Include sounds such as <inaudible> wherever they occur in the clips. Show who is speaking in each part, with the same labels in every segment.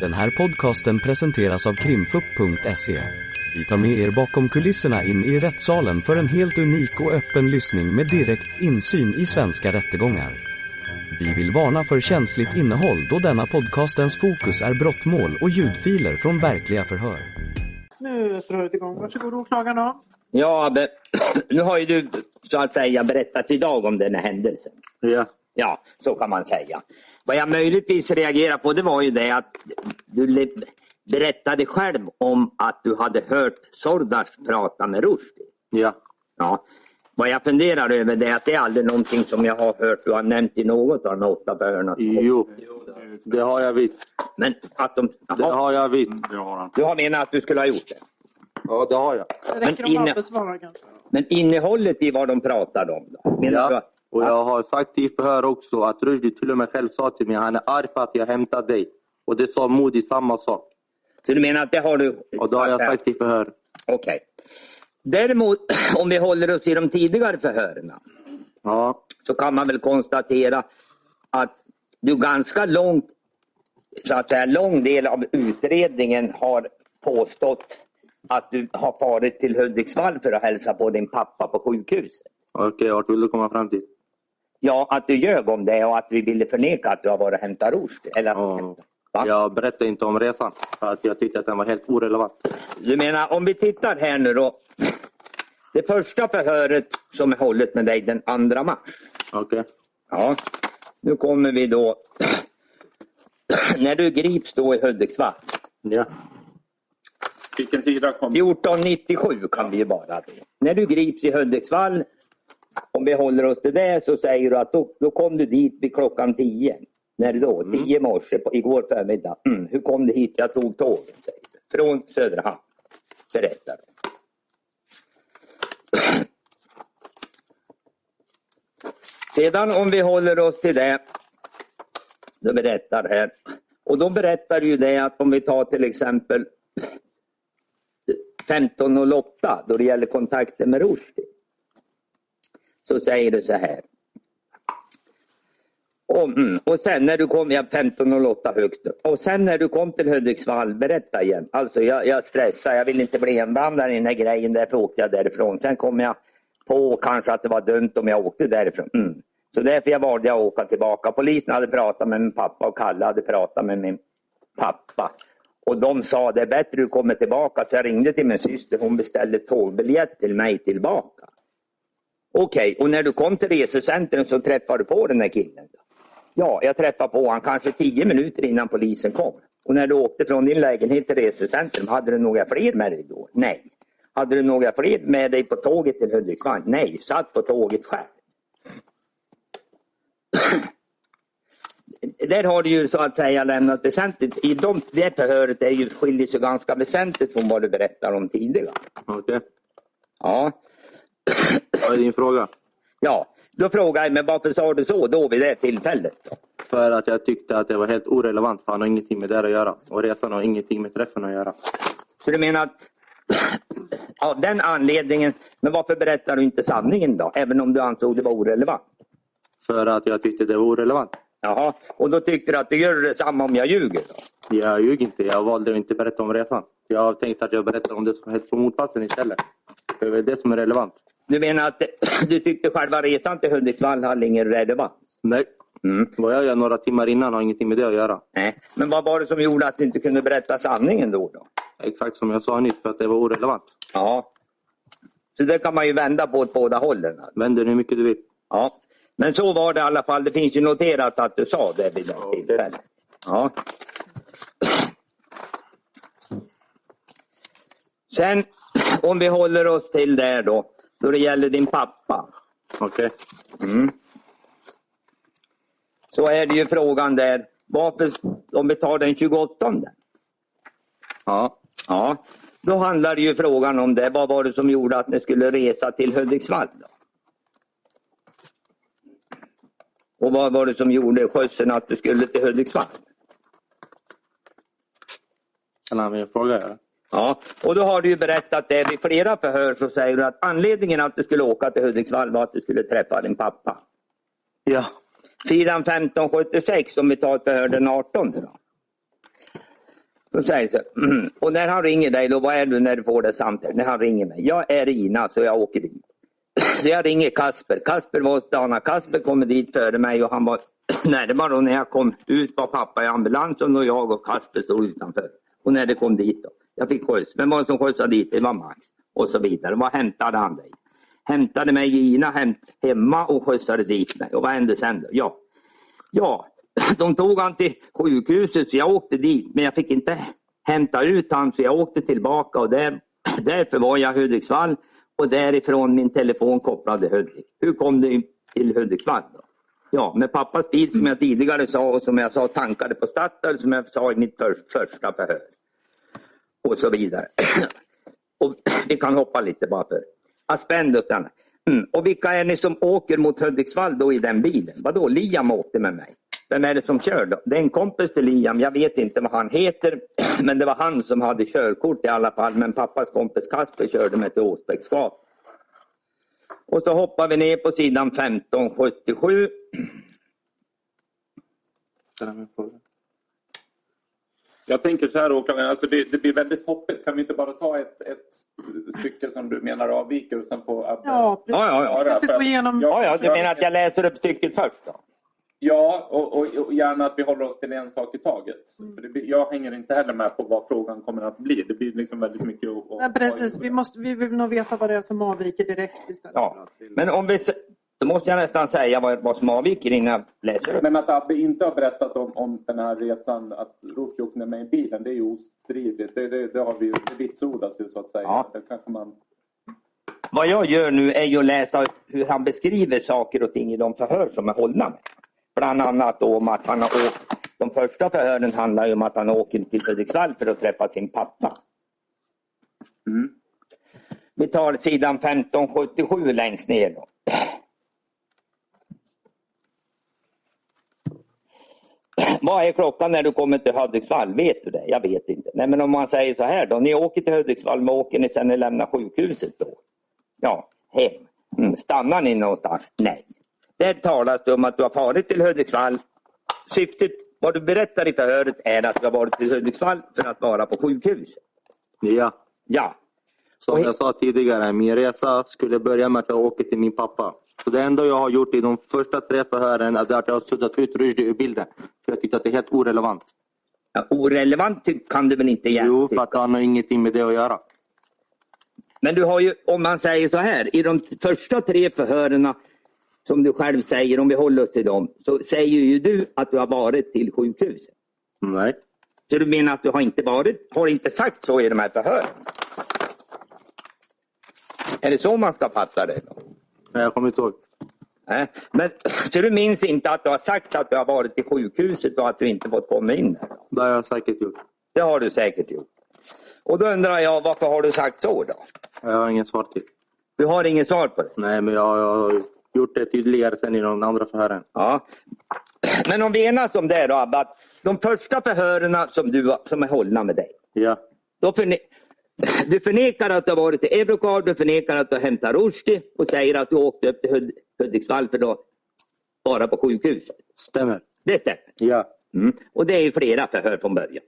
Speaker 1: Den här podcasten presenteras av krimfupp.se. Vi tar med er bakom kulisserna in i rättssalen för en helt unik och öppen lyssning med direkt insyn i svenska rättegångar. Vi vill varna för känsligt innehåll då denna podcastens fokus är brottmål och ljudfiler från verkliga förhör.
Speaker 2: Nu är röret igång. Varsågod åklagaren. ja.
Speaker 3: Ja, Abbe, <clears throat> nu har ju du så att säga berättat idag om den här händelsen.
Speaker 4: Ja.
Speaker 3: Ja, så kan man säga. Vad jag möjligtvis reagerar på det var ju det att du le- berättade själv om att du hade hört Sordas prata med Rushdie.
Speaker 4: Ja.
Speaker 3: Ja. Vad jag funderar över det är att det är aldrig någonting som jag har hört du har nämnt i något av de åtta bönerna.
Speaker 4: Jo. Det har jag vitt.
Speaker 3: Men att de...
Speaker 4: Det
Speaker 3: Jaha,
Speaker 4: har jag vitt.
Speaker 3: du har menat att du skulle ha gjort det.
Speaker 4: Ja, det har jag.
Speaker 2: Det räcker om
Speaker 3: inne-
Speaker 2: Abbe svarar kanske.
Speaker 3: Men innehållet i vad de pratade om då? Menar du
Speaker 4: Ja.
Speaker 3: att-
Speaker 4: Och jag har sagt i förhör också att Rushdie till och med själv sa till mig han är arg för att jag hämtar dig. Och det sa Modi samma sak.
Speaker 3: Så du menar att det har du...
Speaker 4: Och det har jag sagt i förhör.
Speaker 3: Okej. Däremot, <clears throat> om vi håller oss i de tidigare förhören
Speaker 4: Ja.
Speaker 3: så kan man väl konstatera att du ganska långt, så att säga, lång del av utredningen har påstått att du har farit till Hudiksvall för att hälsa på din pappa på sjukhuset.
Speaker 4: Okej, vart vill du komma fram till?
Speaker 3: Ja, att du ljög om det och att vi ville förneka att du har varit och hämtat Rushdie. Eller att du
Speaker 4: Ja.
Speaker 3: hämtat- va?
Speaker 4: Jag berättade inte om resan för att jag tyckte att den var helt orelevant.
Speaker 3: Du menar, om vi tittar här nu då. <clears throat> Det första förhöret som är hållet med dig den 2 mars.
Speaker 4: Okej.
Speaker 3: Ja, nu kommer vi då. <clears throat> När du grips då i Hudiksvall.
Speaker 4: Ja.
Speaker 5: Vilken sida kom
Speaker 3: 1497 kan vi ju bara då. När du grips i Hudiksvall, om vi håller oss till det, så säger du att då, då kom du dit vid klockan 10. När då? 10 i morse, på, igår förmiddag. Mm. Hur kom du hit? Jag tog tåget, säger du. Från Söderhamn. Berättar du. Sedan om vi håller oss till det. Du berättar här. Och då berättar du ju det att om vi tar till exempel 15.08 då det gäller kontakten med Rushdie. Så säger du så här. Och, mm, och sen när du kom, ja 15.08 högt upp. Och sen när du kom till Hudiksvall, berätta igen. Alltså jag, jag stressar, jag vill inte bli inblandad i den här grejen, därför åkte jag därifrån. Sen kom jag på kanske att det var dumt om jag åkte därifrån. Mm. Så därför jag valde jag att åka tillbaka. Polisen hade pratat med min pappa och Kalle hade pratat med min pappa. Och de sa det är bättre du kommer tillbaka. Så jag ringde till min syster. Hon beställde tågbiljett till mig tillbaka. Okej, och när du kom till resecentrum så träffade du på den där killen? Då? Ja, jag träffade på honom kanske tio minuter innan polisen kom. Och när du åkte från din lägenhet till resecentrum, hade du några fler med dig då? Nej. Hade du några fler med dig på tåget till Hudiksvall? Nej, satt på tåget själv. <clears throat> där har du ju så att säga lämnat väsentligt. I de, det förhöret är ju, skiljer sig ganska väsentligt från vad du berättar om tidigare.
Speaker 4: Okej.
Speaker 3: Ja,
Speaker 4: Vad är din fråga?
Speaker 3: ja. då frågar jag mig varför sa du så då vid det tillfället? Då?
Speaker 4: För att jag tyckte att det var helt orelevant för han har ingenting med det här att göra. Och resan har ingenting med träffen att göra.
Speaker 3: Så du menar att <clears throat> av den anledningen, men varför berättar du inte sanningen då? Även om du ansåg det var orelevant?
Speaker 4: För att jag tyckte det var orelevant.
Speaker 3: Jaha, och då tyckte du att du gör detsamma om jag ljuger? Då?
Speaker 4: Jag ljög inte. Jag valde att inte berätta om resan. Jag tänkte att jag berättar om det som hände på mordplatsen istället. Det är väl det som är relevant.
Speaker 3: Du menar att <coughs> du tyckte själva resan till Hudiksvall hade ingen relevans?
Speaker 4: Nej.
Speaker 3: Mm.
Speaker 4: Vad jag gör några timmar innan har ingenting med det att göra.
Speaker 3: Nej. Men vad var det som gjorde att du inte kunde berätta sanningen då? då?
Speaker 4: Exakt som jag sa nyss, för att det var orelevant.
Speaker 3: Ja. Så det kan man ju vända på åt båda hållen. alltså.
Speaker 4: Vänd den hur mycket du vill.
Speaker 3: Ja. Men så var det i alla fall. Det finns ju noterat att du sa det vid något tillfälle. Ja. Sen om vi håller oss till det då. Då det gäller din pappa.
Speaker 4: Okej.
Speaker 3: Mm. Så är det ju frågan där. Varför, om vi tar den 28.
Speaker 4: Ja.
Speaker 3: Ja. Då handlar det ju frågan om det. Vad var det som gjorde att ni skulle resa till Hudiksvall? Då? Och vad var det som gjorde skjutsen att du skulle till Hudiksvall?
Speaker 4: Kan han min fråga göra?
Speaker 3: Ja, och då har du ju berättat det vid flera förhör så säger du att anledningen att du skulle åka till Hudiksvall var att du skulle träffa din pappa.
Speaker 4: Ja.
Speaker 3: Sidan 1576 om vi tar ett förhör den 18 då. Då säger så, här, <clears throat> och när han ringer dig, då, vad är du när du får det samtalet? När han ringer mig. Jag är i Ina, så jag åker dit. <clears throat> Så jag ringer Kasper. Kasper var hos Dana. Kasper kommer dit före mig och han var <clears throat> närmare. Och när jag kom ut var pappa i ambulansen och jag och Kasper stod utanför. Och när det kom dit då. Jag fick skjuts. Vem var det som skjutsade dit? Det var Max. Och så vidare. Vad hämtade han dig? Hämtade mig i Ina hem, hemma och skjutsade dit mig. Och vad hände sen då? Ja, Ja, <clears throat> de tog han till sjukhuset så jag åkte dit men jag fick inte hämta ut han så jag åkte tillbaka och där, <clears throat> därför var jag i Hudiksvall och därifrån min telefon kopplad till Hudik. Hur kom du in till Hudiksvall? Då? Ja, med pappas bil som jag tidigare sa och som jag sa tankade på Statoil som jag sa i mitt för, första förhör. Och så vidare. <clears throat> Och <clears throat> vi kan hoppa lite bara för. Aspendos den. Mm. Och vilka är ni som åker mot Hudiksvall då i den bilen? Vadå, Liam åkte med mig. Vem är det som kör då? Det är en kompis till Liam. Jag vet inte vad han heter. <clears throat> Men det var han som hade körkort i alla fall. Men pappas kompis Kasper körde mig till Åsbäcksgatan. Och så hoppar vi ner på sidan 1577.
Speaker 5: Jag tänker så här åklagaren, alltså det, det blir väldigt hoppigt. Kan vi inte bara ta ett, ett stycke som du menar avviker och sen få Abbe
Speaker 2: Ja, precis.
Speaker 3: Ja,
Speaker 2: Jag
Speaker 3: ja, ja.
Speaker 2: kan inte gå igenom.
Speaker 5: Ja.
Speaker 3: Ja, ja, du menar att jag läser upp stycket först då?
Speaker 5: Ja, och, och, och gärna att vi håller oss till en sak i taget.
Speaker 2: Mm.
Speaker 5: För det blir, jag hänger inte heller med på vad frågan kommer att bli. Det blir liksom väldigt mycket att... att-
Speaker 2: Nej, precis. Vi, måste, vi vill nog veta vad det är som avviker direkt istället.
Speaker 3: Ja. Men om vi... s- Då måste jag nästan säga vad, vad som avviker innan jag läser upp.
Speaker 5: Men att Abbe inte har berättat om, om den här resan, att Rufy åkte med mig i bilen, det är ju ostridigt. Det, det, det har vi ju, det vitsordas ju så att säga.
Speaker 3: Ja.
Speaker 5: Det kanske man...
Speaker 3: Vad jag gör nu är ju att läsa hur han beskriver saker och ting i de förhör som är hållna med. Bland annat då om att han har åkt, de första förhören handlar ju om att han åker till Hudiksvall för att träffa sin pappa. Vi tar sidan 1577 längst ner. Då. <clears throat> Vad är klockan när du kommer till Hudiksvall? Vet du det? Jag vet inte. Nej, men om man säger så här då. Ni åker till Hudiksvall, vad åker ni sen ni lämnar sjukhuset då? Ja, hem. Mm, stannar ni någonstans? Nej. Där talas det om att du har farit till Hudiksvall. Syftet, vad du berättar i förhöret är att du har varit till Hudiksvall för att vara på sjukhuset.
Speaker 6: Ja.
Speaker 3: Ja,
Speaker 6: Som jag sa tidigare, min resa skulle börja med att jag åker till min pappa. Så det enda jag har gjort i de första tre förhören är att jag har suddat ut Rushdie ur bilden. För jag tyckte att det är helt orelevant.
Speaker 3: Ja, Orelevant ty- kan du väl inte
Speaker 6: Jo, för
Speaker 3: egentligen?
Speaker 6: att han har ingenting med det att göra.
Speaker 3: Men du har ju, om man säger så här, i de första tre förhören som du själv säger, om vi håller oss till dem, så säger ju du att du har varit till sjukhuset.
Speaker 6: Nej.
Speaker 3: Så du menar att du har inte varit, har inte sagt så i de här förhören? Är det så man ska fatta det? Då?
Speaker 6: Nej, Jag kommer inte ihåg.
Speaker 3: Nej. Men, så du minns inte att du har sagt att du har varit till sjukhuset och att du inte fått komma in där?
Speaker 6: Det har jag säkert gjort.
Speaker 3: Det har du säkert gjort. Och då undrar jag, varför har du sagt så då?
Speaker 6: Jag har inget svar till.
Speaker 3: Du har inget svar på det?
Speaker 6: Nej, men jag har gjort det tydligare sen i de andra förhören.
Speaker 3: Ja. Men om vi enas om det då, Abbe, att de första förhören som, du, som är hållna med dig.
Speaker 6: Ja.
Speaker 3: Då förne- <clears throat> du förnekar att du har varit i Eurocar, du förnekar att du har hämtat Rushdie och säger att du åkte upp till Hud- Hudiksvall för att vara på sjukhuset.
Speaker 6: Stämmer.
Speaker 3: Det stämmer.
Speaker 6: Ja.
Speaker 3: Mm. Och det är ju flera förhör från början.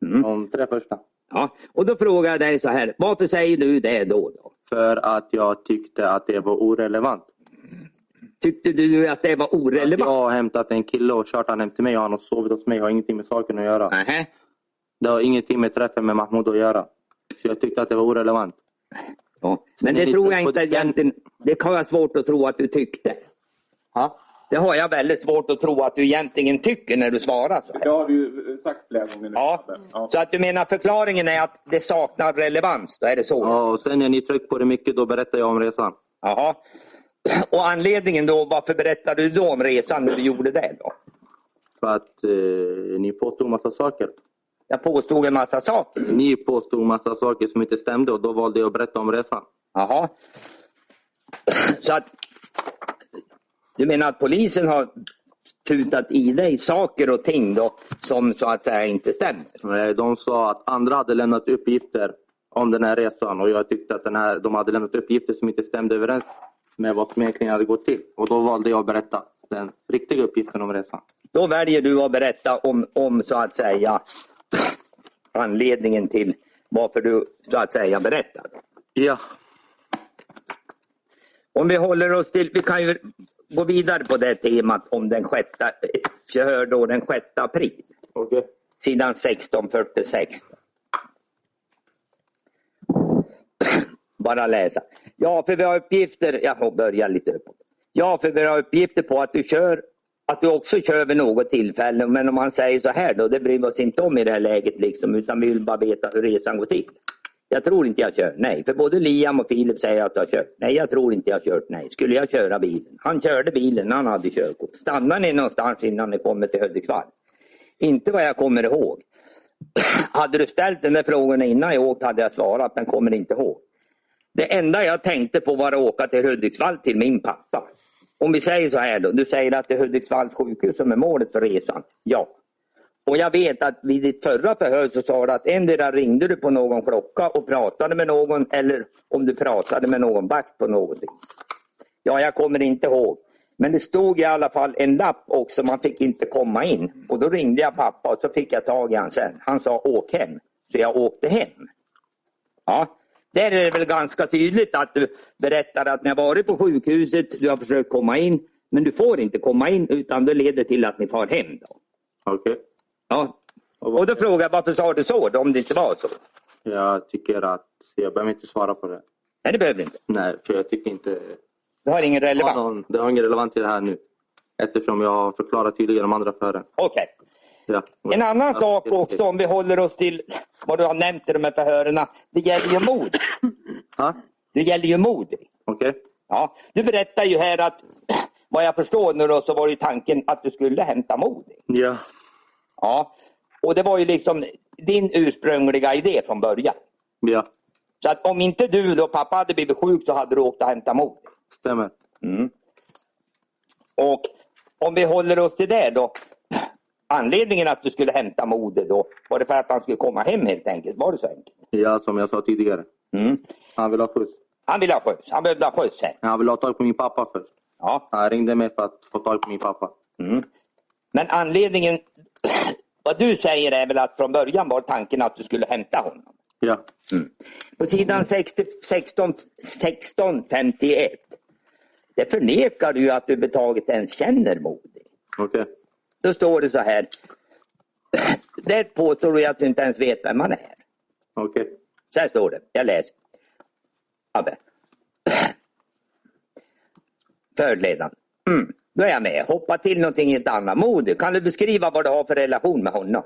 Speaker 6: Mm. De tre första.
Speaker 3: Ja. Och då frågar jag dig så här, varför säger du det då? då?
Speaker 6: För att jag tyckte att det var orelevant.
Speaker 3: Tyckte du att det var
Speaker 6: Jag
Speaker 3: orelevant?
Speaker 6: har hämtat en kille och kört han hem till mig och han har sovit hos mig. Jag har ingenting med saken att göra.
Speaker 3: Nähä.
Speaker 6: Det har ingenting med träffen med Mahmoud att göra. Så jag tyckte att det var orelevant.
Speaker 3: Ja. Men det
Speaker 6: Ni
Speaker 3: tror jag
Speaker 6: lyssnar på
Speaker 3: inte
Speaker 6: den-
Speaker 3: egentligen. Det kan jag svårt att tro att du tyckte.
Speaker 6: Ha?
Speaker 3: Det har jag väldigt svårt att tro att du egentligen tycker när du svarar så
Speaker 5: Det
Speaker 3: här.
Speaker 5: har vi ju sagt flera gånger nu.
Speaker 3: Ja.
Speaker 5: Abbe. Ja.
Speaker 3: Så att du menar förklaringen är att det saknar relevans, då är det så?
Speaker 6: Ja, och sen när ni tryckte på det mycket, då berättade jag om resan.
Speaker 3: Jaha. Och anledningen då, varför berättade du då om resan när du gjorde det då?
Speaker 6: För att eh, ni påstod massa saker.
Speaker 3: Jag påstod en massa saker.
Speaker 6: Ni påstod massa saker som inte stämde och då valde jag att berätta om resan.
Speaker 3: Jaha. Så att du menar att polisen har tutat i dig saker och ting då som så att säga inte stämmer?
Speaker 6: Eh, De sa att andra hade lämnat uppgifter om den här resan och jag tyckte att den här, de hade lämnat uppgifter som inte stämde överens med vad som egentligen hade gått till. Och då valde jag att berätta den riktiga uppgiften om resan.
Speaker 3: Då väljer du att berätta om, om så att säga anledningen till varför du så att säga berättar.
Speaker 4: Ja,
Speaker 3: Om vi håller oss till, vi kan ju gå vidare på det temat om den sjätte, förhör då den 6 april,
Speaker 4: okej.
Speaker 3: sidan 1646. Bara läsa. Ja, för vi har uppgifter, jag börjar lite uppåt. Ja, för vi har uppgifter på att du kör, att du också kör vid något tillfälle. Men om man säger så här då, det bryr vi oss inte om i det här läget liksom, utan vi vill bara veta hur resan går till. Jag tror inte jag kör. Nej, för både Liam och Filip säger att jag har kört. Nej, jag tror inte jag har kört. Nej, skulle jag köra bilen? Han körde bilen, han hade körkort. Stannade ni någonstans innan ni kommer till Hudiksvall? Inte vad jag kommer ihåg. <clears throat> hade du ställt den där frågan innan jag åkt hade jag svarat, men kommer inte ihåg. Det enda jag tänkte på var att åka till Hudiksvall till min pappa. Om vi säger så här då, du säger att det är Hudiksvalls sjukhus som är målet för resan. Ja. Och jag vet att vid ditt förra förhör så sa du att endera ringde du på någon klocka och pratade med någon eller om du pratade med någon vakt på något vis. Ja, jag kommer inte ihåg. Men det stod i alla fall en lapp också, man fick inte komma in. Och då ringde jag pappa och så fick jag tag i honom sen. Han sa åk hem. Så jag åkte hem. Ja, där är det väl ganska tydligt att du berättar att ni har varit på sjukhuset, du har försökt komma in, men du får inte komma in utan det leder till att ni far hem. Då.
Speaker 4: Okej.
Speaker 3: Ja. Och då frågar jag varför sa du så då, om det inte var så?
Speaker 4: Jag tycker att jag behöver inte svara på det.
Speaker 3: Nej, det behöver du inte.
Speaker 4: Nej, för jag tycker inte
Speaker 3: Det har ingen
Speaker 4: det har,
Speaker 3: relevans.
Speaker 4: någon, det har ingen relevant i det här nu. Eftersom jag har förklarat tydligare de andra fören.
Speaker 3: Okej.
Speaker 4: Ja.
Speaker 3: En annan
Speaker 4: Ja,
Speaker 3: sak
Speaker 4: det är
Speaker 3: också om vi håller oss till vad du har nämnt i de här förhören. Det gäller ju mod.
Speaker 4: Ja,
Speaker 3: Det gäller ju mod.
Speaker 4: okej.
Speaker 3: Ja. Du berättar ju här att vad jag förstår nu då, så var ju tanken att du skulle hämta mod.
Speaker 4: Ja.
Speaker 3: Ja, och det var ju liksom din ursprungliga idé från början.
Speaker 4: Ja,
Speaker 3: Så att om inte du då pappa hade blivit sjuk så hade du åkt och hämtat mod. Mm.
Speaker 4: stämmer.
Speaker 3: Och om vi håller oss till det då. Anledningen att du skulle hämta mode då, var det för att han skulle komma hem helt enkelt? Var det så enkelt?
Speaker 4: Ja, som jag sa tidigare.
Speaker 3: Mm.
Speaker 4: Han vill ha skjuts.
Speaker 3: Han ville ha skjuts, han behövde ha skjuts hem.
Speaker 4: Men han vill ha tag på min pappa först.
Speaker 3: Ja.
Speaker 4: Han ringde mig för att få tag på min pappa.
Speaker 3: Men anledningen, <clears throat> vad du säger är väl att från början var tanken att du skulle hämta honom?
Speaker 4: Ja,
Speaker 3: På sidan 60, 16, 1651. Det förnekar du ju att du överhuvudtaget ens känner Modi.
Speaker 4: okej.
Speaker 3: Då står det så här. <clears throat> Där påstår du att du inte ens vet vem han är.
Speaker 4: Okej.
Speaker 3: Så här står det, jag läser. Abbe. <clears throat> Förledaren. Mm, då är jag med. Hoppa till någonting helt annat. Modi, kan du beskriva vad du har för relation med honom?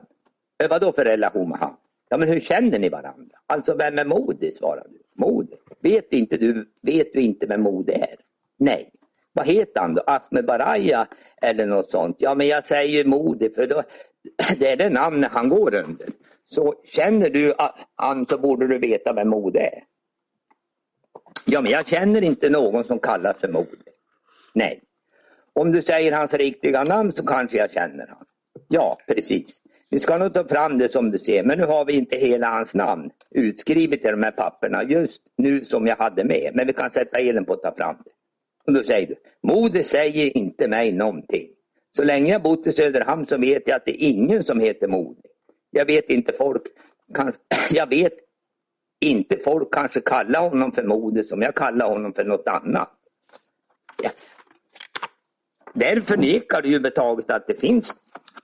Speaker 3: "Eh, Vad då för relation med han? Ja, men hur känner ni varandra? Alltså, vem är Modi? svarar du. Modi? Vet inte du, vet du inte vem Modi är? Nej. Vad heter han då? Ahmed Baraya eller något sånt? Ja, men jag säger Modi för då, <clears throat> det är det namnet han går under. Så känner du a- han så borde du veta vem Modi är. Ja, men jag känner inte någon som kallas för Modi. Nej. Om du säger hans riktiga namn så kanske jag känner han. Ja, precis. Vi ska nog ta fram det som du ser, men nu har vi inte hela hans namn utskrivet i de här papperna just nu som jag hade med. Men vi kan sätta elen på att ta fram det. Och då säger du, mode säger inte mig någonting. Så länge jag bott i Söderhamn så vet jag att det är ingen som heter mode. Jag vet inte folk, kan, <clears throat> jag vet inte folk kanske kallar honom för mode som jag kallar honom för något annat. Ja. Där förnekar du ju betaget att det finns.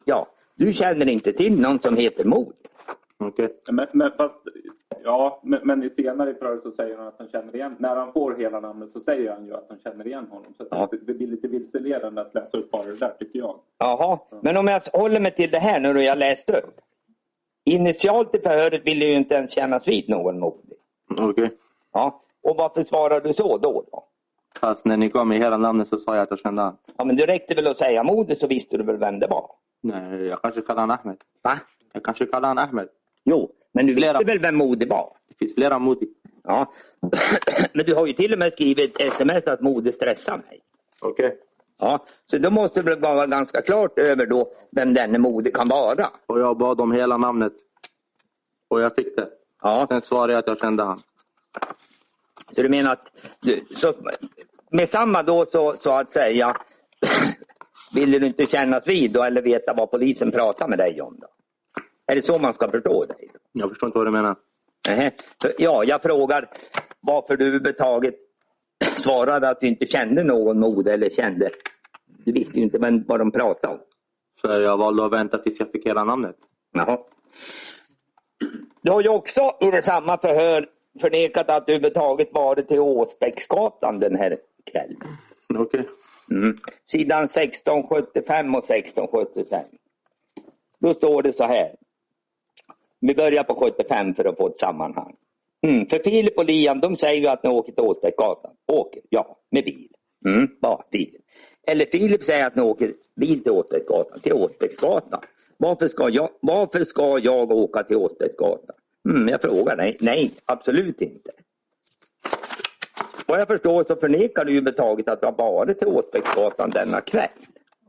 Speaker 3: Ja, du känner inte till någon som heter Mod.
Speaker 4: Okej.
Speaker 5: Men, men, fast, ja, men, men i senare i förhör så säger han att han känner igen... När han får hela namnet så säger han ju att han känner igen honom. Så att
Speaker 3: Ja.
Speaker 5: det, det blir lite vilseledande att läsa upp bara det där, tycker jag.
Speaker 3: Jaha, men om jag håller mig till det här nu då jag läste upp. Initialt i förhöret ville ju inte ens kännas vid någon modig.
Speaker 4: Okej.
Speaker 3: Ja, och varför svarar du så då? då?
Speaker 4: Fast när ni gav mig hela namnet så sa jag att jag kände han.
Speaker 3: Ja, men det räckte väl att säga modig så visste du väl vem det var?
Speaker 4: Nej, jag kanske kallar han Ahmed.
Speaker 3: Va?
Speaker 4: Jag kanske kallar han Ahmed.
Speaker 3: Jo, men du
Speaker 4: Flera.
Speaker 3: visste väl vem modig var?
Speaker 4: Det finns flera Modi.
Speaker 3: Ja, <clears throat> men du har ju till och med skrivit sms att mode stressar mig.
Speaker 4: Okej.
Speaker 3: Ja, så då måste det väl vara ganska klart över då vem denne mode kan vara.
Speaker 4: Och jag bad om hela namnet. Och jag fick det.
Speaker 3: Ja,
Speaker 4: Sen svarade jag att jag kände han.
Speaker 3: så du menar att du, så, med samma då så, så att säga <clears throat> ville du inte kännas vid då eller veta vad polisen pratar med dig om då? Är det så man ska förstå dig?
Speaker 6: Jag förstår inte vad du menar.
Speaker 3: Nähä. Ja, jag frågar varför du överhuvudtaget <clears throat> svarade att du inte kände någon mod eller kände. Du visste ju inte vem- vad de pratade om.
Speaker 6: För jag valde att vänta tills jag fick hela namnet.
Speaker 3: Jaha. Du har ju också i det samma förhör förnekat att du överhuvudtaget varit till Åsbäcksgatan den här kvällen.
Speaker 6: Okej.
Speaker 3: Mm. Sidan 1675 och 1675. Då står det så här. Vi börjar på 75 för att få ett sammanhang. Mm. För Filip och Liam de säger ju att ni åker till Åsbäcksgatan. Åker, ja, med bil. Mm. Ja, bil. Eller Filip säger att ni åker bil till Åsbäcksgatan. Till Åsbäcksgatan. Varför ska jag, varför ska jag åka till Åsbäcksgatan? Mm, jag frågar dig. Nej, absolut inte. Vad jag förstår så förnekar du ju betaget att du har varit till Åsbäcksgatan denna kväll.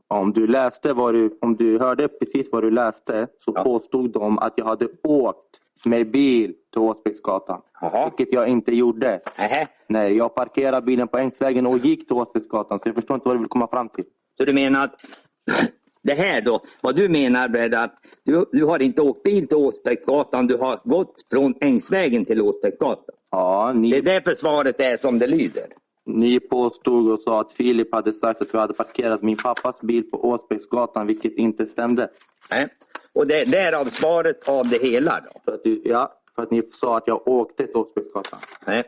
Speaker 6: Om du läste vad du, om du hörde precis vad du läste så
Speaker 3: Ja.
Speaker 6: påstod de att jag hade åkt med bil till Åsbäcksgatan.
Speaker 3: Jaha.
Speaker 6: Vilket jag inte gjorde.
Speaker 3: Nähä.
Speaker 6: Nej, jag parkerade bilen på Ängsvägen och gick till Åsbäcksgatan. Så jag förstår inte vad du vill komma fram till.
Speaker 3: Så du menar att <clears throat> det här då, vad du menar Brad, att du, du har inte åkt bil till Åsbäcksgatan, du har gått från Ängsvägen till Åsbäcksgatan.
Speaker 6: Ja,
Speaker 3: Det är
Speaker 6: ni,
Speaker 3: därför svaret är som det lyder.
Speaker 6: ni påstod och sa att Filip hade sagt att jag hade parkerat min pappas bil på Åsbäcksgatan, vilket inte stämde.
Speaker 3: Nej. Och det därav svaret av det hela då.
Speaker 6: För att, du- ja, för att ni sa att jag åkte till Åsbäcksgatan.
Speaker 3: Nej.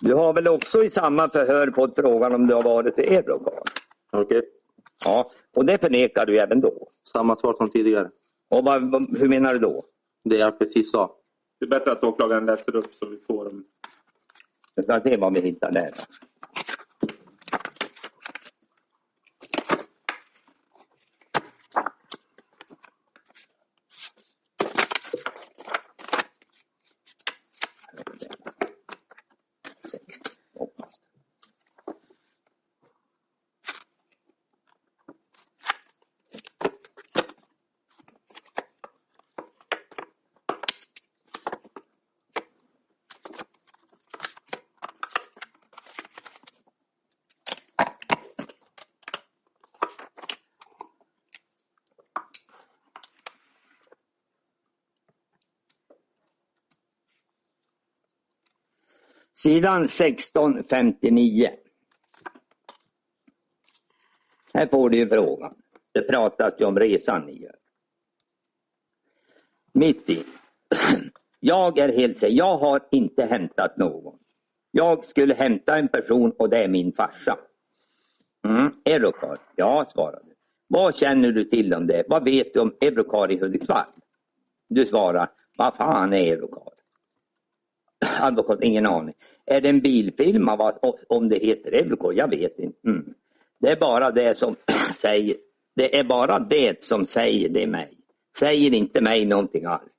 Speaker 3: Du har väl också i samma förhör fått frågan om du har varit i Eurocar?
Speaker 6: Okej.
Speaker 3: Ja, och det förnekar du även då.
Speaker 6: Samma svar som tidigare.
Speaker 3: Och vad, vad, hur menar du då?
Speaker 6: Det jag precis sa.
Speaker 5: Det är bättre att åklagaren läser upp så vi får dem.
Speaker 3: Vi ska se vad vi hittar där. Sidan 1659. Här får du ju frågan. Det pratas ju om resan ni gör. Mitt i. <clears throat> Jag är helt säker. Jag har inte hämtat någon. Jag skulle hämta en person och det är min farsa. Mm. Eurocar? Ja, svarade du. Vad känner du till om det? Vad vet du om Eurocar i Hudiksvall? Du svarar, vad fan är Eurocar? advokat, ingen aning. Är det en bilfirma vad, om det heter Evco? Jag vet inte. Mm. Det är bara det som <clears throat> säger det är bara det som säger det mig. Säger inte mig någonting alls.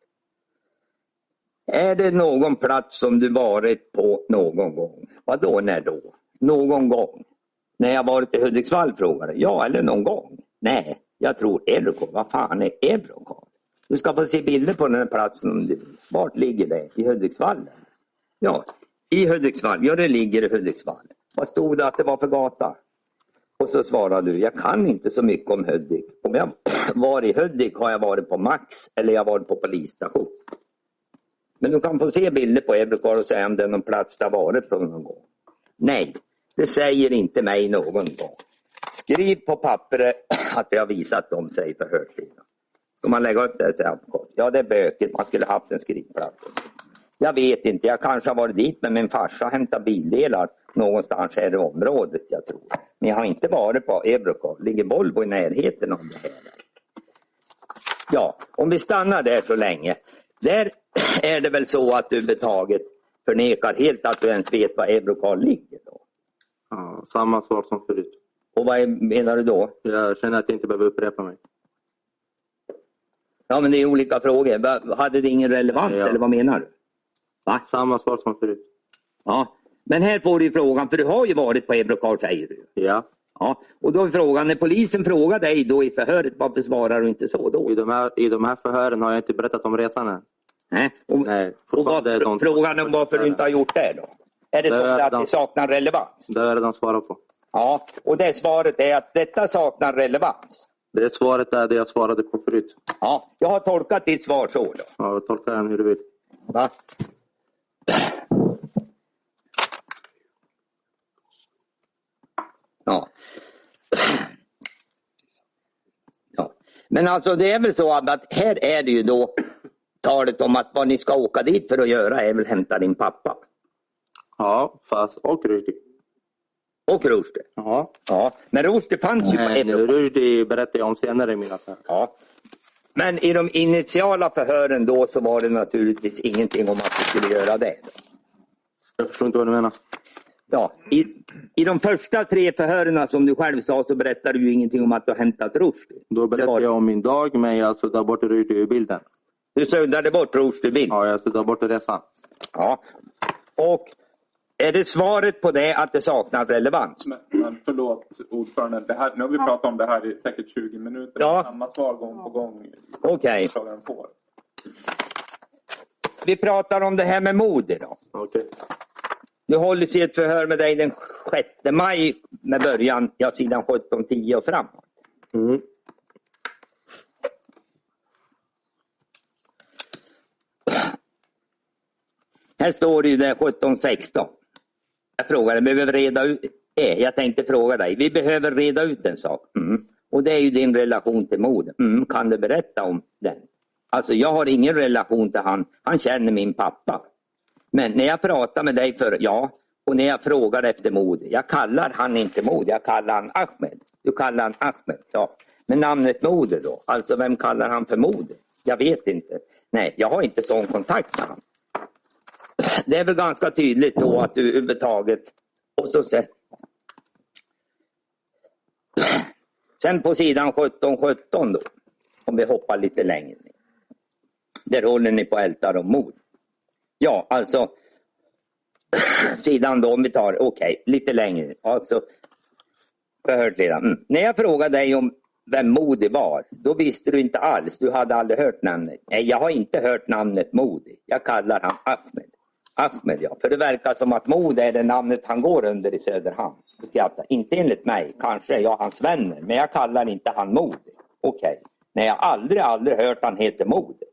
Speaker 3: Är det någon plats som du varit på någon gång? Vadå när då? Någon gång? När jag varit i Hudiksvall frågade jag. Ja eller någon gång? Nej, jag tror Eurocard. Vad fan är Eurocard? Du ska få se bilder på den här platsen om du vill. Vart ligger det? I Hudiksvall? eller? Ja, i Hudiksvall. Ja, det ligger i Hudiksvall. Vad stod det att det var för gata? Och så svarade du, jag kan inte så mycket om Hudik. Om jag <sniffs> var i Hudik har jag varit på Max eller jag har varit på polisstation. Men du kan få se bilder på Ebelkar och säga om det är någon plats du har varit på någon gång. Nej, det säger inte mig någon gång. Skriv på pappret <sniffs> att vi har visat dem sig för hörsidan. Ska man lägga upp det här så här kort? Ja, det är böket. Man skulle haft en skrivplatta. Jag vet inte. Jag kanske har varit dit med min farsa och hämtat bildelar någonstans här i området. Jag tror. Men jag har inte varit på Ebrokov. Ligger Volvo i närheten av det här? Ja, om vi stannar där så länge. Där <clears throat> är det väl så att du betaget förnekar helt att du ens vet var Ebrokov ligger. Då.
Speaker 6: Ja, samma svar som förut.
Speaker 3: Och vad är- menar du då?
Speaker 6: Jag känner att jag inte behöver upprepa mig.
Speaker 3: Ja, men det är olika frågor. Va- Hade det ingen relevans
Speaker 6: Ja.
Speaker 3: eller vad menar du? Va?
Speaker 6: Samma svar som förut.
Speaker 3: Ja, men här får du ju frågan, för du har ju varit på Ebrokar säger du.
Speaker 6: Ja.
Speaker 3: Ja, och då är frågan, när polisen frågar dig då i förhöret, varför svarar du inte så då?
Speaker 6: I de, här, I de här förhören har jag inte berättat om resan än.
Speaker 3: Nej, och,
Speaker 6: Nej,
Speaker 3: och
Speaker 6: fortfarande är
Speaker 3: varför,
Speaker 6: de-
Speaker 3: frågan om varför du inte har gjort det då? Är det
Speaker 6: Det
Speaker 3: så
Speaker 6: är
Speaker 3: att
Speaker 6: de-
Speaker 3: det saknar relevans?
Speaker 6: Det har jag redan svarat på.
Speaker 3: Ja, och det svaret är att detta saknar relevans.
Speaker 4: Det svaret är det jag svarade på förut.
Speaker 3: Ja, jag har tolkat ditt svar så. Då.
Speaker 4: Ja, jag tolkar den hur du vill.
Speaker 3: Va? Ja. ja. Men alltså det är väl så Abbe, att här är det ju då talet om att vad ni ska åka dit för att göra är väl hämta din pappa.
Speaker 4: Ja, fast och Rushdie.
Speaker 3: Och Rushdie.
Speaker 4: Ja.
Speaker 3: Ja, men Rushdie fanns
Speaker 6: Typ
Speaker 3: ju på
Speaker 4: Men
Speaker 3: ett
Speaker 4: Rushdie berättar jag om senare i min affär.
Speaker 3: Ja. Men i de initiala förhören då så var det naturligtvis ingenting om att du skulle göra det.
Speaker 4: Jag förstår inte vad du menar.
Speaker 3: Ja, i, I de första tre förhören som du själv sa så berättade du ingenting om att du har hämtat Rushdie.
Speaker 4: Då
Speaker 3: Det var-
Speaker 4: berättar jag om min dag, men jag suddar bort Rushdie ur bilden.
Speaker 3: Du suddade bort Rushdie-bild. Ja.
Speaker 4: Ja, jag suddar bort resan.
Speaker 3: Och är det svaret på det att det saknar relevans?
Speaker 5: Men, men förlåt ordförande, det här, nu har vi pratat om det här i säkert 20 minuter.
Speaker 3: Ja.
Speaker 5: Samma svar gång på gång.
Speaker 3: Okej,
Speaker 5: Frågan får.
Speaker 3: vi pratar om det här med mod idag.
Speaker 4: Okej.
Speaker 3: Nu hålls i ett förhör med dig den 6 maj med början, ja sidan 17.10 och framåt.
Speaker 4: Mm.
Speaker 3: Här står det ju det 17-16. Jag frågade, behöver reda ut, eh, jag tänkte fråga dig, vi behöver reda ut en sak. Mm. Och det är ju din relation till Moden. Mm. Kan du berätta om den? Alltså jag har ingen relation till han, han känner min pappa. Men när jag pratar med dig för ja, och när jag frågar efter mod, jag kallar han inte mod, jag kallar han Ahmed. Du kallar han Ahmed, ja. Men namnet Mode då, alltså vem kallar han för Mode? Jag vet inte. Nej, jag har inte sån kontakt med han det är väl ganska tydligt då att du överhuvudtaget... Och så sen, sen på sidan 17, 17 då, om vi hoppar lite längre. ner. Där håller ni på och ältar om mod. Ja, alltså <clears throat> sidan då, om vi tar, okej, lite längre. Alltså, förhört redan. Mm. När jag frågade dig om vem Modi var, då visste du inte alls. Du hade aldrig hört namnet. Nej, jag har inte hört namnet Modi. Jag kallar han Ahmed. Ahmed, ja. För det verkar som att Modi är det namnet han går under i Söderhamn. Du skrattar. Inte enligt mig. Kanske är jag hans vänner. Men jag kallar inte han Modi. Okej. Nej, jag har aldrig, aldrig hört han heter Modi.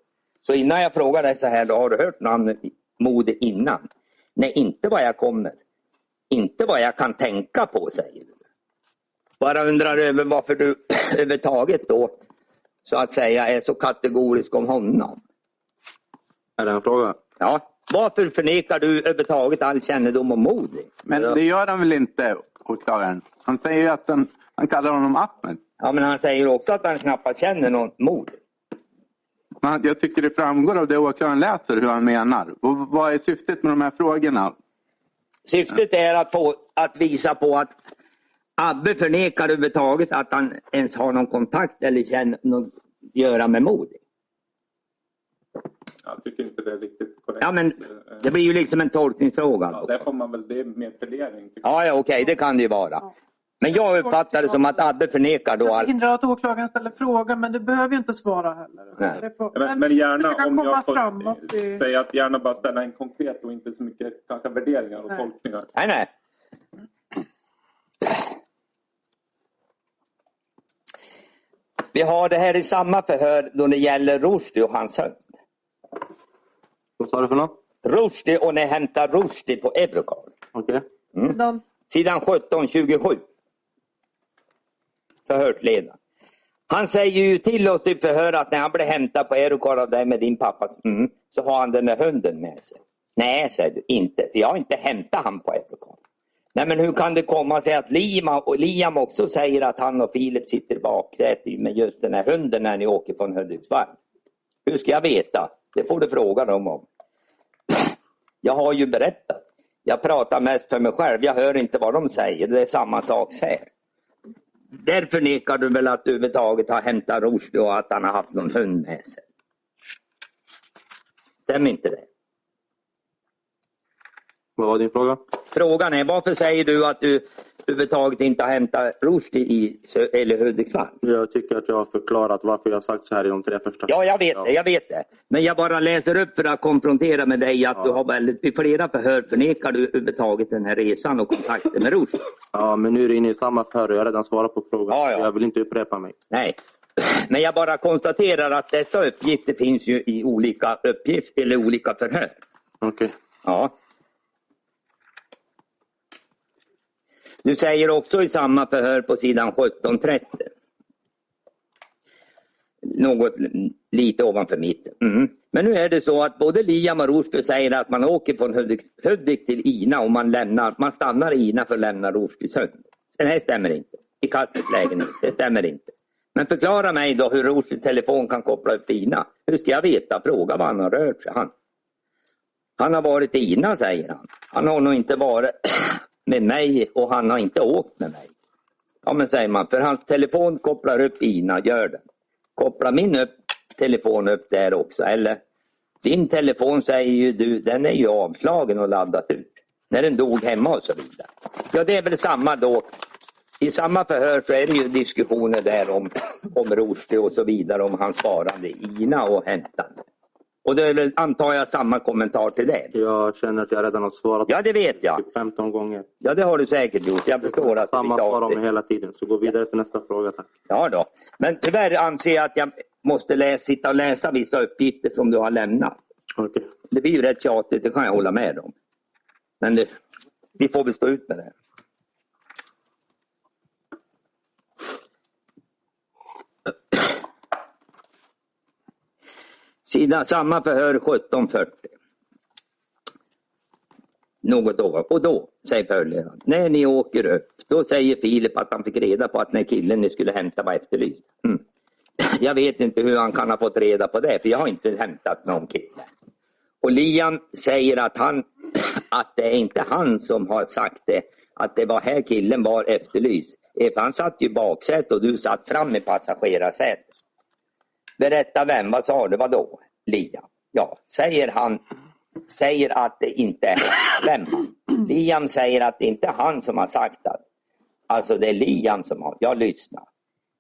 Speaker 3: Så innan jag frågar dig så här, då har du hört namnet Modi innan? Nej, inte vad jag kommer. Inte vad jag kan tänka på, säger du bara undrar över varför du <clears throat> överhuvudtaget då så att säga är så kategorisk om honom.
Speaker 4: Är det en fråga?
Speaker 3: Ja. Varför förnekar du överhuvudtaget all kännedom om Modi?
Speaker 6: Men det gör han väl inte, åklagaren? Han säger ju att han, han kallar honom Ahmed.
Speaker 3: Ja, men han säger också att han knappast känner någon Modi.
Speaker 6: Men han- jag tycker det framgår av det åklagaren läser hur han menar. Och vad är syftet med de här frågorna?
Speaker 3: Syftet är att, på, att visa på att Abbe förnekar överhuvudtaget att han ens har någon kontakt eller känner något att göra med Modi.
Speaker 5: Jag tycker inte det är riktigt korrekt.
Speaker 3: Ja, men
Speaker 5: Eh,
Speaker 3: det blir ju liksom en tolkningsfråga.
Speaker 5: Ja,
Speaker 3: då.
Speaker 5: där får man väl, det är mer plädering. tycker
Speaker 3: Ja, ja okej, det kan det ju vara. Men jag uppfattar det som att Abbe förnekar då
Speaker 2: Det
Speaker 3: all...
Speaker 2: hindrar att åklagaren ställer frågan men du behöver ju inte svara heller.
Speaker 3: Nej.
Speaker 2: Det får-
Speaker 5: Ja, Men, men gärna
Speaker 2: försöka
Speaker 5: om
Speaker 2: komma
Speaker 5: jag får
Speaker 2: framåt i-
Speaker 5: säga att gärna bara ställa en konkret och inte så mycket kanske värderingar och
Speaker 2: Nej.
Speaker 5: tolkningar.
Speaker 3: Nej, nej. Vi har det här i samma förhör då det gäller Rushdie och hans hund.
Speaker 4: Vad sa du för något?
Speaker 3: Rushdie och ni hämtar Rushdie på Eurocar.
Speaker 4: Okej.
Speaker 5: Mm.
Speaker 2: Sedan-
Speaker 3: Sidan 1727. Förhörsledaren. Han säger ju till oss i förhör att när han blir hämtad på Eurocar av dig med din pappa mm, så har han den där hunden med sig. Nej, säger du, inte. För jag har inte hämtat han på Eurocar. Nej, men hur kan det komma sig att Lima och Liam också säger att han och Filip sitter i baksätet med just den här hunden när ni åker från Hudiksvall? Hur ska jag veta? Det får du fråga dem om. Jag har ju berättat. Jag pratar mest för mig själv. Jag hör inte vad de säger. Det är samma sak här. Där förnekar du väl att du överhuvudtaget har hämtat Rushdie och att han har haft någon hund med sig? Stämmer inte det?
Speaker 4: Vad var din fråga?
Speaker 3: Frågan är varför säger du att du överhuvudtaget inte har hämtat Rushdie i Sö- eller Hudiksvall.
Speaker 4: Jag tycker att jag har förklarat varför jag har sagt så här i de tre första.
Speaker 3: Ja, jag vet det. Jag vet det. Men jag bara läser upp för att konfrontera med dig att du har väldigt, vid flera förhör förnekar du överhuvudtaget den här resan och kontakten med Rushdie.
Speaker 4: Ja, men nu är det inne i samma förhör. Jag har redan svarat på frågan.
Speaker 3: Ja, ja.
Speaker 4: Jag vill inte upprepa mig.
Speaker 3: Nej. Men jag bara konstaterar att dessa uppgifter finns ju i olika uppgifter eller olika förhör.
Speaker 4: Okej.
Speaker 3: Ja. Du säger också i samma förhör på sidan 17.30. Något l- lite ovanför mitten. Mm. Men nu är det så att både Liam och Rosby säger att man åker från Hudik, Hudik till Ina och man, lämnar, man stannar i Ina för att lämna Rosbys hund. Det här stämmer inte. I Kaspers lägenhet. Det stämmer inte. Men förklara mig då hur Rosbys telefon kan koppla upp till Ina. Hur ska jag veta? Fråga var han har rört sig. Han. Han har varit i Ina säger han. Han har nog inte varit <clears throat> med mig och han har inte åkt med mig. Ja men säger man, för hans telefon kopplar upp Ina, gör den. Kopplar min upp, telefon upp där också eller? Din telefon säger ju du, den är ju avslagen och laddat ut. När den dog hemma och så vidare. Ja det är väl samma då. I samma förhör så är det ju diskussioner där om, om Rushdie och så vidare, om hans varande i Ina och hämtande. Och det är väl, antar jag, samma kommentar till det.
Speaker 4: Jag känner att jag redan har svarat
Speaker 3: Ja, det vet jag.
Speaker 4: typ 15 gånger.
Speaker 3: Ja, det har du säkert gjort. Jag förstår att du
Speaker 4: Samma
Speaker 3: inte
Speaker 4: svar
Speaker 3: har
Speaker 4: om
Speaker 3: det.
Speaker 4: hela tiden. Så gå vidare till nästa fråga tack.
Speaker 3: Ja då. Men tyvärr anser jag att jag måste läsa, sitta och läsa vissa uppgifter som du har lämnat.
Speaker 4: Okej.
Speaker 3: Det blir ju rätt tjatigt, det kan jag hålla med om. Men det, vi får väl stå ut med det. Sida, samma förhör 17.40. Något ovan. Och då säger förhörsledaren, när ni åker upp, då säger Filip att han fick reda på att när killen ni skulle hämta var efterlyst. Mm. Jag vet inte hur han kan ha fått reda på det, för jag har inte hämtat någon kille. Och Liam säger att, han, <clears throat> att det är inte han som har sagt det, att det var här killen var efterlyst. Eh, för Han satt ju i baksätet och du satt fram i passagerarsätet. Berätta vem, vad sa du, vadå? Liam. Ja, säger han säger att det inte är vem han. Liam säger att det inte är han som har sagt det. Alltså det är Liam som har, jag lyssnar.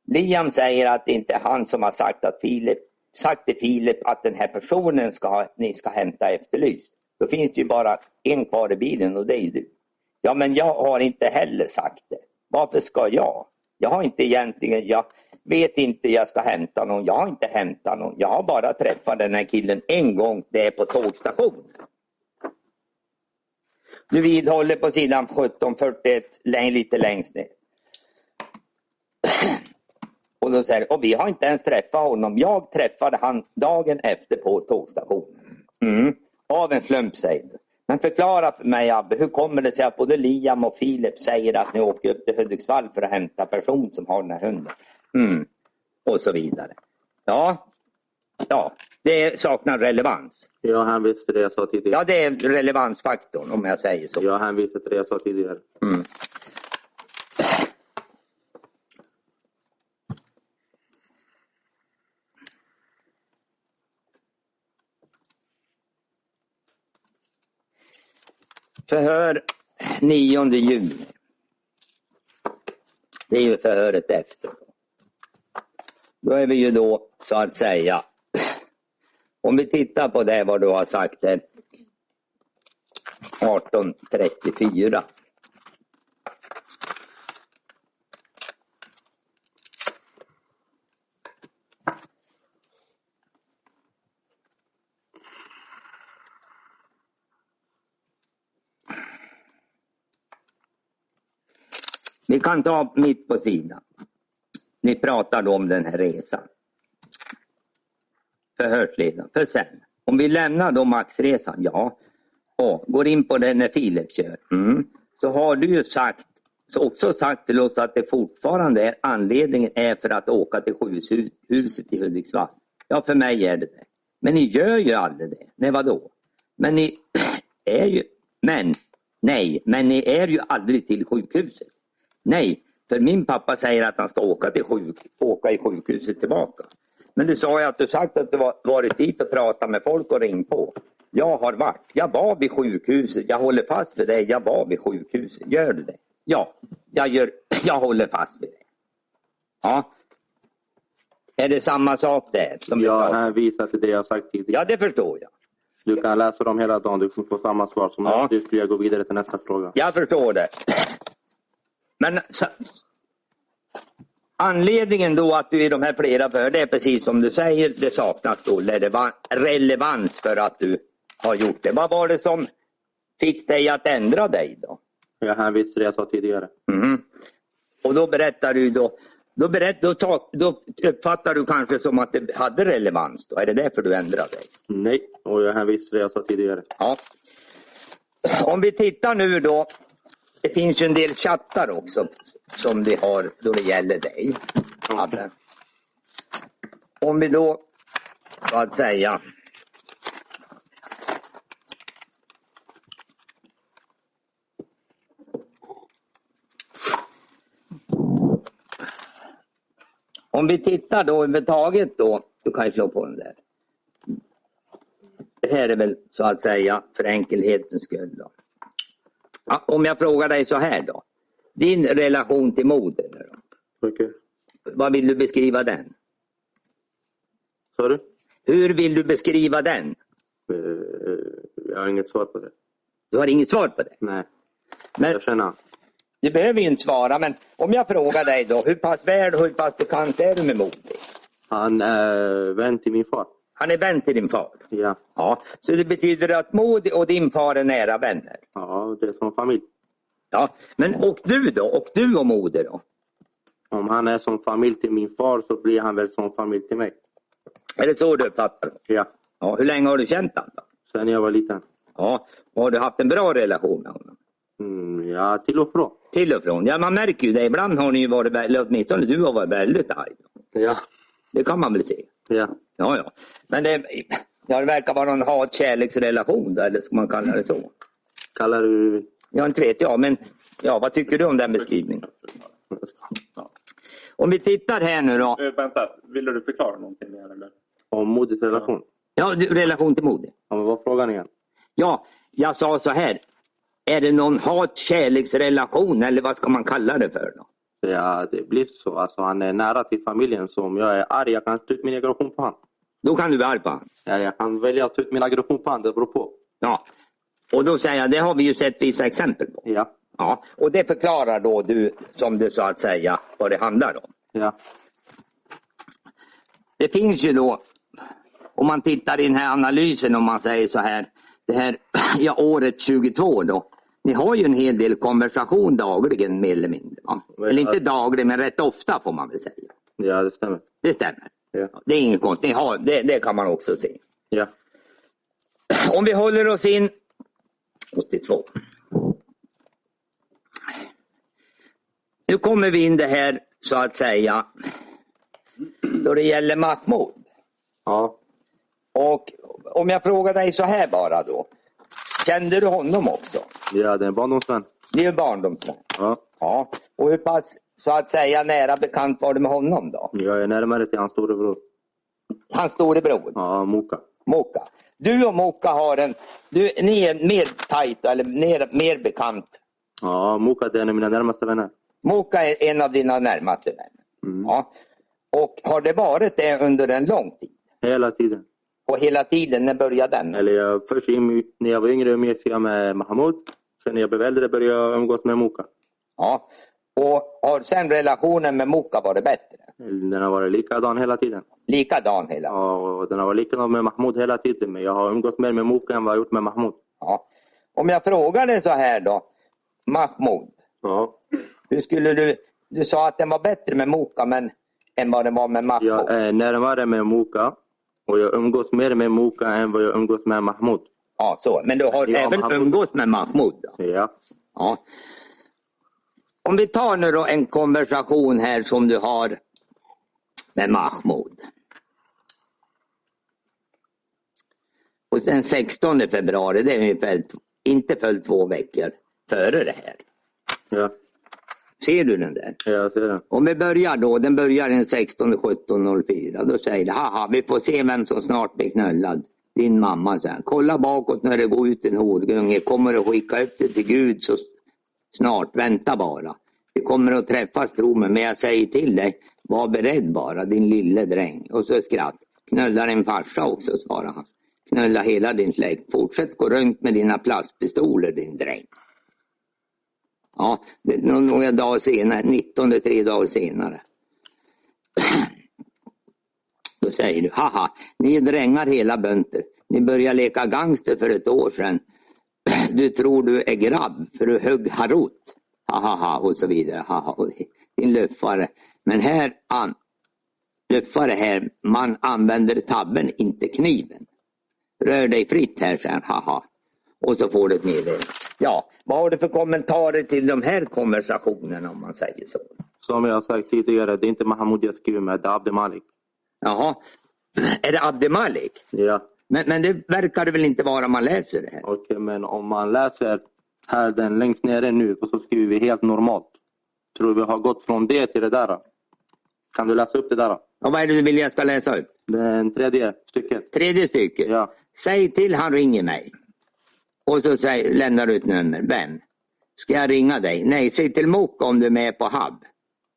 Speaker 3: Liam säger att det inte är han som har sagt, att Filip, sagt till Filip att den här personen ska, ni ska hämta efterlyst. Då finns det ju bara en kvar i bilen och det är ju du. Ja men jag har inte heller sagt det. Varför ska jag? Jag har inte egentligen, jag vet inte jag ska hämta någon. Jag har inte hämtat någon. Jag har bara träffat den här killen en gång, det är på tågstationen. Du vidhåller på sidan 1741, läng- lite längst ner. Och då säger och vi har inte ens träffat honom. Jag träffade han dagen efter på tågstationen. Mm. Av en slump säger du. Men förklara för mig Abbe, hur kommer det sig att både Liam och Filip säger att ni åker upp till Hudiksvall för att hämta person som har den här hunden? Mm. Och så vidare. Ja, ja. det saknar relevans.
Speaker 4: Jag hänvisar till det jag sa tidigare.
Speaker 3: Ja, det är relevansfaktorn om jag säger så.
Speaker 4: Jag hänvisar till det jag sa tidigare.
Speaker 3: Förhör 9 juni. Det är ju förhöret efter. Då är vi ju då så att säga. <sniffs> Om vi tittar på det vad du har sagt eh, här. 1834. Vi kan ta mitt på sidan. Ni pratade om den här resan. Förhörsledaren. För sen, om vi lämnar då Maxresan, ja, och går in på den när Filip kör, mm, så har du ju sagt, så också sagt till oss att det fortfarande är anledningen är för att åka till sjukhuset i Hudiksvall. Ja, för mig är det det. Men ni gör ju aldrig det. Nej, vadå? Men ni <clears throat> är ju, men, nej, men ni är ju aldrig till sjukhuset. Nej, för min pappa säger att han ska åka, till sjuk, åka i sjukhuset tillbaka. Men du sa ju att du sagt att du var, varit dit och pratat med folk och ringt på. Jag har varit. Jag var vid sjukhuset. Jag håller fast vid det. Jag var vid sjukhuset. Gör du det? Ja, jag, gör, <clears throat> jag håller fast vid det. Ja. Är det samma sak där? Som vi
Speaker 4: Jag
Speaker 3: pratade om?
Speaker 4: hänvisar till det jag sagt tidigare.
Speaker 3: ja, det förstår jag.
Speaker 4: Du kan läsa dem hela dagen. Du kommer få samma svar som
Speaker 3: Ja.
Speaker 4: ja. du skulle jag gå vidare till nästa fråga.
Speaker 3: Jag förstår det. Men så, anledningen då att du i de här flera för det är precis som du säger, det saknas då releva- relevans för att du har gjort det. Vad var det som fick dig att ändra dig då?
Speaker 4: Jag hänvisar till det jag sa tidigare.
Speaker 3: Mhm. Och då berättar du då, då, berätt, då, ta, då uppfattar du kanske som att det hade relevans då? Är det därför du ändrar dig?
Speaker 4: Nej, och jag hänvisar till det jag sa tidigare.
Speaker 3: Ja. Om vi tittar nu då. Det finns ju en del chattar också som vi har då det gäller dig. Abbe. Om vi då så att säga. Om vi tittar då överhuvudtaget då. Du kan ju slå på den där. Det här är väl så att säga för enkelhetens skull. Då. Ja, om jag frågar dig så här då. Din relation till moder. nu Då.
Speaker 4: Okej.
Speaker 3: Vad vill du beskriva den?
Speaker 4: Sa du?
Speaker 3: Hur vill du beskriva den?
Speaker 4: Eh, Jag har inget svar på det.
Speaker 3: Du har inget svar på det.
Speaker 4: Nej,
Speaker 3: Men
Speaker 4: jag känner.
Speaker 3: du behöver ju inte svara. Men om jag frågar dig då. Hur pass väl och hur pass bekant är du med moder?
Speaker 4: Han är vän till min far.
Speaker 3: Han är vän till din far.
Speaker 4: Ja,
Speaker 3: Ja, så det betyder att Maud och din far är nära vänner.
Speaker 4: ja det är som familj.
Speaker 3: Ja, men och du då? Och du och moder då?
Speaker 4: Om han är som familj till min far så blir han väl som familj till mig.
Speaker 3: Är det så du uppfattar det?
Speaker 4: Ja,
Speaker 3: Ja, hur länge har du känt honom? Då?
Speaker 4: sen jag var liten.
Speaker 3: Ja, och har du haft en bra relation med honom?
Speaker 4: Mm, ja, till och från.
Speaker 3: Till och från. Ja, man märker ju det. Ibland har ni ju varit, vä- eller åtminstone du har varit väldigt arg.
Speaker 4: Ja.
Speaker 3: Det kan man väl se.
Speaker 4: Ja,
Speaker 3: Ja, ja. Men det, ja, det verkar vara en hat-kärleksrelation då, eller ska man kalla det så?
Speaker 4: kallar du...
Speaker 3: Ja, inte vet jag, men ja, vad tycker du om den beskrivningen? Om vi tittar här nu då.
Speaker 5: Eh, vänta, ville du förklara någonting mer? Eller?
Speaker 4: Om modets relation.
Speaker 3: Ja, du, relation till moder.
Speaker 4: Ja, men vad var frågan igen?
Speaker 3: Ja, jag sa så här. Är det någon hat-kärleksrelation eller vad ska man kalla det för? då?
Speaker 4: Ja, det blir så. Alltså, han är nära till familjen. Så om jag är arg jag kan ta ut min aggression på honom.
Speaker 3: Då kan du vara arg på honom.
Speaker 4: Ja, jag kan välja att ta ut min aggression på honom. Det beror på.
Speaker 3: Ja. Och då säger jag, det har vi ju sett vissa exempel på.
Speaker 4: Ja,
Speaker 3: Ja, och det förklarar då du, som du så att säga, vad det handlar om.
Speaker 4: ja,
Speaker 3: Det finns ju då, om man tittar i den här analysen, om man säger så här, det här <clears throat> ja, året 22 då. Ni har ju en hel del konversation dagligen mer eller mindre. Va?
Speaker 4: Ja.
Speaker 3: Eller inte dagligen, men rätt ofta får man väl säga.
Speaker 4: ja det stämmer.
Speaker 3: Det stämmer.
Speaker 4: Ja,
Speaker 3: Det är inget konstigt, Ni har, det, det kan man också se.
Speaker 4: ja.
Speaker 3: Om vi håller oss in 82. Nu kommer vi in det här så att säga då det gäller Mahmoud.
Speaker 4: ja.
Speaker 3: Och om jag frågar dig så här bara då. Kände du honom också?
Speaker 4: ja det är en barndomsvän.
Speaker 3: Det är ju barndomsvän.
Speaker 4: Ja.
Speaker 3: Ja. Och hur pass så att säga nära bekant var du med honom då?
Speaker 4: Jag är närmare till hans storebror.
Speaker 3: Hans storebror
Speaker 4: Ja, Moka.
Speaker 3: Moka. Du och Moka har en, du, ni är mer tajt eller mer, mer bekant
Speaker 4: Ja, Moka det är en av mina närmaste vänner.
Speaker 3: Moka är en av dina närmaste vänner.
Speaker 4: Mm.
Speaker 3: Ja. Och har det varit det under en lång tid?
Speaker 4: Hela tiden.
Speaker 3: Och hela tiden, när började den?
Speaker 4: Eller jag, först im- när jag var yngre umgicks jag med Mahmoud. Sen när jag blev äldre började jag umgås med Moka.
Speaker 3: Ja. Och har sen relationen med Moka varit bättre?
Speaker 4: Den har varit likadan hela tiden.
Speaker 3: Likadan hela tiden?
Speaker 4: Ja, och den har varit likadan med Mahmoud hela tiden. Men jag har umgåtts mer med Moka än vad jag gjort med Mahmoud.
Speaker 3: Ja. Om jag frågar dig så här då, Mahmoud.
Speaker 4: Ja.
Speaker 3: Hur skulle du... Du sa att den var bättre med Moka men, än vad den var med Mahmoud.
Speaker 4: Jag är närmare med Moka. Och jag umgås mer med Moka än vad jag umgås med Mahmoud.
Speaker 3: Ja, så. Men du har
Speaker 4: Ja,
Speaker 3: även
Speaker 4: Mahmoud.
Speaker 3: umgås med Mahmoud? Då.
Speaker 4: Ja.
Speaker 3: Ja. Om vi tar nu då en konversation här som du har med Mahmoud. Och sen 16 februari, det är ungefär, t- inte följt två veckor före det här.
Speaker 4: Ja,
Speaker 3: Ser du den där?
Speaker 4: jag ser den.
Speaker 3: Om vi börjar då, den börjar den 16.17.04. Då säger det, haha vi får se vem som snart blir knullad. Din mamma säger, kolla bakåt när det går ut en horunge. Kommer du skicka upp det till Gud så, snart. Vänta bara. Vi kommer att träffas tro mig, men jag säger till dig, var beredd bara din lille dräng. Och så skratt. Knulla din farsa också, svarade han. Knulla hela din släkt. Fortsätt gå runt med dina plastpistoler din dräng. Ja, det, nå- några dagar senare, 19, tre dagar senare. <clears throat> Då säger du, haha, ni är drängar hela bönter. Ni började leka gangster för ett år sedan. <clears throat> Du tror du är grabb för du högg harot. Hahaha och så vidare. Haha, och din luffare. Men här, an, luffare här, man använder tabben, inte kniven. Rör dig fritt här, säger han. Haha. Och så får du ett meddelande. Ja, vad har du för kommentarer till de här konversationerna om man säger så?
Speaker 4: Som jag har sagt tidigare, det är inte Mahmoud jag skriver med, det är Abdi Malik.
Speaker 3: Jaha, är det Abdi Malik?
Speaker 4: Ja.
Speaker 3: Men, men det verkar det väl inte vara om man läser det här?
Speaker 4: Okej, eh, men om man läser här den längst nere nu och så skriver vi helt normalt. Tror vi har gått från det till det där. Kan du läsa upp det där?
Speaker 3: Och vad är det du vill jag ska läsa upp?
Speaker 4: Den tredje stycket.
Speaker 3: Tredje stycket.
Speaker 4: Ja.
Speaker 3: Säg till han ringer mig. Och så säg, lämnar du ett nummer. Vem? Ska jag ringa dig? Nej, säg till Mokka om du är med på Hab.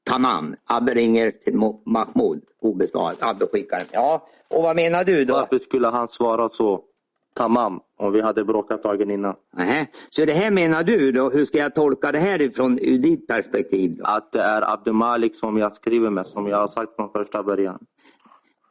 Speaker 3: Tamam. Abbe ringer till Mo- Mahmoud. Obesvarat. Abbe skickar. Ja, och vad menar du då?
Speaker 4: Varför skulle han svara så? Tamam, om vi hade bråkat dagen innan.
Speaker 3: Nähä. Så det här menar du då? Hur ska jag tolka det här ifrån ur ditt perspektiv? Då?
Speaker 4: Att det är Abdi Malik som jag skriver med, som jag har sagt från första början.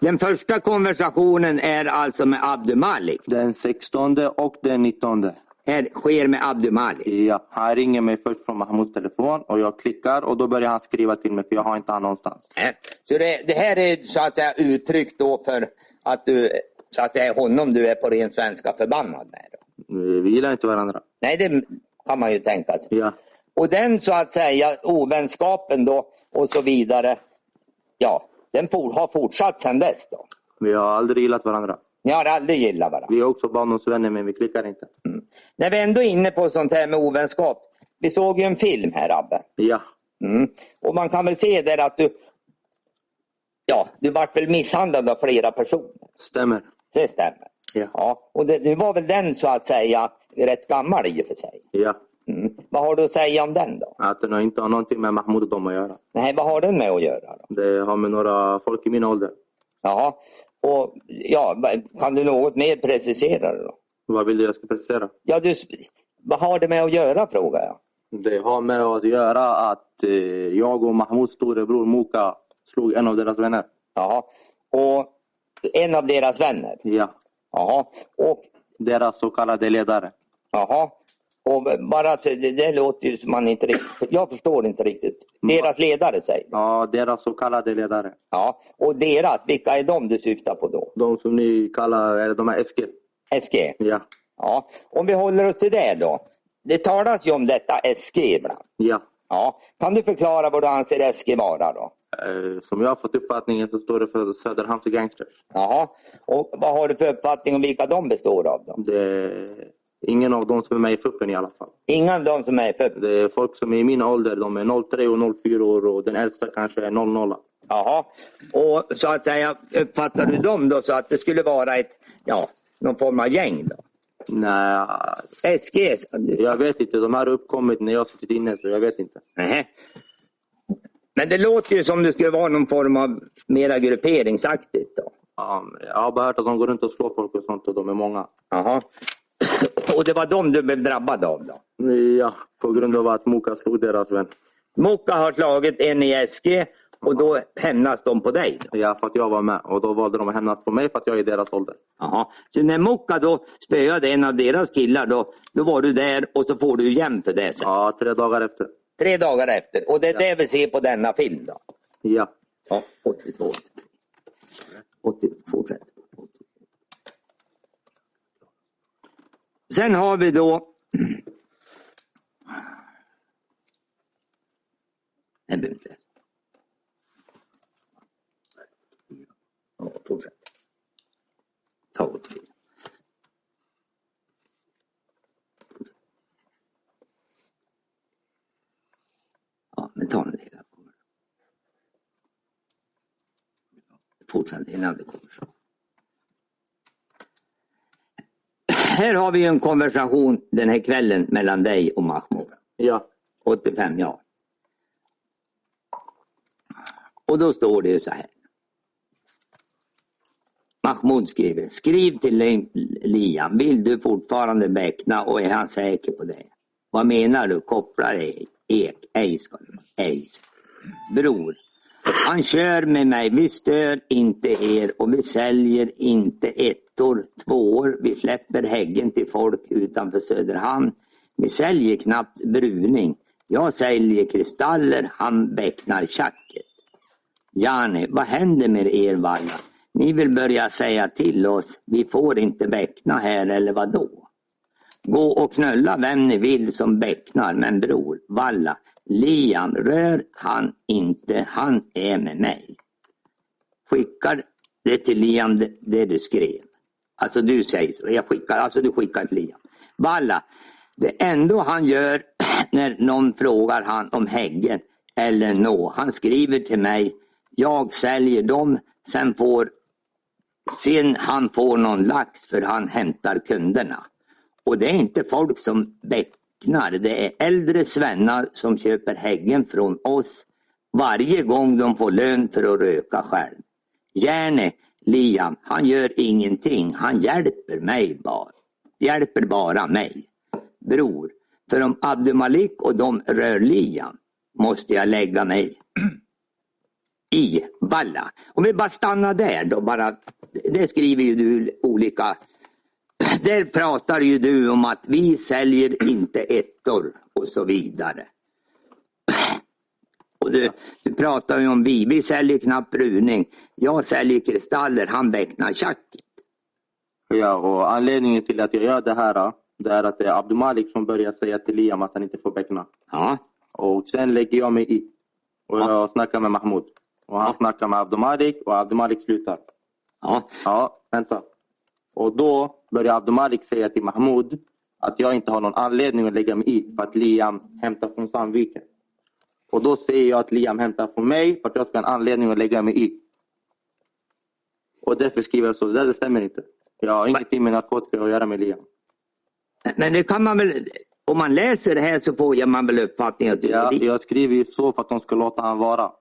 Speaker 3: Den första konversationen är alltså med Abdu Malik.
Speaker 4: Den 16 och den 19.
Speaker 3: Här sker med Abdu Malik.
Speaker 4: Ja, han ringer mig först från Mahmouds telefon och jag klickar och då börjar han skriva till mig för jag har inte han någonstans.
Speaker 3: Nej. Så det, det här är så att säga uttryck då för att du, så att det är honom du är på ren svenska förbannad med. Då.
Speaker 4: Eh, Vi gillar inte varandra.
Speaker 3: Nej, det kan man ju tänka sig.
Speaker 4: Ja.
Speaker 3: Och den så att säga ovänskapen då och så vidare. Ja, den for, har fortsatt sedan dess då.
Speaker 4: Vi har aldrig gillat varandra.
Speaker 3: Ni har aldrig gillat varandra.
Speaker 4: Vi är också barndomsvänner men vi klickar inte.
Speaker 3: När vi ändå är inne på sånt här med ovänskap. Vi såg ju en film här Abbe.
Speaker 4: Ja.
Speaker 3: Mm. Och man kan väl se där att du, ja, du vart väl misshandlad av flera personer.
Speaker 4: Stämmer.
Speaker 3: Det stämmer.
Speaker 4: Ja.
Speaker 3: Ja, och det, det var väl den så att säga rätt gammal i och för sig.
Speaker 4: Ja.
Speaker 3: Mm. Vad har du att säga om den då?
Speaker 4: Att den inte har någonting med Mahmoud och dem att göra.
Speaker 3: Nej, vad har den med att göra? då?
Speaker 4: Det har med några folk i min ålder.
Speaker 3: Jaha. Och, ja, va- kan du något mer precisera det då?
Speaker 4: Vad vill du jag ska precisera?
Speaker 3: Ja, du, s- vad har det med att göra frågar jag.
Speaker 4: Det har med att göra att eh, jag och Mahmouds storebror Moka slog en av deras vänner.
Speaker 3: Jaha. Och en av deras vänner?
Speaker 4: Ja.
Speaker 3: Jaha. Och,
Speaker 4: Deras så kallade ledare.
Speaker 3: jaha. Och bara, så- det, det låter ju som man inte riktigt, jag förstår inte riktigt. Deras ledare säger du.
Speaker 4: Ja, deras så kallade ledare.
Speaker 3: Ja. Och deras, vilka är de du syftar på då?
Speaker 4: De som ni kallar, eller de här Eskil.
Speaker 3: SG?
Speaker 4: Ja.
Speaker 3: Ja, om vi håller oss till det då. Det talas ju om detta SG ibland.
Speaker 4: Ja.
Speaker 3: Ja. Kan du förklara vad du anser SG vara då?
Speaker 4: Eh, som jag har fått uppfattningen så står det för Söderhamns Gangsters.
Speaker 3: Jaha. Och vad har du för uppfattning om vilka de består av då?
Speaker 4: Det är ingen av dem som är med i FUPen i alla fall.
Speaker 3: Inga av dem som är för...
Speaker 4: Det är folk som är i min ålder, de är 03 och 04 år och den äldsta kanske är 00.
Speaker 3: Jaha. Och så att säga, uppfattar du dem då så att det skulle vara ett, ja, någon form av gäng då?
Speaker 4: Nej,
Speaker 3: SG?
Speaker 4: jag vet inte. De här har uppkommit när jag har suttit inne så jag vet inte.
Speaker 3: Nej. Men det låter ju som det skulle vara någon form av mera grupperingsaktigt då.
Speaker 4: Ja, men Jag har bara hört att de går runt och slår folk och sånt och de är många.
Speaker 3: Jaha. <clears throat> Och det var dem du blev drabbad av då?
Speaker 4: Ja, på grund av att Moka slog deras vän.
Speaker 3: Mokka har slagit en i SG och då hämnas de på dig. Då.
Speaker 4: Ja, för att jag var med och då valde de att hämnas på mig för att jag är i deras ålder.
Speaker 3: Jaha. Så när Mokka då spöade en av deras killar då, då var du där och så får du jämn för det. Sen.
Speaker 4: Ja, tre dagar efter.
Speaker 3: Tre dagar efter. Och det är det vi ser på denna film då.
Speaker 4: Ja.
Speaker 3: Ja, 82. 80, fortsätt. 80. Sen har vi då... <clears throat> Nej, behöver inte. Ja, fortsätt. Ta 84. Ja, men ta nu hela. fortsätt innan det kommer så. Här har vi ju en konversation den här kvällen mellan dig och Mahmoud.
Speaker 4: Ja.
Speaker 3: 85, ja. Och då står det ju så här. Mahmoud skriver, skriv till Leif Liam, vill du fortfarande beckna och är han säker på det? Vad menar du, kopplar ej? Ek, ej ska det vara. Ej. Bror, han kör med mig, vi stör inte er och vi säljer inte ettor, tvåor, vi släpper häggen till folk utanför Söderhamn. Vi säljer knappt bruning. Jag säljer kristaller, han becknar tjacket. Jani, vad händer med er valla? Ni vill börja säga till oss, vi får inte beckna här eller vad då? Gå och knulla vem ni vill som becknar, men bror, valla, Liam, rör han inte, han är med mig. Skickar det till Liam det, det du skrev. Alltså du säger så, jag skickar, alltså du skickar till Liam. Valla, det ändå han gör <clears throat> när någon frågar han om häggen eller nå, han skriver till mig, jag säljer dem, sen får sen han får någon lax för han hämtar kunderna. Och det är inte folk som becknar, det är äldre svennar som köper häggen från oss varje gång de får lön för att röka själv. Järne, Liam, han gör ingenting, han hjälper mig bara. Hjälper bara mig. Bror, för om Abdumalik och de rör Liam måste jag lägga mig i Valla. Om vi bara stannar där då. Bara, det skriver ju du olika. Där pratar ju du om att vi säljer inte ettor och så vidare. Och du, du pratar ju om vi. Vi säljer knappt bruning. Jag säljer kristaller. Han becknar tjacket.
Speaker 4: Ja, och anledningen till att jag gör det här, det är att det är Abdumalik som börjar säga till Liam att han inte får beckna.
Speaker 3: Ja,
Speaker 4: Och sen lägger jag mig i. Och jag snackar med Mahmoud. Och han
Speaker 3: Ja.
Speaker 4: snackar med Abdumalik och Abdumalik slutar.
Speaker 3: ja,
Speaker 4: Ja, vänta. Och då börjar Abdumalik säga till Mahmoud att jag inte har någon anledning att lägga mig i för att Liam hämtar från Sandviken. Och då säger jag att Liam hämtar från mig för att jag ska ha en anledning att lägga mig i. Och därför skriver jag så. Det där det stämmer inte. Jag har ingenting med narkotika att göra med Liam.
Speaker 3: men det kan man väl. Om man läser det här så får jag- man väl uppfattningen att du
Speaker 4: Jag,
Speaker 3: är
Speaker 4: jag skriver ju så för att de ska låta han vara.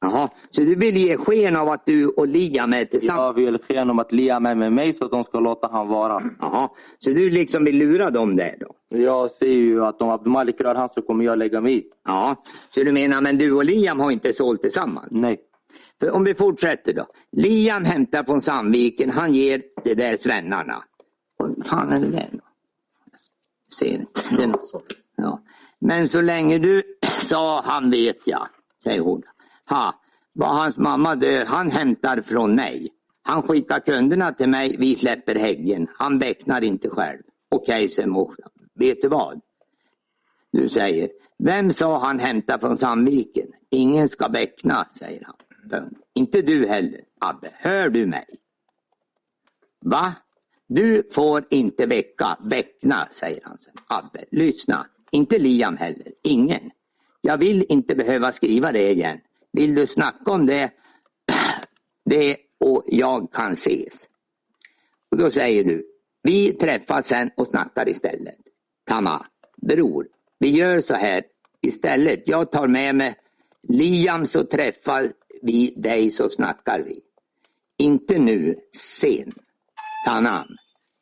Speaker 3: Jaha, så du vill ge sken av att du och Liam är
Speaker 4: Jag
Speaker 3: tillsammans?
Speaker 4: vill sken om att Liam är med mig så att de ska låta han vara.
Speaker 3: Jaha, så du liksom vill lura dem där då?
Speaker 4: Jag ser ju att om Abdumalik rör han så kommer jag lägga mig i.
Speaker 3: Ja, så du menar men du och Liam har inte sålt tillsammans?
Speaker 4: Nej.
Speaker 3: För om vi fortsätter då. Liam hämtar från Sandviken, han ger det där svennarna. Och vad fan är det där då? Jag Ser inte. Det är något sånt. Ja. Men så länge du <clears throat> sa han vet jag, säger hon. Ha, var hans mamma dör, han hämtar från mig. Han skickar kunderna till mig, vi släpper häggen. Han becknar inte själv. Okej, säger morsan. Vet du vad? Du säger, vem sa han hämta från Sandviken? Ingen ska beckna, säger han. Punkt. Inte du heller, Abbe. Hör du mig? Va? Du får inte väcka, beckna, säger han sen. Abbe, lyssna. Inte Liam heller. Ingen. Jag vill inte behöva skriva det igen. Vill du snacka om det, <clears throat> det och jag kan ses. Och då säger du, vi träffas sen och snackar istället. Tama, bror, vi gör så här istället. Jag tar med mig Liam så träffar vi dig så snackar vi. Inte nu, sen. Tanam.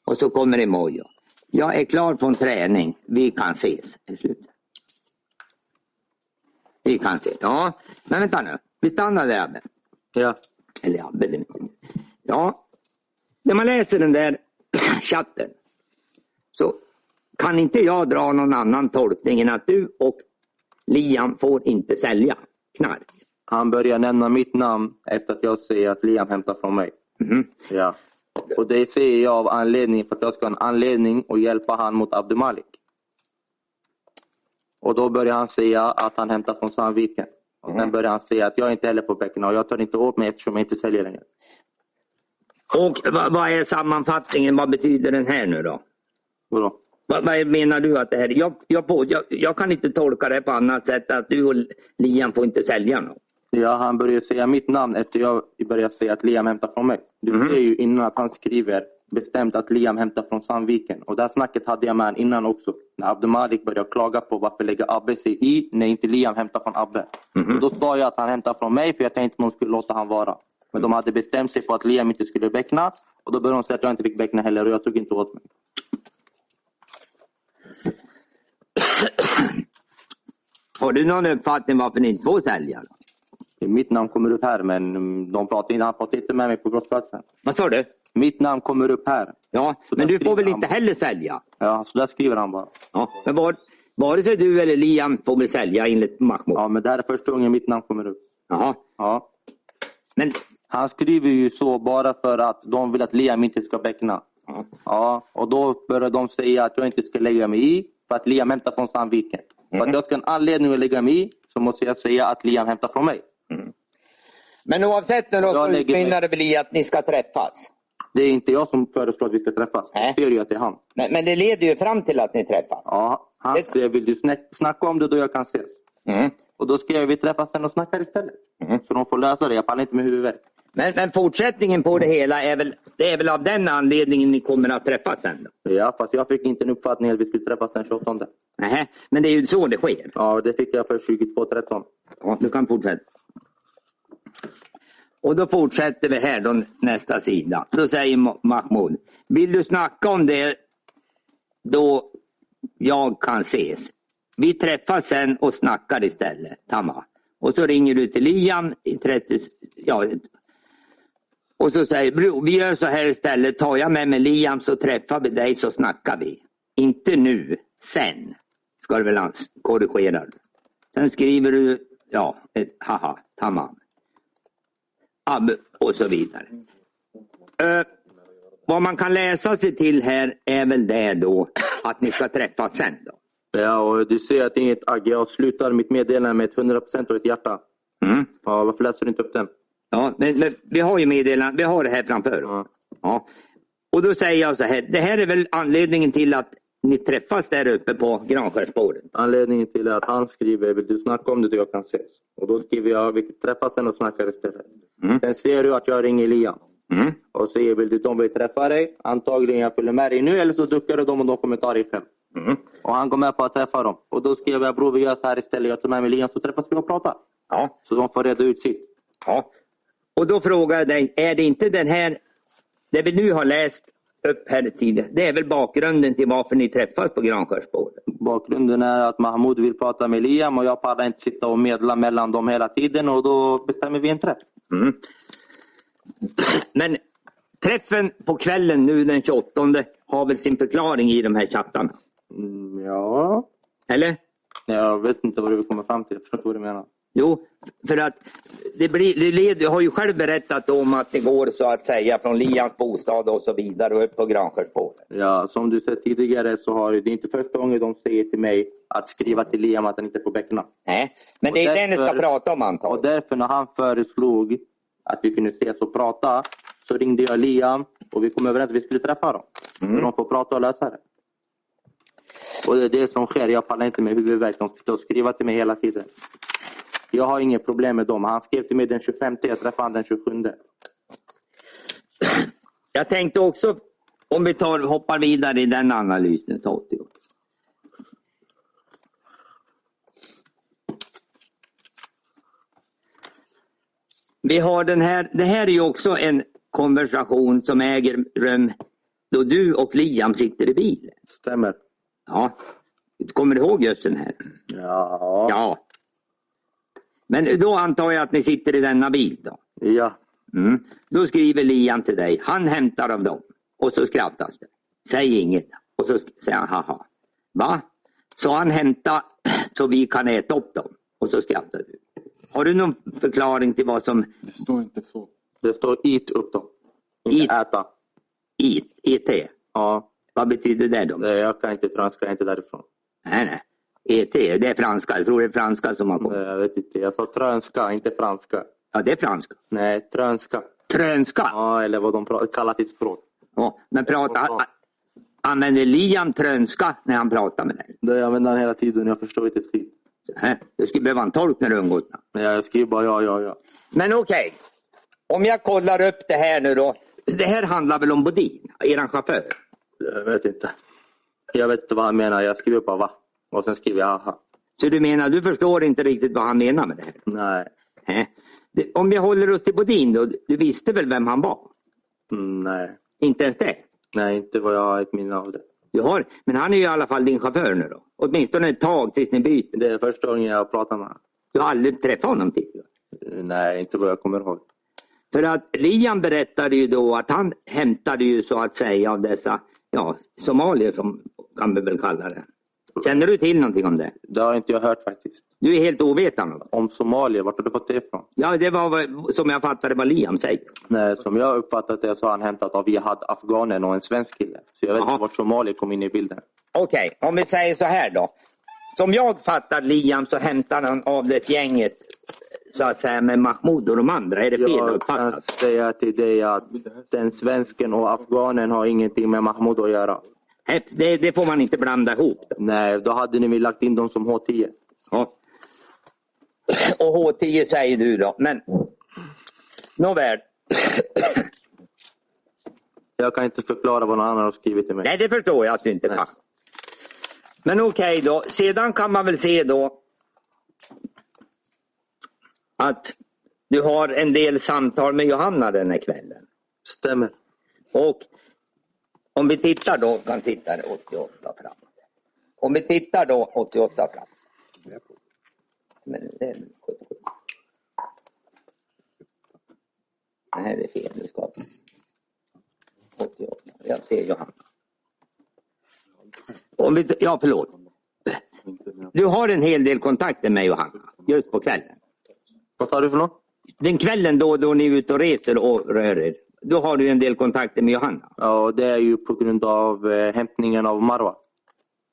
Speaker 3: Och så kommer det Mojo. Jag är klar från träning. Vi kan ses. Är det slut? Vi kan ses. Ja, men vänta nu. Vi stannar där. Abbe.
Speaker 4: Ja.
Speaker 3: Eller ja, väldigt mycket. Ja, när man läser den där <clears throat> chatten så kan inte jag dra någon annan tolkning än att du och Liam får inte sälja knark.
Speaker 4: Han börjar nämna mitt namn efter att jag säger att Liam hämtar från mig. Ja. Och det säger jag av anledning för att jag ska ha en anledning att hjälpa han mot Abdumalik. Och då börjar han säga att han hämtar från Sandviken. Och sen börjar han säga att jag inte heller på bäckena och jag tar inte åt mig eftersom jag inte säljer längre.
Speaker 3: Och vad, vad är sammanfattningen? Vad betyder den här nu då?
Speaker 4: Vadå?
Speaker 3: Vad, vad menar du att det här jag, jag, på, jag, jag kan inte tolka det på annat sätt att du och Liam får inte sälja något.
Speaker 4: Ja, han började säga mitt namn efter jag började säga att Liam hämtar från mig. Du ser ju innan att han skriver bestämt att Liam hämtar från Sandviken. Och det här snacket hade jag med honom innan också. När Abdulmalik började klaga på varför lägger Abbe sig i när inte Liam hämtar från Abbe. Och då sa jag att han hämtar från mig för jag tänkte att de skulle låta han vara. Men de hade bestämt sig för att Liam inte skulle bäckna. Och då började de säga att jag inte fick bäckna heller och jag tog inte åt mig.
Speaker 3: Har du någon uppfattning varför ni inte får sälja? då?
Speaker 4: Mitt namn kommer upp här men mm, de pratade, inte- han pratade inte med mig på brottsplatsen.
Speaker 3: Vad sa du?
Speaker 4: Mitt namn kommer upp här.
Speaker 3: Ja,
Speaker 4: Så
Speaker 3: men
Speaker 4: där
Speaker 3: du får väl
Speaker 4: skriver
Speaker 3: inte
Speaker 4: han.
Speaker 3: heller sälja?
Speaker 4: Ja, så där skriver han bara.
Speaker 3: Ja, men var, vare sig du eller Liam får väl sälja enligt Mahmoud?
Speaker 4: Ja, men det här är första gången mitt namn kommer upp.
Speaker 3: Jaha.
Speaker 4: Ja.
Speaker 3: Men,
Speaker 4: Han skriver ju så bara för att de vill att Liam inte ska bäckna.
Speaker 3: ja.
Speaker 4: Ja, och då börjar de säga att jag inte ska lägga mig i för att Liam hämtar från Sandviken.
Speaker 3: Mm.
Speaker 4: För att jag ska ha en anledning att lägga mig i så måste jag säga att Liam hämtar från mig.
Speaker 3: men oavsett nu då
Speaker 4: Jag
Speaker 3: så
Speaker 4: lägger mig.
Speaker 3: utmynnar det väl i att ni ska träffas?
Speaker 4: Det är inte jag som föreslår att vi ska träffas.
Speaker 3: Nej.
Speaker 4: Jag ser ju att det är han.
Speaker 3: Men, men det leder ju fram till att ni träffas.
Speaker 4: Ja, han
Speaker 3: Det-
Speaker 4: säger, vill du snack- snacka om det då jag kan ses?
Speaker 3: Mm.
Speaker 4: Och då skrev jag, vi träffas sen och snackar istället. Så de får lösa det. Jag pallar inte med huvudvärk.
Speaker 3: Men, men fortsättningen på det hela är väl, det är väl av den anledningen ni kommer att träffas sen? Då.
Speaker 4: Ja, fast jag fick inte en uppfattning att vi skulle träffas den 28.
Speaker 3: Nähä, men det är ju så det sker.
Speaker 4: Ja, det fick jag för 22.13.
Speaker 3: Ja, du kan fortsätta. Och då fortsätter vi här då, nästa sida. Då säger Ma- Mahmoud, vill du snacka om det då jag kan ses? Vi träffas sen och snackar istället, Tama. Och så ringer du till Liam i 30, ja, och så säger bror, vi gör så här istället. Tar jag med mig Liam så träffar vi dig så snackar vi. Inte nu, sen. Ska du väl ans- korrigera. Sen skriver du, ja, ett haha, tamam. Ab och så vidare. Eh, vad man kan läsa sig till här är väl det då att ni ska träffas sen då.
Speaker 4: Ja, och du ser att det är inget agg. Jag avslutar mitt meddelande med ett 100% och ett hjärta.
Speaker 3: Mm.
Speaker 4: Ja, varför läser du inte upp den?
Speaker 3: Ja, men, men vi har ju meddelandet, vi har det här framför oss.
Speaker 4: Ja.
Speaker 3: Ja. Och då säger jag så här, det här är väl anledningen till att ni träffas där uppe på Granskärsspåret.
Speaker 4: Anledningen till att han skriver vill du snacka om det då jag kan ses? Och då skriver jag vi träffas sen och snackar istället. Sen ser du att jag ringer Liam
Speaker 3: Mm.
Speaker 4: och säger vill du de vill träffa dig? Antagligen jag följer med dig nu eller så duckar du dem och de kommer ta dig själv. Och han går med på att träffa dem. Och då skriver jag bror vi gör så här istället. Jag tar med mig Liam så träffas vi och pratar.
Speaker 3: Ja,
Speaker 4: Så de får reda ut sitt.
Speaker 3: Ja. Och då frågar jag dig, är det inte den här, det vi nu har läst upp här tidigare, det är väl bakgrunden till varför ni träffas på Granskärsspåret?
Speaker 4: Bakgrunden är att Mahmoud vill prata med Liam och jag pallar inte sitta och medla mellan dem hela tiden och då bestämmer vi en träff.
Speaker 3: Men träffen på kvällen nu den 28 har väl sin förklaring i de här chattarna?
Speaker 4: Mm, ja,
Speaker 3: Eller?
Speaker 4: Nej, jag vet inte vad du vill komma fram till. Jag förstår inte vad du menar.
Speaker 3: Jo, för att det blir, det led, du har ju själv berättat om att det går så att säga från Lians bostad och så vidare och upp på Granskärsspåret.
Speaker 4: Ja, som du sett tidigare så har det är inte första gången de säger till mig att skriva till Liam att han inte får bäckna.
Speaker 3: Nej, men det är
Speaker 4: Och
Speaker 3: det ni ska
Speaker 4: därför-
Speaker 3: prata om antagligen.
Speaker 4: Och därför när han föreslog att vi kunde ses och prata så ringde jag Liam och vi kom överens att vi skulle träffa dem.
Speaker 3: Mm.
Speaker 4: Så de får prata och lösa det. Och det är det som sker. Jag pallar inte med huvudvärk. De sitter och skriver till mig hela tiden. Jag har inget problem med dem. Han skrev till mig den 25, jag träffade honom den 27.
Speaker 3: Jag tänkte också, om vi tar, hoppar vidare i den analysen, Totti. Vi har den här, det här är ju också en konversation som äger rum då du och Liam sitter i bilen.
Speaker 4: Stämmer.
Speaker 3: Ja. Kommer du ihåg just den här?
Speaker 4: Ja. ja.
Speaker 3: Ja. Men då antar jag att ni sitter i denna bil då?
Speaker 4: ja.
Speaker 3: Mm. Då skriver Liam till dig, han hämtar av dem. Och så skrattas det. Säg inget. Och så säger han haha. Va? Så han hämtar <clears throat> så vi kan äta upp dem. Och så skrattar du. Har du någon förklaring till vad som
Speaker 5: Det står inte så.
Speaker 4: Det står eat upp dem. Inte
Speaker 3: Eat.
Speaker 4: äta.
Speaker 3: i- IT?
Speaker 4: Ja,
Speaker 3: Vad betyder det då? Nej,
Speaker 4: nej, jag kan inte franska, jag är inte därifrån.
Speaker 3: nej. ET, det är franska. Jag tror det är franska som har
Speaker 4: Nej,
Speaker 3: kommit.
Speaker 4: Jag vet inte, jag sa trönska, inte franska.
Speaker 3: Ja, det är franska.
Speaker 4: Nej, trönska.
Speaker 3: Trönska.
Speaker 4: Ja, eller vad de pra- kallar sitt språk.
Speaker 3: Ja. Men prata, använder Liam trönska när han pratar med dig?
Speaker 4: Det jag använder den hela tiden, jag förstår inte ett skit.
Speaker 3: Nej, Du skulle behöva en tolk när du umgås.
Speaker 4: Men jag skriver bara ja, ja, ja.
Speaker 3: Men okej, om jag kollar upp det här nu då. Det här handlar väl om Bodin, eran chaufför?
Speaker 4: Jag vet inte. Jag vet inte vad han menar. Jag skriver bara va. Och sen skriver jag aha.
Speaker 3: Så du menar, du förstår inte riktigt vad han menar med det här?
Speaker 4: Nej.
Speaker 3: Nej. Det- Om vi håller oss till Bodin då, du visste väl vem han var?
Speaker 4: Mm, Nej.
Speaker 3: Inte ens det?
Speaker 4: Nej, inte vad jag har ett minne av det.
Speaker 3: Du har, men han är ju i alla fall din chaufför nu då? Åtminstone ett tag tills ni byter.
Speaker 4: Det är första gången jag pratar med honom.
Speaker 3: Du har aldrig träffat honom tidigare?
Speaker 4: Nej, inte vad jag kommer ihåg.
Speaker 3: För att Liam berättade ju då att han hämtade ju så att säga av dessa ja, somalier som kan vi väl kalla det. Känner du till någonting om det?
Speaker 4: Det har inte jag hört faktiskt.
Speaker 3: Du är helt ovetande om det.
Speaker 4: Om Somalia, vart har du fått det ifrån?
Speaker 3: Ja, det var vad- som jag fattade vad Liam säger.
Speaker 4: Nej, som jag uppfattat det så har han hämtat av Jihad afghanen och en svensk kille. Så jag vet
Speaker 3: Jaha.
Speaker 4: inte vart Somalia kom in i bilden.
Speaker 3: Okej, om vi säger så här då. Som jag fattar Liam så hämtar han av det gänget så att säga med Mahmoud och de andra. Är det fel
Speaker 4: Jag kan
Speaker 3: uppfattat?
Speaker 4: säga till dig att den svensken och afghanen har ingenting med Mahmoud att göra.
Speaker 3: Nej, Det, det får man inte blanda ihop. Då.
Speaker 4: Nej, då hade ni väl lagt in dem som H10.
Speaker 3: Ja. Och H10 säger du då. Men nåväl.
Speaker 4: Jag kan inte förklara vad någon annan har skrivit till mig.
Speaker 3: Nej, det förstår jag att du inte
Speaker 4: Nej.
Speaker 3: kan. Men okej då. Sedan kan man väl se då att du har en del samtal med Johanna den här kvällen.
Speaker 4: Stämmer.
Speaker 3: Och om vi tittar då, kan titta 88 fram. Om vi tittar då 88 fram. Men det är 77. Det här är fel, nu ska vi. 88, jag ser Johanna. Om vi, t- ja, förlåt. Du har en hel del kontakter med Johanna, just på kvällen.
Speaker 4: Vad tar du för något?
Speaker 3: Den kvällen då, då ni är ute och reser och rör er, då har du en del kontakter med Johanna.
Speaker 4: Ja, och det är ju på grund av eh, hämtningen av Marwa.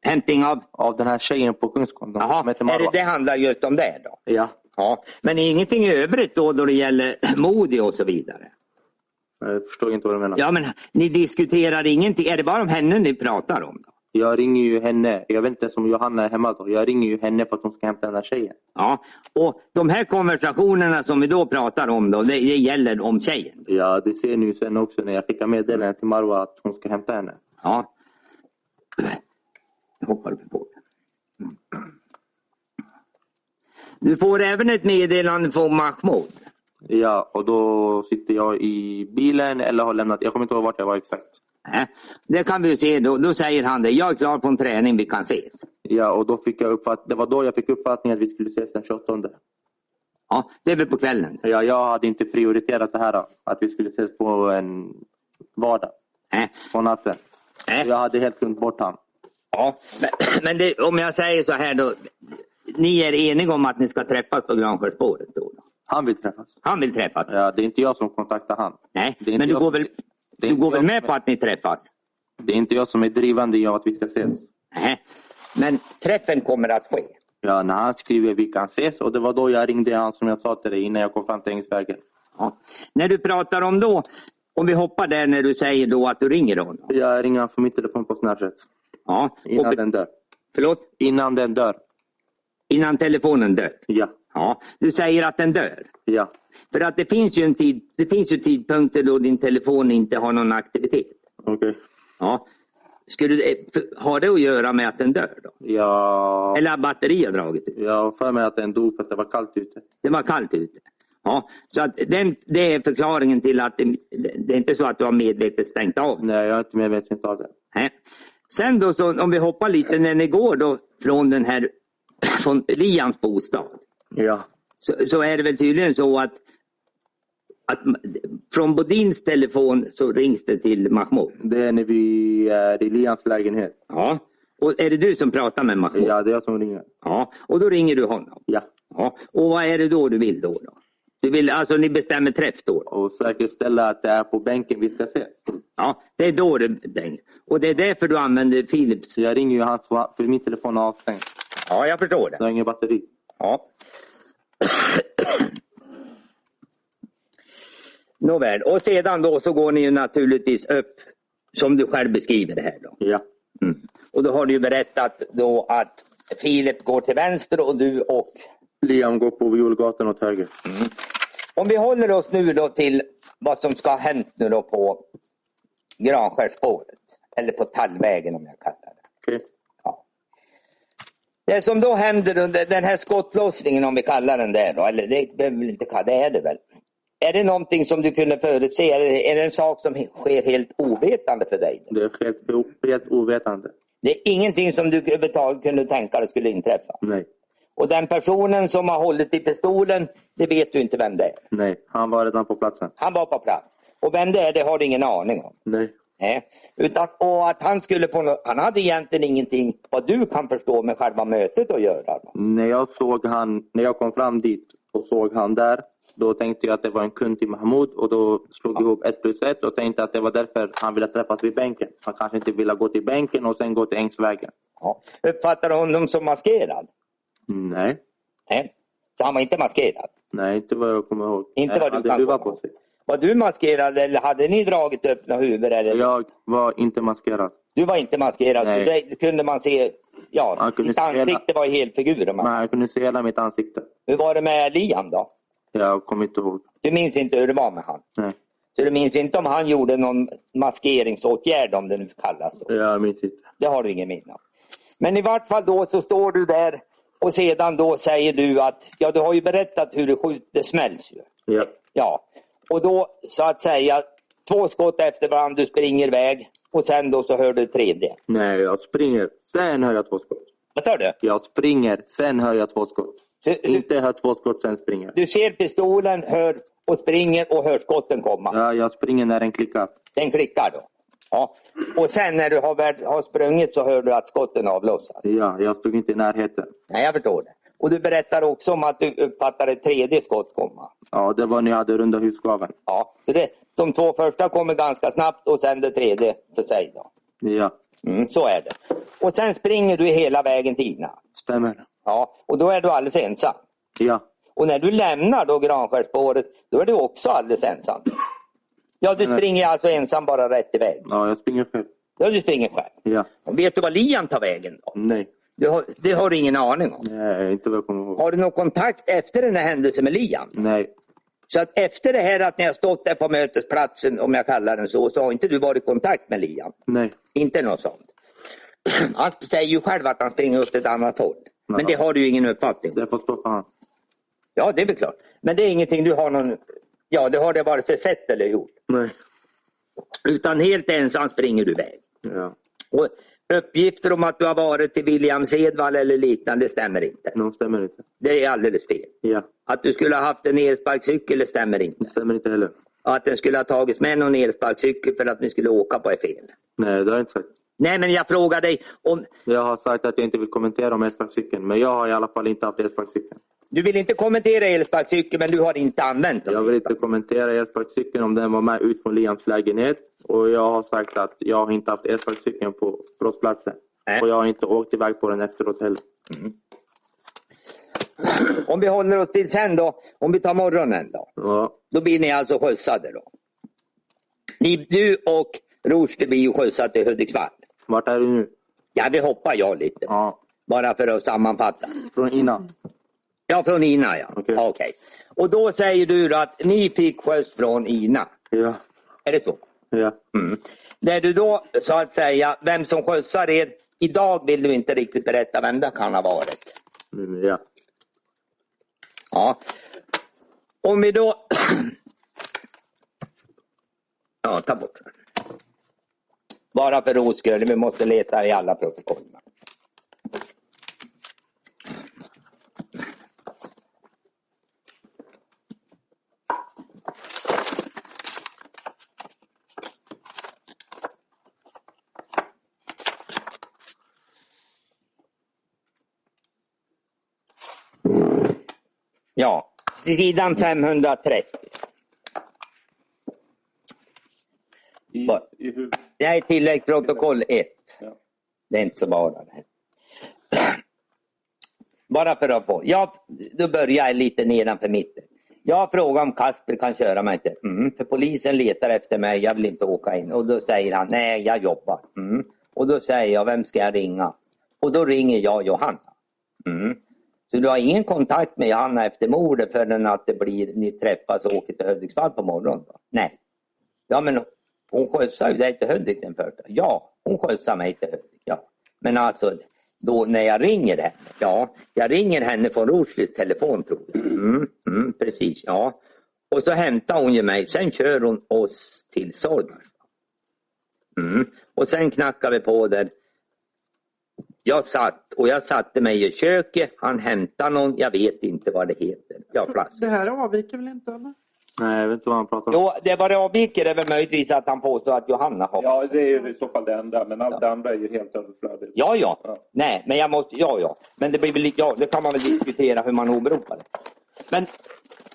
Speaker 3: Hämtning av
Speaker 4: Av den här tjejen på Kungsgatan.
Speaker 3: Jaha,
Speaker 4: Som heter
Speaker 3: är det,
Speaker 4: Marwa.
Speaker 3: det handlar just om det då?
Speaker 4: Ja.
Speaker 3: Ja, men ingenting i övrigt då då det gäller <clears throat> Modi och så vidare?
Speaker 4: Jag förstår inte vad du menar.
Speaker 3: Ja, men ni diskuterar ingenting. Är det bara om henne ni pratar om? då?
Speaker 4: Jag ringer ju henne. Jag vet inte ens om Johanna är hemma då. Jag ringer ju henne för att hon ska hämta den där tjejen.
Speaker 3: Ja, och de här konversationerna som vi då pratar om då, det, det gäller om tjejen?
Speaker 4: Ja, det ser ni ju sen också när jag skickar meddelandet till Marwa att hon ska hämta henne.
Speaker 3: Ja. Jag hoppar upp på den. Du får även ett meddelande från Mahmoud.
Speaker 4: Ja, och då sitter jag i bilen eller har lämnat. Jag kommer inte ihåg vart jag var exakt.
Speaker 3: Nej, Äh, Det kan vi ju se då. Då säger han det. Jag är klar på en träning, vi kan ses.
Speaker 4: Ja, och då fick jag uppfatt... Det var då jag fick uppfattningen att vi skulle ses den 28.
Speaker 3: Ja, det är väl på kvällen.
Speaker 4: Ja, jag hade inte prioriterat det här. Att vi skulle ses på en vardag.
Speaker 3: Nej.
Speaker 4: På natten.
Speaker 3: Nej.
Speaker 4: Jag hade helt glömt bort han.
Speaker 3: äh. Ja, men, <clears throat> men det, om jag säger så här då. Ni är eniga om att ni ska träffas på Gransjöspåret då? då.
Speaker 4: Han vill träffas.
Speaker 3: Han vill träffas?
Speaker 4: Ja, det är inte jag som kontaktar han.
Speaker 3: Nej,
Speaker 4: Det är inte
Speaker 3: men du
Speaker 4: jag-
Speaker 3: går väl, du
Speaker 4: det är inte
Speaker 3: går väl
Speaker 4: jag
Speaker 3: med
Speaker 4: som-
Speaker 3: på att ni träffas?
Speaker 4: Det är inte jag som är drivande i att vi ska ses.
Speaker 3: Nej. Äh. Men träffen kommer att ske?
Speaker 4: Ja, när han skriver vi kan ses och det var då jag ringde han som jag sa till dig innan jag kom fram till Ängsbergen.
Speaker 3: Ja. När du pratar om då, om vi hoppar där när du säger då att du ringer honom.
Speaker 4: Jag ringer han för min telefon på Snapchat.
Speaker 3: Ja,
Speaker 4: Innan
Speaker 3: och,
Speaker 4: den dör.
Speaker 3: förlåt?
Speaker 4: Innan den dör.
Speaker 3: Innan telefonen dör?
Speaker 4: Ja.
Speaker 3: Ja, du säger att den dör.
Speaker 4: Ja.
Speaker 3: För att det finns ju, en tid, det finns ju tidpunkter då din telefon inte har någon aktivitet.
Speaker 4: Okej.
Speaker 3: Ja. Skulle det, för, har det att göra med att den dör då?
Speaker 4: Ja.
Speaker 3: Eller att batteriet har dragit ut?
Speaker 4: Jag har för mig att den dog för att det var kallt ute.
Speaker 3: Det var kallt ute. Ja, så att den, det är förklaringen till att det, det är inte så att du har medvetet stängt av.
Speaker 4: Nej, jag är inte medveten av det.
Speaker 3: Nej. Sen då, så, om vi hoppar lite när ni går då från den här <clears throat> från Liams bostad.
Speaker 4: Ja.
Speaker 3: Så, så är det väl tydligen så att, att från Bodins telefon så rings det till Mahmoud.
Speaker 4: Det är när vi är i Lians lägenhet.
Speaker 3: Ja. Och är det du som pratar med Mahmoud?
Speaker 4: Ja, det är jag som ringer.
Speaker 3: Ja, och då ringer du honom.
Speaker 4: Ja.
Speaker 3: Ja. Och vad är det då du vill då? då? Du vill, alltså ni bestämmer träff då? då?
Speaker 4: Och säkerställa att det är på bänken vi ska ses.
Speaker 3: Ja, det är då du den. Och det är därför du använder Philips.
Speaker 4: Så jag ringer ju han för för min telefon är avstängd.
Speaker 3: Ja, jag förstår det.
Speaker 4: Jag har ingen batteri.
Speaker 3: Ja. Nåväl, och sedan då så går ni ju naturligtvis upp som du själv beskriver det här då.
Speaker 4: Ja.
Speaker 3: Och då har du ju berättat då att Filip går till vänster och du och
Speaker 4: Liam går på Violgatan åt höger.
Speaker 3: Om vi håller oss nu då till vad som ska ha hänt nu då på Granskärsspåret. Eller på Tallvägen om jag kallar det.
Speaker 4: Okej.
Speaker 3: Ja. Det som då händer under den här skottlossningen om vi kallar den det då. Eller det behöver vi väl inte kalla det, är det väl. Är det någonting som du kunde förutse? Eller är det en sak som sker helt ovetande för dig?
Speaker 4: Det är helt, o- helt ovetande.
Speaker 3: Det är ingenting som du överhuvudtaget kunde tänka dig skulle inträffa.
Speaker 4: Nej.
Speaker 3: Och den personen som har hållit i pistolen, det vet du inte vem det är.
Speaker 4: Nej. Han var redan på platsen.
Speaker 3: Han var på plats. Och vem det är, det har du ingen aning om.
Speaker 4: Nej.
Speaker 3: Nej. Utan, och att han skulle på något, han hade egentligen ingenting, vad du kan förstå, med själva mötet att göra.
Speaker 4: När jag såg han, när jag kom fram dit och såg han där, då tänkte jag att det var en kund till Mahmoud och då slog jag ihop ett plus ett och tänkte att det var därför han ville träffas vid bänken. Han kanske inte ville gå till bänken och sen gå till Ängsvägen.
Speaker 3: Ja. Uppfattar du honom som maskerad?
Speaker 4: Nej.
Speaker 3: Nej. Så han var inte maskerad.
Speaker 4: Nej, inte vad jag kommer ihåg.
Speaker 3: Inte vad du
Speaker 4: hade
Speaker 3: kan
Speaker 4: luva
Speaker 3: komma
Speaker 4: på sig.
Speaker 3: Var du maskerad eller hade ni dragit öppna huvuden? Eller?
Speaker 4: Jag var inte maskerad.
Speaker 3: Du var inte maskerad.
Speaker 4: Nej.
Speaker 3: så Det kunde man se. Ja,
Speaker 4: Han kunde
Speaker 3: ditt
Speaker 4: se hela-
Speaker 3: ansikte var i helfigur. om
Speaker 4: Men
Speaker 3: man-
Speaker 4: han kunde se hela mitt ansikte.
Speaker 3: Hur var det med Liam då?
Speaker 4: Jag kommer inte ihåg.
Speaker 3: Du minns inte hur det var med han?
Speaker 4: Nej,
Speaker 3: Så du minns inte om han gjorde någon maskeringsåtgärd om det nu kallas så?
Speaker 4: jag minns inte.
Speaker 3: Det har du ingen minne av. Men i vart fall då så står du där och sedan då säger du att ja du har ju berättat hur det skjuts, det smälls ju.
Speaker 4: Ja.
Speaker 3: Ja, och då så att säga två skott efter varandra, du springer iväg och sen då så hör du ett tredje.
Speaker 4: Nej, jag springer. Sen hör jag två skott.
Speaker 3: Vad sa du?
Speaker 4: Jag springer, sen hör jag två skott.
Speaker 3: Du, du,
Speaker 4: Inte hör två skott, sen springer.
Speaker 3: du ser pistolen, hör och springer och hör skotten komma.
Speaker 4: Ja, jag springer när den klickar.
Speaker 3: Den klickar då. Ja. Och sen när du har, väl- har sprungit så hör du att skotten avlossas.
Speaker 4: Ja, jag stod inte i närheten.
Speaker 3: Nej, jag förstår det. Och du berättar också om att du uppfattar ett tredje skott komma.
Speaker 4: Ja, det var när jag hade runda husgaveln.
Speaker 3: Ja, så det, de två första kommer ganska snabbt och sen det tredje för sig. Då.
Speaker 4: Ja,
Speaker 3: Mm, så är det. Och sen springer du hela vägen till Ina.
Speaker 4: stämmer.
Speaker 3: Ja, och då är du alldeles ensam.
Speaker 4: Ja,
Speaker 3: Och när du lämnar då Granskärspåret, då är du också alldeles ensam. Ja, du
Speaker 4: Nej.
Speaker 3: springer alltså ensam bara rätt iväg.
Speaker 4: ja jag springer själv.
Speaker 3: Ja, du springer själv.
Speaker 4: Ja,
Speaker 3: Vet du var Liam tar vägen då?
Speaker 4: nej.
Speaker 3: Det har, det har du ingen aning om.
Speaker 4: Nej, inte vad jag kommer ihåg.
Speaker 3: Har du någon kontakt efter den här händelsen med Liam?
Speaker 4: Nej,
Speaker 3: Så att efter det här att ni har stått där på mötesplatsen, om jag kallar den så, så har inte du varit i kontakt med Liam?
Speaker 4: nej.
Speaker 3: Inte något sånt. <clears throat> Han säger ju själv att han springer åt ett annat håll. Men
Speaker 4: Ja.
Speaker 3: det har du ju ingen uppfattning om.
Speaker 4: Därför stoppade han.
Speaker 3: Ja, det är väl klart. Men det är ingenting du har någon... Ja, det har det vare sig sett eller gjort.
Speaker 4: Nej.
Speaker 3: Utan helt ensam springer du iväg.
Speaker 4: Ja,
Speaker 3: Och uppgifter om att du har varit till William Sedvall eller liknande stämmer inte.
Speaker 4: de stämmer inte.
Speaker 3: Det är alldeles fel.
Speaker 4: Ja,
Speaker 3: Att du skulle ha haft en elsparkcykel det stämmer inte.
Speaker 4: det stämmer inte heller.
Speaker 3: Och att den skulle ha tagits med någon elsparkcykel för att ni skulle åka på är fel.
Speaker 4: Nej, det har jag inte sagt.
Speaker 3: Nej, men jag frågar dig om...
Speaker 4: Jag har sagt att jag inte vill kommentera om elsparkcykeln, men jag har i alla fall inte haft elsparkcykeln.
Speaker 3: Du vill inte kommentera elsparkcykeln, men du har inte använt den.
Speaker 4: Jag vill inte kommentera elsparkcykeln om den var med ut från Liams lägenhet. Och jag har sagt att jag har inte haft elsparkcykeln på brottsplatsen.
Speaker 3: Nej.
Speaker 4: Och jag har inte åkt iväg på den efteråt heller.
Speaker 3: Om vi håller oss till sen då, om vi tar morgonen då.
Speaker 4: Ja,
Speaker 3: Då blir ni alltså skjutsade då. Ni, du och Rushdie blir ju skjutsade till Hudiksvall.
Speaker 4: vart är du nu?
Speaker 3: Ja, det hoppar jag lite.
Speaker 4: Ja,
Speaker 3: Bara för att sammanfatta.
Speaker 4: från innan.
Speaker 3: Ja, från Ina ja.
Speaker 4: Okej.
Speaker 3: Ja, okej. Och då säger du då att ni fick skjuts från Ina.
Speaker 4: Ja,
Speaker 3: Är det så?
Speaker 4: ja.
Speaker 3: När du då så att säga, vem som skjutsar er. Idag vill du inte riktigt berätta vem det kan ha varit.
Speaker 4: Mm, ja.
Speaker 3: Ja. Om vi då... <clears throat> ja, ta bort den. Bara för ros skull, vi måste leta i alla protokoll. Ja, sidan 530.
Speaker 5: I,
Speaker 3: Vad?
Speaker 5: i huvudet.
Speaker 3: Det här är tilläggsprotokoll 1.
Speaker 5: Ja.
Speaker 3: Det är inte så bara det. här. Bara för att få. Jag, då börjar jag lite nedanför mitten. Jag frågar om Kasper kan köra mig inte. Mm, för polisen letar efter mig. Jag vill inte åka in. Och då säger han, nej jag jobbar. Mm. Och då säger jag, vem ska jag ringa? Och då ringer jag Johanna. Mm. Så du har ingen kontakt med Johanna efter mordet förrän att det blir, ni träffas och åker till Hudiksvall på morgonen? Då? Nej. Ja men hon skjutsade ju dig till Hudik den första. Ja, hon skjutsade mig till Hudik. Ja. Men alltså då när jag ringer henne. Ja, jag ringer henne från Rosqvists telefon tror jag. Mm, mm, precis, ja. Och så hämtar hon ju mig. Sen kör hon oss till Solmars. Mm. Och sen knackar vi på där. Jag satt och jag satte mig i köket. Han hämtade någon, jag vet inte vad det heter. Jag flaskade.
Speaker 2: Det här avviker väl inte eller?
Speaker 4: Nej, jag vet inte vad han pratar om.
Speaker 3: Jo, det var det avviker är väl möjligtvis att han påstår att Johanna har. Ja,
Speaker 5: Ja, det är ju i så fall det enda. Men allt det andra är ju helt överflödigt.
Speaker 3: ja.
Speaker 5: Ja.
Speaker 3: Nej, men jag måste, ja, ja. Men det blir väl, li- ja, det kan man väl diskutera hur man åberopar det. Men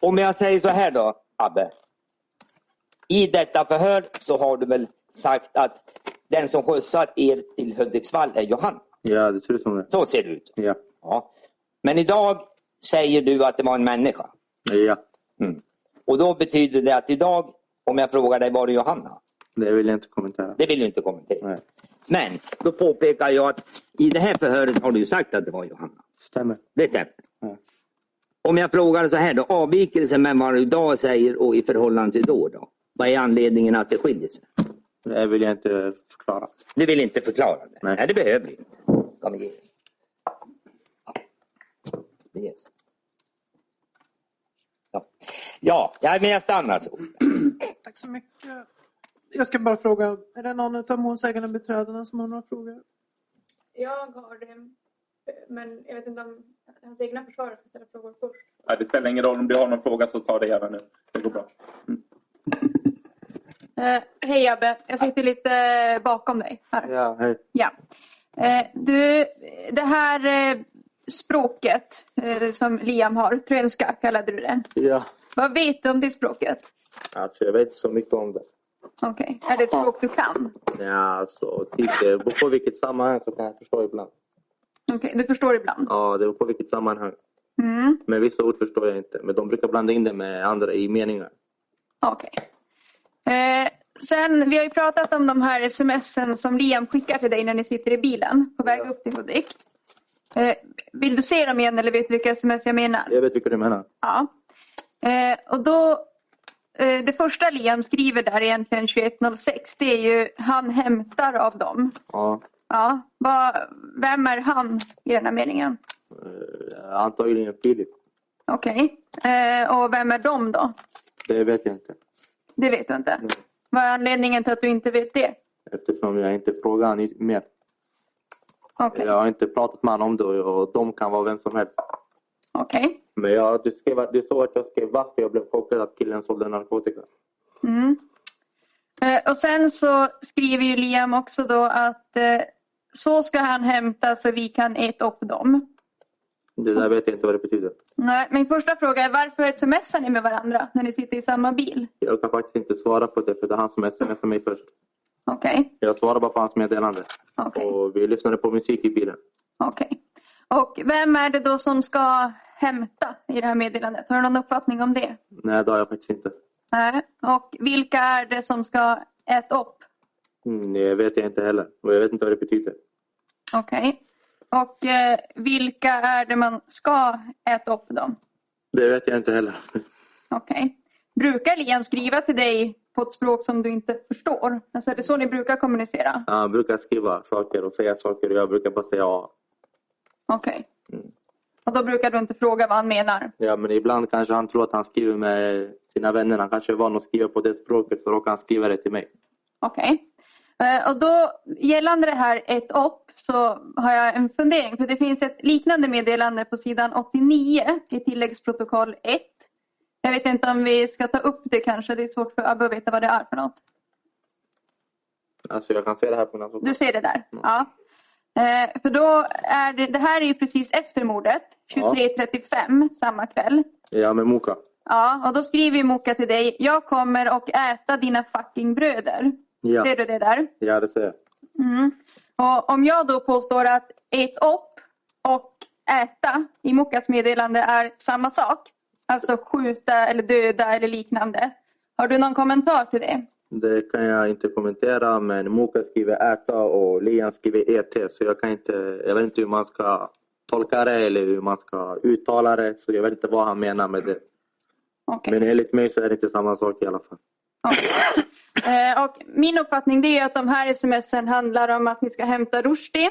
Speaker 3: om jag säger så här då, Abbe. I detta förhör så har du väl sagt att den som skjutsat er till Hudiksvall är Johanna.
Speaker 4: Ja, det ser ut som det.
Speaker 3: Så ser det ut.
Speaker 4: Ja.
Speaker 3: Ja. Men idag säger du att det var en människa. Mm.
Speaker 4: ja,
Speaker 3: Och då betyder det att idag, om jag frågar dig, var det Johanna?
Speaker 4: det vill jag inte kommentera.
Speaker 3: Det vill du inte kommentera.
Speaker 4: Nej,
Speaker 3: Men då påpekar jag att i det här förhöret har du ju sagt att det var Johanna.
Speaker 4: stämmer.
Speaker 3: Det stämmer.
Speaker 4: Ja.
Speaker 3: Om jag frågar så här då, avvikelsen mellan vad du idag säger och i förhållande till då, då? Vad är anledningen att det skiljer sig?
Speaker 4: Det vill jag inte förklara.
Speaker 3: Du vill inte förklara det?
Speaker 4: Nej.
Speaker 3: det behöver du inte. Kom igen. Det är så. Ja. Ja, ja, men jag stannar så.
Speaker 2: Tack så mycket. Jag ska bara fråga, är det någon av målsägandebiträdena som har några frågor?
Speaker 7: Jag har det. Men jag vet inte om hans egna försvarare ska ställa frågor först.
Speaker 5: Nej, det spelar ingen roll om du har någon fråga så ta det gärna nu. Det går bra.
Speaker 7: Eh, Hej Abbe, jag sitter lite bakom dig här.
Speaker 4: Ja, hej.
Speaker 7: Ja. Eh, Du, det här eh, språket eh, som Liam har, trönska kallade du det.
Speaker 4: Ja.
Speaker 7: Vad vet du om det språket?
Speaker 4: Alltså, jag vet inte så mycket om det.
Speaker 7: Okej, är det ett språk du kan?
Speaker 4: Ja, alltså, typ, det beror på vilket sammanhang så kan jag förstå ibland.
Speaker 7: Okej, du förstår ibland.
Speaker 4: Ja, det beror på vilket sammanhang.
Speaker 7: Mm.
Speaker 4: Men vissa ord förstår jag inte. Men de brukar blanda in det med andra i meningar.
Speaker 7: Okej. Eh, sen, vi har ju pratat om de här sms'en som Liam skickar till dig när ni sitter i bilen på väg upp till Hudik. Eh, vill du se dem igen eller vet du vilka sms jag menar?
Speaker 4: Jag vet vilka du menar.
Speaker 7: Ja. Eh, och då, eh, det första Liam skriver där egentligen 2106, det är ju han hämtar av dem.
Speaker 4: Ja.
Speaker 7: Ja, vad- vem är han i den här meningen?
Speaker 4: eh, Antagligen Filip.
Speaker 7: Okej. Eh, och vem är de då?
Speaker 4: Det vet jag inte.
Speaker 7: Det vet du inte. Vad är anledningen till att du inte vet det?
Speaker 4: Eftersom jag inte frågar han i- mer.
Speaker 7: Okej.
Speaker 4: Jag har inte pratat med honom om det och de kan vara vem som helst.
Speaker 7: Okej.
Speaker 4: Men jag, du, skrev, du såg att jag skrev varför jag blev chockad att killen sålde narkotika.
Speaker 7: Mm. Eh, Och sen så skriver ju Liam också då att eh, så ska han hämta så vi kan äta upp dem.
Speaker 4: Det där vet jag inte vad det betyder.
Speaker 7: Nej, min första fråga är varför smsar ni med varandra när ni sitter i samma bil?
Speaker 4: Jag kan faktiskt inte svara på det för det är han som smsar mig först.
Speaker 7: Okej,
Speaker 4: Jag svarar bara på hans meddelande.
Speaker 7: okej,
Speaker 4: Och vi lyssnade på musik i bilen.
Speaker 7: okej. Och vem är det då som ska hämta i det här meddelandet? Har du någon uppfattning om det?
Speaker 4: Nej, det har jag faktiskt inte.
Speaker 7: Nej. Och vilka är det som ska äta upp?
Speaker 4: Mm, Det vet jag inte heller. Och jag vet inte vad det betyder.
Speaker 7: Okej. Och eh, vilka är det man ska äta upp dem?
Speaker 4: Det vet jag inte heller. <laughs>
Speaker 7: Okej. Brukar Liam skriva till dig på ett språk som du inte förstår? Alltså är det så ni brukar kommunicera?
Speaker 4: Han brukar skriva saker och säga saker och jag brukar bara säga ja.
Speaker 7: Okej. Och då brukar du inte fråga vad han menar?
Speaker 4: Ja, men ibland kanske han tror att han skriver med sina vänner. Han kanske är van att skriva på det språket så råkar han skriva det till mig.
Speaker 7: Okej. Eh, Och då gällande det här ett upp så har jag en fundering. För det finns ett liknande meddelande på sidan 89 i tilläggsprotokoll 1. Jag vet inte om vi ska ta upp det kanske. Det är svårt för Abbe att veta vad det är för något.
Speaker 4: Alltså jag kan se det här på mina
Speaker 7: Du ser det där?
Speaker 4: Mm.
Speaker 7: Ja. Eh, för då är det, det här är ju precis efter mordet, 23.35 samma kväll.
Speaker 4: Ja, med Moka.
Speaker 7: Ja, och då skriver ju Moka till dig, jag kommer och äta dina fucking bröder.
Speaker 4: Ja,
Speaker 7: Ser du det där?
Speaker 4: ja det ser jag.
Speaker 7: Mm. Och om jag då påstår att ät upp och äta i Mokas meddelande är samma sak, alltså skjuta eller döda eller liknande. Har du någon kommentar till det?
Speaker 4: Det kan jag inte kommentera, E men Moka skriver äta och Lian skriver et. Så jag kan inte, jag vet inte hur man ska tolka det eller hur man ska uttala det. Så jag vet inte vad han menar med det.
Speaker 7: Okej.
Speaker 4: Men enligt mig så är det inte samma sak i alla fall.
Speaker 7: Eh, Och min uppfattning det är att de här smsen handlar om att ni ska hämta Rushdie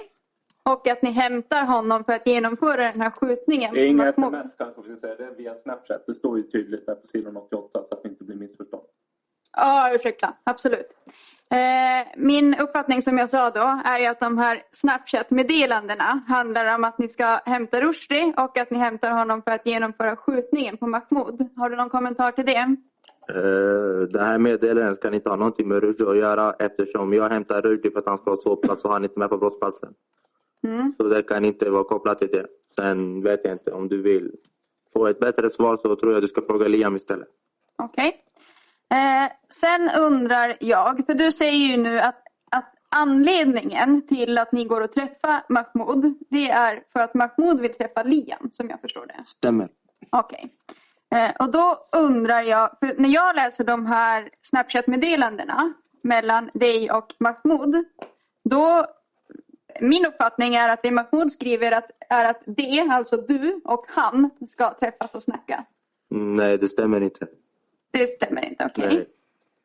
Speaker 7: och att ni hämtar honom för att genomföra den här skjutningen.
Speaker 5: Det är inga
Speaker 7: mot-
Speaker 5: sms kanske vi ska säga. Det är via Snapchat. Det står ju tydligt där på sidan 88 så att det inte blir missförstånd.
Speaker 7: Ja, ursäkta. Absolut. Eh, min uppfattning som jag sa då är ju att de här Snapchat-meddelandena handlar om att ni ska hämta Rushdie och att ni hämtar honom för att genomföra skjutningen på Mahmoud. Har du någon kommentar till det?
Speaker 4: Uh, det här meddelandet kan inte ha någonting med Rushdie att göra eftersom jag hämtar Rushdie för att han ska ha sovplats och han är inte med på brottsplatsen.
Speaker 7: Mm.
Speaker 4: Så det kan inte vara kopplat till det. Sen vet jag inte om du vill få ett bättre svar så tror jag du ska fråga Liam istället.
Speaker 7: Okej. Eh, sen undrar jag, för du säger ju nu att, att anledningen till att ni går och träffar Mahmoud, det är för att Mahmoud vill träffa Liam, som jag förstår det.
Speaker 4: Stämmer.
Speaker 7: Okej. Eh, och då undrar jag, för när jag läser de här Snapchat-meddelandena mellan dig och Mahmoud, då min uppfattning är att det Mahmoud skriver att, är att det, alltså du och han, ska träffas och snacka.
Speaker 4: Mm, Nej, det stämmer inte.
Speaker 7: Det stämmer inte, okej.
Speaker 4: Nej.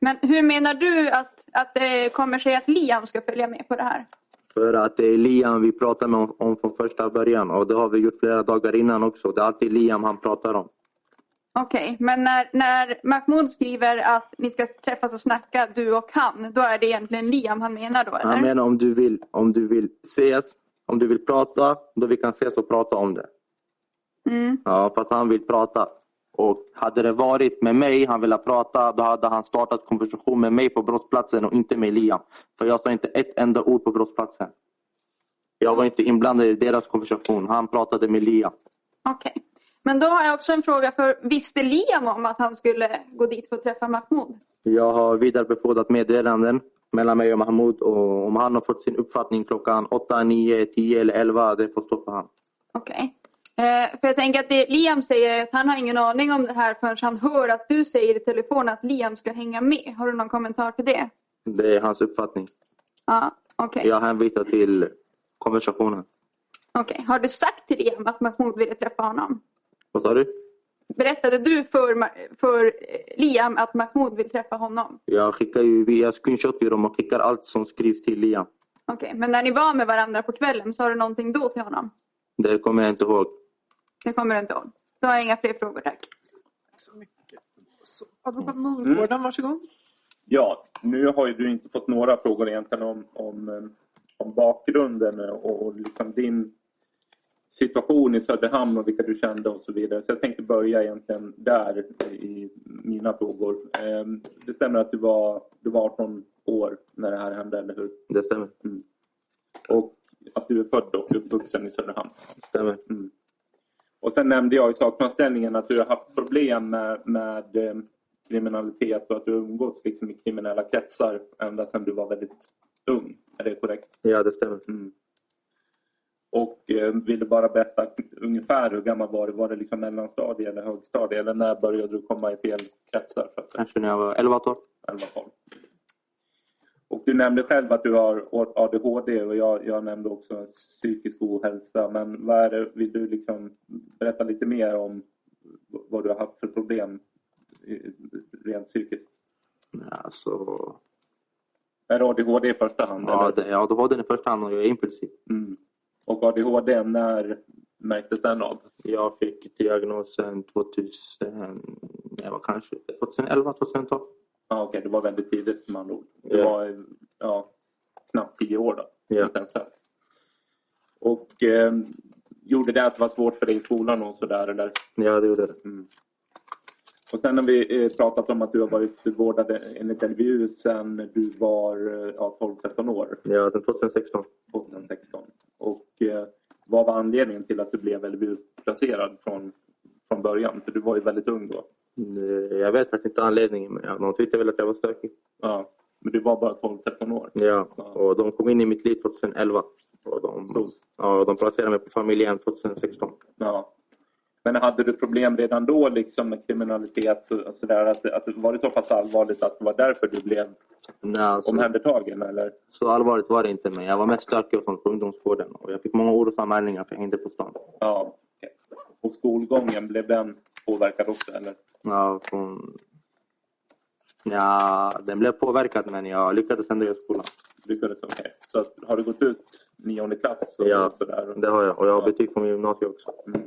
Speaker 7: Men hur menar du att, att det kommer sig att Liam ska följa med på det här?
Speaker 4: För att det är Liam vi pratar med om, om från första början och det har vi gjort flera dagar innan också. Det är alltid Liam han pratar om.
Speaker 7: Okej, men när, när Mahmoud skriver att ni ska träffas och snacka, du och han, då är det egentligen Liam han menar då? Eller?
Speaker 4: Han menar om du vill, om du vill ses, om du vill prata, då vi kan ses och prata om det.
Speaker 7: Mm.
Speaker 4: Ja, för att han vill prata. Och hade det varit med mig han ville prata, då hade han startat konversation med mig på brottsplatsen och inte med Liam. För jag sa inte ett enda ord på brottsplatsen. Jag var inte inblandad i deras konversation. Han pratade med Liam.
Speaker 7: Okej. Men då har jag också en fråga. För visste Liam om att han skulle gå dit för att träffa Mahmoud?
Speaker 4: Jag har vidarebefordrat meddelanden mellan mig och Mahmoud. Och om han har fått sin uppfattning klockan 8, 9, 10 eller 11, det får stå för han.
Speaker 7: Okej. Eh, för jag tänker att det Liam säger är att han har ingen aning om det här förrän han hör att du säger i telefon att Liam ska hänga med. Har du någon kommentar till det?
Speaker 4: Det är hans uppfattning.
Speaker 7: Ja, okej.
Speaker 4: Jag hänvisar till konversationen.
Speaker 7: Okej. Har du sagt till Liam att Mahmoud ville träffa honom?
Speaker 4: Vad sa du?
Speaker 7: Berättade du för, Ma- för eh, Liam att Mahmoud vill träffa honom?
Speaker 4: Jag skickar ju via screenshot till dem och skickar allt som skrivs till Liam.
Speaker 7: Okej, men när ni var med varandra på kvällen, sa du någonting då till honom?
Speaker 4: Det kommer jag inte ihåg.
Speaker 7: Det kommer du inte ihåg? Då har jag inga fler frågor, tack.
Speaker 2: så mycket. Så, Advokat Norgården,
Speaker 5: Mm.
Speaker 2: varsågod.
Speaker 5: Ja, nu har ju du inte fått några frågor egentligen om, om, eh, om bakgrunden och, och liksom din situation i Söderhamn och vilka du kände och så vidare. Så jag tänkte börja egentligen där i mina frågor. Eh, Det stämmer att du var, du var 18 år när det här hände, eller hur?
Speaker 4: Det stämmer.
Speaker 5: Och att du är född och uppvuxen i Söderhamn.
Speaker 4: Det stämmer.
Speaker 5: Och sen nämnde jag i sakframställningen att du har haft problem med, med eh, kriminalitet och att du har umgåtts liksom i kriminella kretsar ända sedan du var väldigt ung. Är det korrekt? Mm.
Speaker 4: Ja, det stämmer.
Speaker 5: Och eh, ville bara berätta ungefär hur gammal var du? Var det liksom mellanstadie eller högstadie? Eller när började du komma i fel kretsar? För att,
Speaker 4: Kanske när jag var 11 år.
Speaker 5: 11-12. Och du nämnde själv att du har ADHD och jag, jag nämnde också psykisk ohälsa. Men vad är det, vill du liksom berätta lite mer om vad du har haft för problem i- rent psykiskt?
Speaker 4: Ja, så...
Speaker 5: Är det ADHD i första hand?
Speaker 4: ja,
Speaker 5: eller?
Speaker 4: det, ja, då var den i första hand och jag är impulsiv.
Speaker 5: Mm. Och ADHD, när märktes den av?
Speaker 4: Jag fick diagnosen 2000... Det var kanske 2011, 2012.
Speaker 5: Ah, Okej, det var väldigt tidigt med andra ord. Det
Speaker 4: Ja.
Speaker 5: var ja, knappt tio år då.
Speaker 4: Ja.
Speaker 5: Inte ens där. Och eh, gjorde det att det var svårt för dig i skolan och sådär? Eller?
Speaker 4: Ja, det gjorde det.
Speaker 5: Och sen har vi eh, pratat om att du har varit vårdad enligt LVU sedan du var eh, ja, 12-13 år,
Speaker 4: Ja, sen 2016.
Speaker 5: 2016. Och eh, vad var anledningen till att du blev LVU-placerad från, från början? För du var ju väldigt ung då.
Speaker 4: Eh, Jag vet faktiskt inte anledningen, men ja, de tyckte väl att jag var stökig.
Speaker 5: Ja. Men du var bara 12-13 år.
Speaker 4: Ja, och de kom in i mitt liv 2011. Och de,
Speaker 5: Så.
Speaker 4: ja, de placerade mig på familjehem 2016.
Speaker 5: Ja. Men hade du problem redan då liksom, med kriminalitet och och sådär? Att, att, var det så pass allvarligt att det var därför du blev
Speaker 4: Nej, alltså,
Speaker 5: omhändertagen? Eller?
Speaker 4: så allvarligt var det inte, men jag var mest stökig och sånt på ungdomsgården. Och jag fick många orosanmälningar för jag hängde på stan.
Speaker 5: Ja. okej. Och skolgången, blev den påverkad också? Eller?
Speaker 4: Ja, från... ja, den blev påverkad, men jag lyckades ändå göra skolan.
Speaker 5: Lyckades okej. Så att, har du gått ut nionde klass? Och,
Speaker 4: Ja,
Speaker 5: och sådär?
Speaker 4: Det har jag. Och jag har
Speaker 5: Ja.
Speaker 4: betyg från gymnasiet också.
Speaker 5: Mm.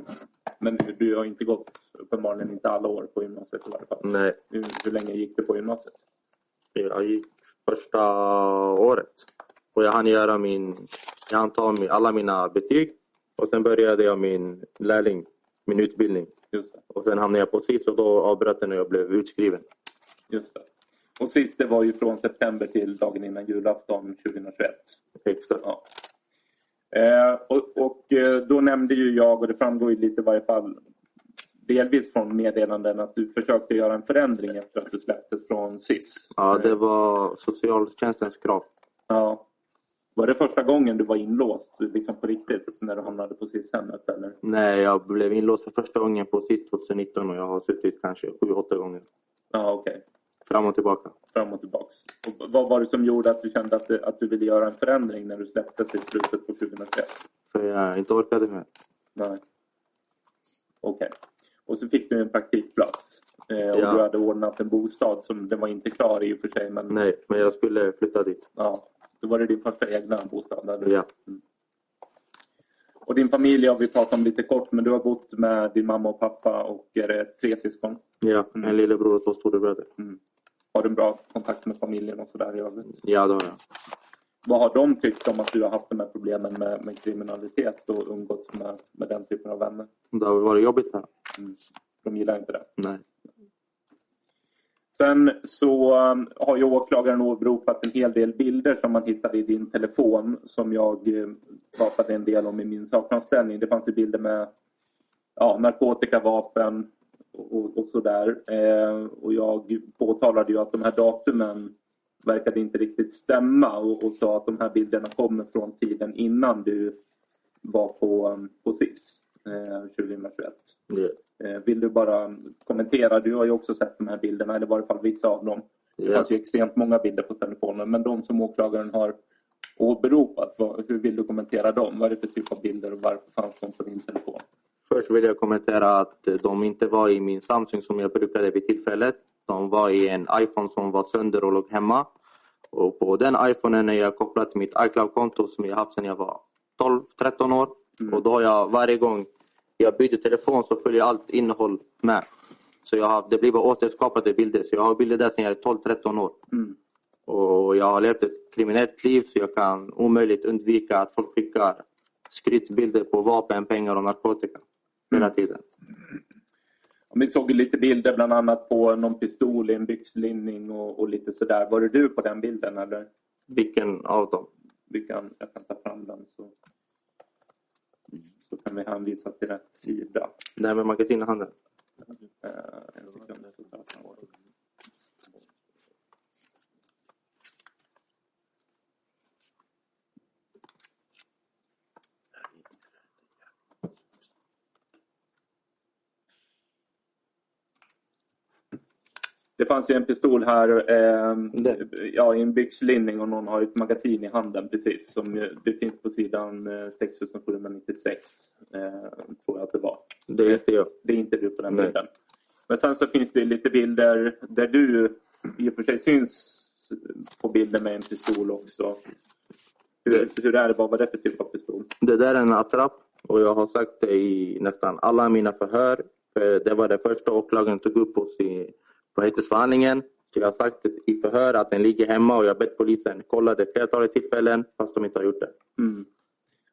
Speaker 5: Men du- du har inte gått, uppenbarligen inte alla år på gymnasiet i varje fall.
Speaker 4: Nej,
Speaker 5: Hur, hur länge gick du på gymnasiet?
Speaker 4: jag gick första året. Och jag hann göra min... Jag hann ta min, alla mina betyg. Och sen började jag min lärling, min utbildning.
Speaker 5: Just det.
Speaker 4: Och sen hamnade jag på SIS och då avbröt den och jag blev utskriven.
Speaker 5: Just det. Och sist det var ju från september till dagen innan julafton 2021.
Speaker 4: Exakt.
Speaker 5: Ja. Eh, och, och eh, då nämnde ju jag, och det framgår ju lite i varje fall delvis från meddelanden, att du försökte göra en förändring efter att du släpptes från SIS. Eh,
Speaker 4: Ja, det var socialtjänstens krav.
Speaker 5: Ja. Var det första gången du var inlåst liksom på riktigt när du hamnade på SIS-hemmet? Eller?
Speaker 4: Nej, jag blev inlåst för första gången på SIS 2019 och jag har suttit kanske sju, åtta gånger.
Speaker 5: Ja, okej.
Speaker 4: Fram och tillbaka.
Speaker 5: Fram och tillbaks. Och vad var det som gjorde att du kände att, att du ville göra en förändring när du släpptes i slutet på 2021?
Speaker 4: För jag inte orkade mer.
Speaker 5: Nej. Okej. Och så fick du en praktikplats. Eh, och
Speaker 4: Ja.
Speaker 5: du hade ordnat en bostad som den var inte klar i och för sig. Men
Speaker 4: Nej, men jag skulle flytta dit.
Speaker 5: ja, då var det din första egna bostad. Eller?
Speaker 4: Ja.
Speaker 5: Och din familj har vi pratat om lite kort. Men du har bott med din mamma och pappa och är det tre syskon.
Speaker 4: ja.
Speaker 5: Mm.
Speaker 4: En lillebror och två storebröder.
Speaker 5: Har du en bra kontakt med familjen och sådär i övrigt?
Speaker 4: Ja, det har jag.
Speaker 5: Vad har de tyckt om att du har haft de här problemen med, med kriminalitet och umgåtts med, med den typen av vänner? Mm.
Speaker 4: Det har varit jobbigt för dem.
Speaker 5: De gillar inte det.
Speaker 4: Nej.
Speaker 5: Sen så um, har ju åklagaren åberopat en hel del bilder som man hittade i din telefon som jag eh, pratade en del om i min sakframställning. Det fanns ju bilder med ja, narkotika, vapen och, och sådär. Eh, och jag påtalade ju att de här datumen verkade inte riktigt stämma och, och sa att de här bilderna kommer från tiden innan du var på, um, på SIS eh, 2021.
Speaker 4: Det-
Speaker 5: Eh, Vill du bara kommentera? Du har ju också sett de här bilderna, eller i varje fall vissa av dem. Det
Speaker 4: Ja.
Speaker 5: fanns ju extremt många bilder på telefonen, men de som åklagaren har åberopat, vad- hur vill du kommentera dem? Vad är det för typ av bilder och varför fanns de på din telefon?
Speaker 4: Först vill jag kommentera att de inte var i min Samsung som jag brukade vid tillfället. De var i en iPhone som var sönder och låg hemma. Och på den iPhonen är jag kopplad till mitt iCloud-konto som jag haft sedan jag var 12-13 år. Och då har jag varje gång jag byter telefon så följer allt innehåll med. Så jag har, det blir bara återskapade bilder. Så jag har bilder där sedan jag är 12-13 år.
Speaker 5: Mm.
Speaker 4: Och jag har levt ett kriminellt liv så jag kan omöjligt undvika att folk skickar skrytbilder på vapen, pengar och narkotika hela tiden.
Speaker 5: Och Vi såg ju lite bilder bland annat på någon pistol i en byxlinning och, och lite sådär. Var det du på den bilden eller?
Speaker 4: Vilken av dem?
Speaker 5: Vi kan, jag kan ta fram den så, så kan vi hänvisa till rätt sida.
Speaker 4: Det här med magasinhandeln?
Speaker 5: Eh, en sekund. jag ska ta fram den. Det fanns ju en pistol här ehm,
Speaker 4: Där.
Speaker 5: ja, i en byxlinning och någon har ett magasin i handen precis. Som, ju- det finns på sidan eh, 6796 eh, tror jag att det var.
Speaker 4: Det är inte jag.
Speaker 5: Det är inte du på den
Speaker 4: Nej.
Speaker 5: bilden. Men sen så finns det ju lite bilder där du i och för sig syns på bilder med en pistol också.
Speaker 4: Mm.
Speaker 5: Hur, hur är det? Vad var det för typ av pistol?
Speaker 4: Det där är en attrapp och jag har sagt det i nästan alla mina förhör. För det var det första åklagaren tog upp oss i, på häktesförhandlingen. Så jag har sagt det i förhör att den ligger hemma och jag har bett polisen kolla det flertalet tillfällen fast de inte har gjort det.
Speaker 5: Mm.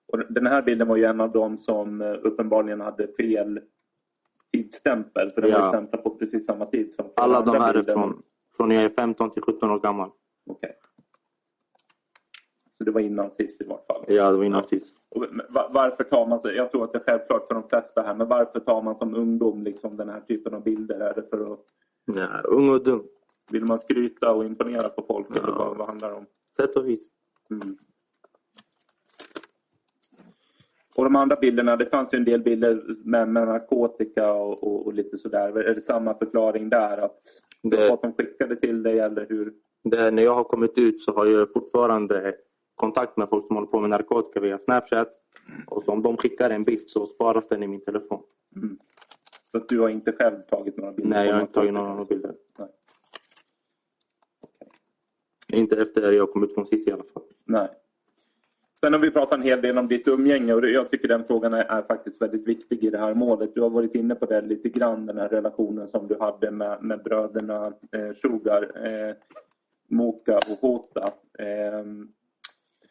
Speaker 5: Och den här bilden var ju en av de som eh, uppenbarligen hade fel tidsstämpel. För den var ju
Speaker 4: Ja.
Speaker 5: stämplad på precis samma tid som flera
Speaker 4: Alla de
Speaker 5: andra
Speaker 4: här är
Speaker 5: bilder.
Speaker 4: från, från när jag är 15 till 17 år gammal.
Speaker 5: Okej. Så det var innan SIS i vart fall.
Speaker 4: Ja, det var innan SIS.
Speaker 5: Och va- varför tar man, så, jag tror att det är självklart för de flesta här, men varför tar man som ungdom liksom den här typen av bilder? Är det för att,
Speaker 4: Ja, ung och dum.
Speaker 5: vill man skryta och imponera på folk eller
Speaker 4: Ja.
Speaker 5: Mm. vad, vad handlar det om?
Speaker 4: Sätt och vis.
Speaker 5: Mm. Och de andra bilderna, det fanns ju en del bilder med, med narkotika och, och, och lite sådär. Är det samma förklaring där? Att
Speaker 4: Det-
Speaker 5: vad de skickade till dig eller hur?
Speaker 4: Det, när jag har kommit ut så har jag fortfarande kontakt med folk som håller på med narkotika via Snapchat. Och så om de skickar en bild så sparas den i min telefon.
Speaker 5: Mm. Så att du har inte själv tagit några bilder?
Speaker 4: Nej, jag har inte tagit
Speaker 5: narkotika.
Speaker 4: några bilder.
Speaker 5: Nej.
Speaker 4: Inte efter jag kom ut från City i alla fall.
Speaker 5: Nej. Sen har vi pratat en hel del om ditt umgänge och det- jag tycker den frågan är, är faktiskt väldigt viktig i det här målet. Du har varit inne på det lite grann, den här relationen som du hade med, med bröderna eh, Sugar, eh, Moka och Hota. Eh,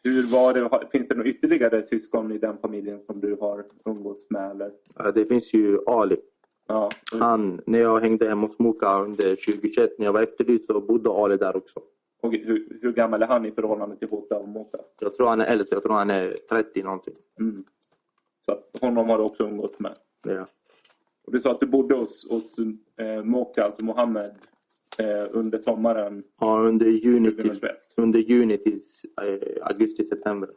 Speaker 5: hur var det, har- finns det några ytterligare syskon i den familjen som du har umgåtts med? Eller?
Speaker 4: Eh, Det finns ju Ali.
Speaker 5: Ja.
Speaker 4: Han, när jag hängde hemma hos Moka under 2021, när jag var efterlyst, så bodde Ali där också.
Speaker 5: Och hur, hur gammal är han i förhållande till Hota och Moka?
Speaker 4: Jag tror han är äldst, jag tror han är 30 någonting.
Speaker 5: Mm. Så att honom har du också umgåtts med?
Speaker 4: Ja.
Speaker 5: Och du sa att du bodde hos, hos eh, Moka, alltså Mohammed, eh, under sommaren
Speaker 4: Ja, under juni till,
Speaker 5: 2021.
Speaker 4: under juni till eh, augusti, september.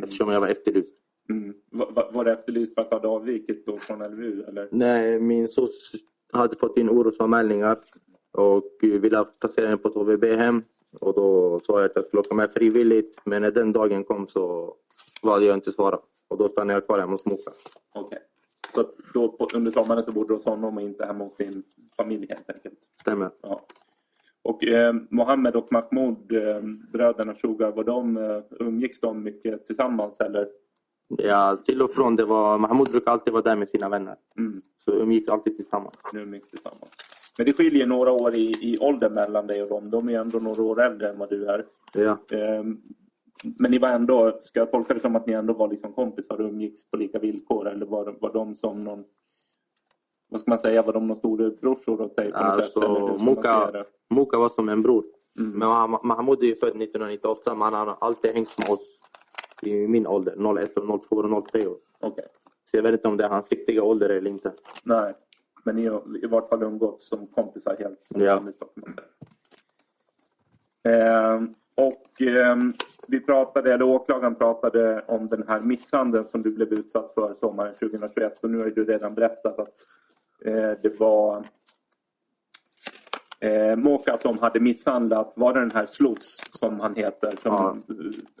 Speaker 4: Eftersom jag var efterlyst.
Speaker 5: Mm. Va- va- Var det efterlyst för att du hade avvikit då från LVU? Eller?
Speaker 4: Nej, min sos hade fått in orosanmälningar och ville placera henne på ett HVB-hem. Och då sa jag att jag skulle åka med frivilligt, men när den dagen kom så valde jag inte att svara. Och då stannade jag kvar hemma hos morsan.
Speaker 5: Okej. Så att då på, under sommaren så bodde du hos honom och inte hemma hos din familj helt enkelt?
Speaker 4: Stämmer.
Speaker 5: Ja. Och eh, Mohammed och Mahmoud, eh, bröderna Sugar, var de, eh, umgicks de mycket tillsammans? Eller?
Speaker 4: Ja, till och från. Det var, Mahmoud brukar alltid vara där med sina vänner.
Speaker 5: Mm.
Speaker 4: Så umgicks alltid tillsammans.
Speaker 5: Nu mycket tillsammans. Men det skiljer några år i, i ålder mellan dig och dem. De är ändå några år äldre än vad du är.
Speaker 4: Ja.
Speaker 5: Ehm, Men ni var ändå, ska jag tolka det som att ni ändå var liksom kompisar och umgicks på lika villkor? Eller var, de- var de som någon, vad ska man säga, var de någon storebrorsor åt dig på något
Speaker 4: Alltså,
Speaker 5: sätt? Eller hur ska man se
Speaker 4: Moka,
Speaker 5: det?
Speaker 4: Moka var som en bror.
Speaker 5: Mm.
Speaker 4: Men Mah- Mahmoud är ju född 1998, men han har alltid hängt med oss i min ålder. 01, och 02 och 03 år.
Speaker 5: Okej.
Speaker 4: Så jag vet inte om det är hans riktiga ålder eller inte.
Speaker 5: Nej, men ni har i vart fall umgåtts som kompisar helt som
Speaker 4: Ja.
Speaker 5: vanligt, vad kan man säga. Ehm, och ehm, vi pratade, eller åklagaren pratade om den här misshandeln som du blev utsatt för sommaren 2021. Och nu har ju du redan berättat att eh, det var eh, Moka som hade misshandlat, var det den här Sloss som han heter? Som,
Speaker 4: Ja,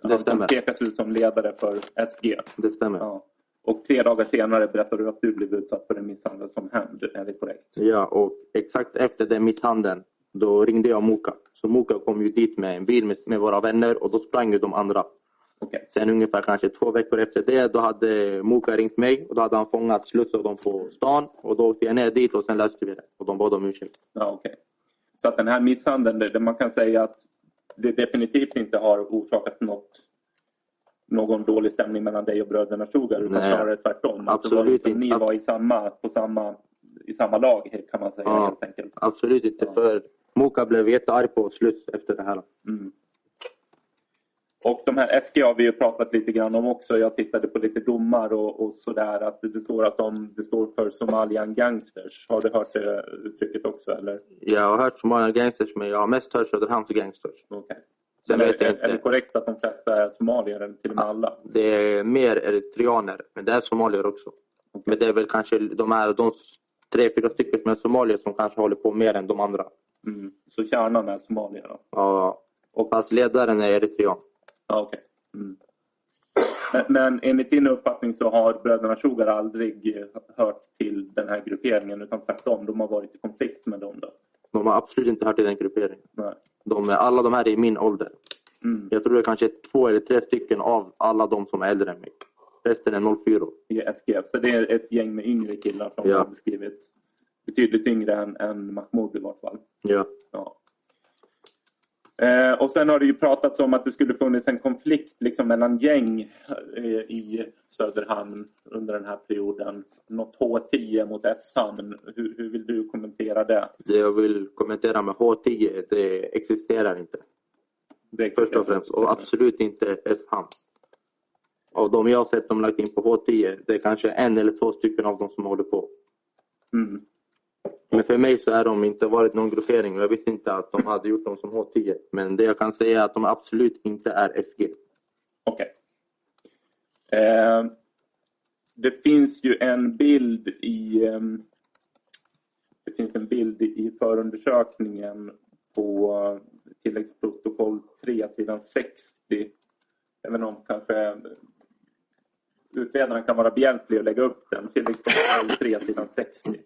Speaker 5: han som
Speaker 4: stämmer.
Speaker 5: pekas ut som ledare för SG.
Speaker 4: Det stämmer. Ja,
Speaker 5: Ja. Och tre dagar senare berättar du att du blev utsatt för en misshandel som hämnd. Är det korrekt?
Speaker 4: och exakt efter den misshandeln, då ringde jag Moka. Så Moka kom ju dit med en bil med, med våra vänner och då sprang ju de andra.
Speaker 5: Okej.
Speaker 4: Sen ungefär kanske två veckor efter det, då hade Moka ringt mig och då hade han fångat Sluss och dem på stan. Och då åkte jag ner dit och sen löste vi det. Och de bad om ursäkt.
Speaker 5: Ja, okej. Så att den här misshandeln, det, det man kan säga att det definitivt inte har orsakat något, någon dålig stämning mellan dig och bröderna Sugar utan
Speaker 4: Nej.
Speaker 5: snarare tvärtom. Att det
Speaker 4: Absolut
Speaker 5: var liksom,
Speaker 4: inte.
Speaker 5: Ni var i samma, på samma, i samma lag kan man säga
Speaker 4: Ja.
Speaker 5: helt enkelt.
Speaker 4: Absolut inte,
Speaker 5: Ja.
Speaker 4: för Moka blev jättearg på Sluss efter det här.
Speaker 5: Mm. Och de här SG har vi ju pratat lite grann om också. Jag tittade på lite domar och, och sådär. Att det står att de det står för Somalian Gangsters. Har du hört det uttrycket också? Eller?
Speaker 4: Jag har hört så många gangsters, men jag har mest hört Söderhamns gangsters.
Speaker 5: Okay.
Speaker 4: Sen
Speaker 5: eller,
Speaker 4: vet jag
Speaker 5: är, är det
Speaker 4: inte.
Speaker 5: korrekt att de flesta är somalier? Eller till och med alla?
Speaker 4: Det är mer eritreaner, men det är somalier också. Men det är väl kanske de här de s- tre, fyra stycken som är somalier som kanske håller på mer än de andra.
Speaker 5: Mm. Så kärnan är somalier? Då.
Speaker 4: Ja, och fast ledaren är eritrean.
Speaker 5: Ja, okej. mm. men, men enligt din uppfattning så har bröderna Sugar aldrig eh, hört till den här grupperingen utan tvärtom. De har varit i konflikt med dem. Då.
Speaker 4: De har absolut inte hört till den grupperingen.
Speaker 5: Nej.
Speaker 4: De, är- alla de här är i min ålder.
Speaker 5: Mm.
Speaker 4: Jag tror det är kanske två eller tre stycken av alla de som är äldre än mig. Resten är 04.
Speaker 5: i SGF. Så det är ett gäng med yngre killar som
Speaker 4: Ja.
Speaker 5: har beskrivits. Betydligt yngre än, än Mahmoud i vart fall.
Speaker 4: Ja.
Speaker 5: Ja. Eh, och sen har det ju pratats om att det skulle funnits en konflikt liksom mellan gäng eh, i Söderhamn under den här perioden. Något H10 mot S-hamn. Hur, hur vill du kommentera det?
Speaker 4: Det jag vill kommentera med H10, det existerar inte.
Speaker 5: det
Speaker 4: Först och främst. Och absolut inte F-hamn. Av de jag har sett de lagt in på H10, det är kanske en eller två stycken av dem som håller på.
Speaker 5: Mm.
Speaker 4: Men för mig så är de inte varit någon gruppering och jag visste inte att de hade gjort dem som H10. Men det jag kan säga är att de absolut inte är FG.
Speaker 5: Okej. Eh, det finns ju en bild i ehm, det finns en bild i förundersökningen på tilläggsprotokoll 3, sidan 60. Även om kanske utredaren kan vara behjälplig och lägga upp den. Tilläggsprotokoll 3, sidan 60.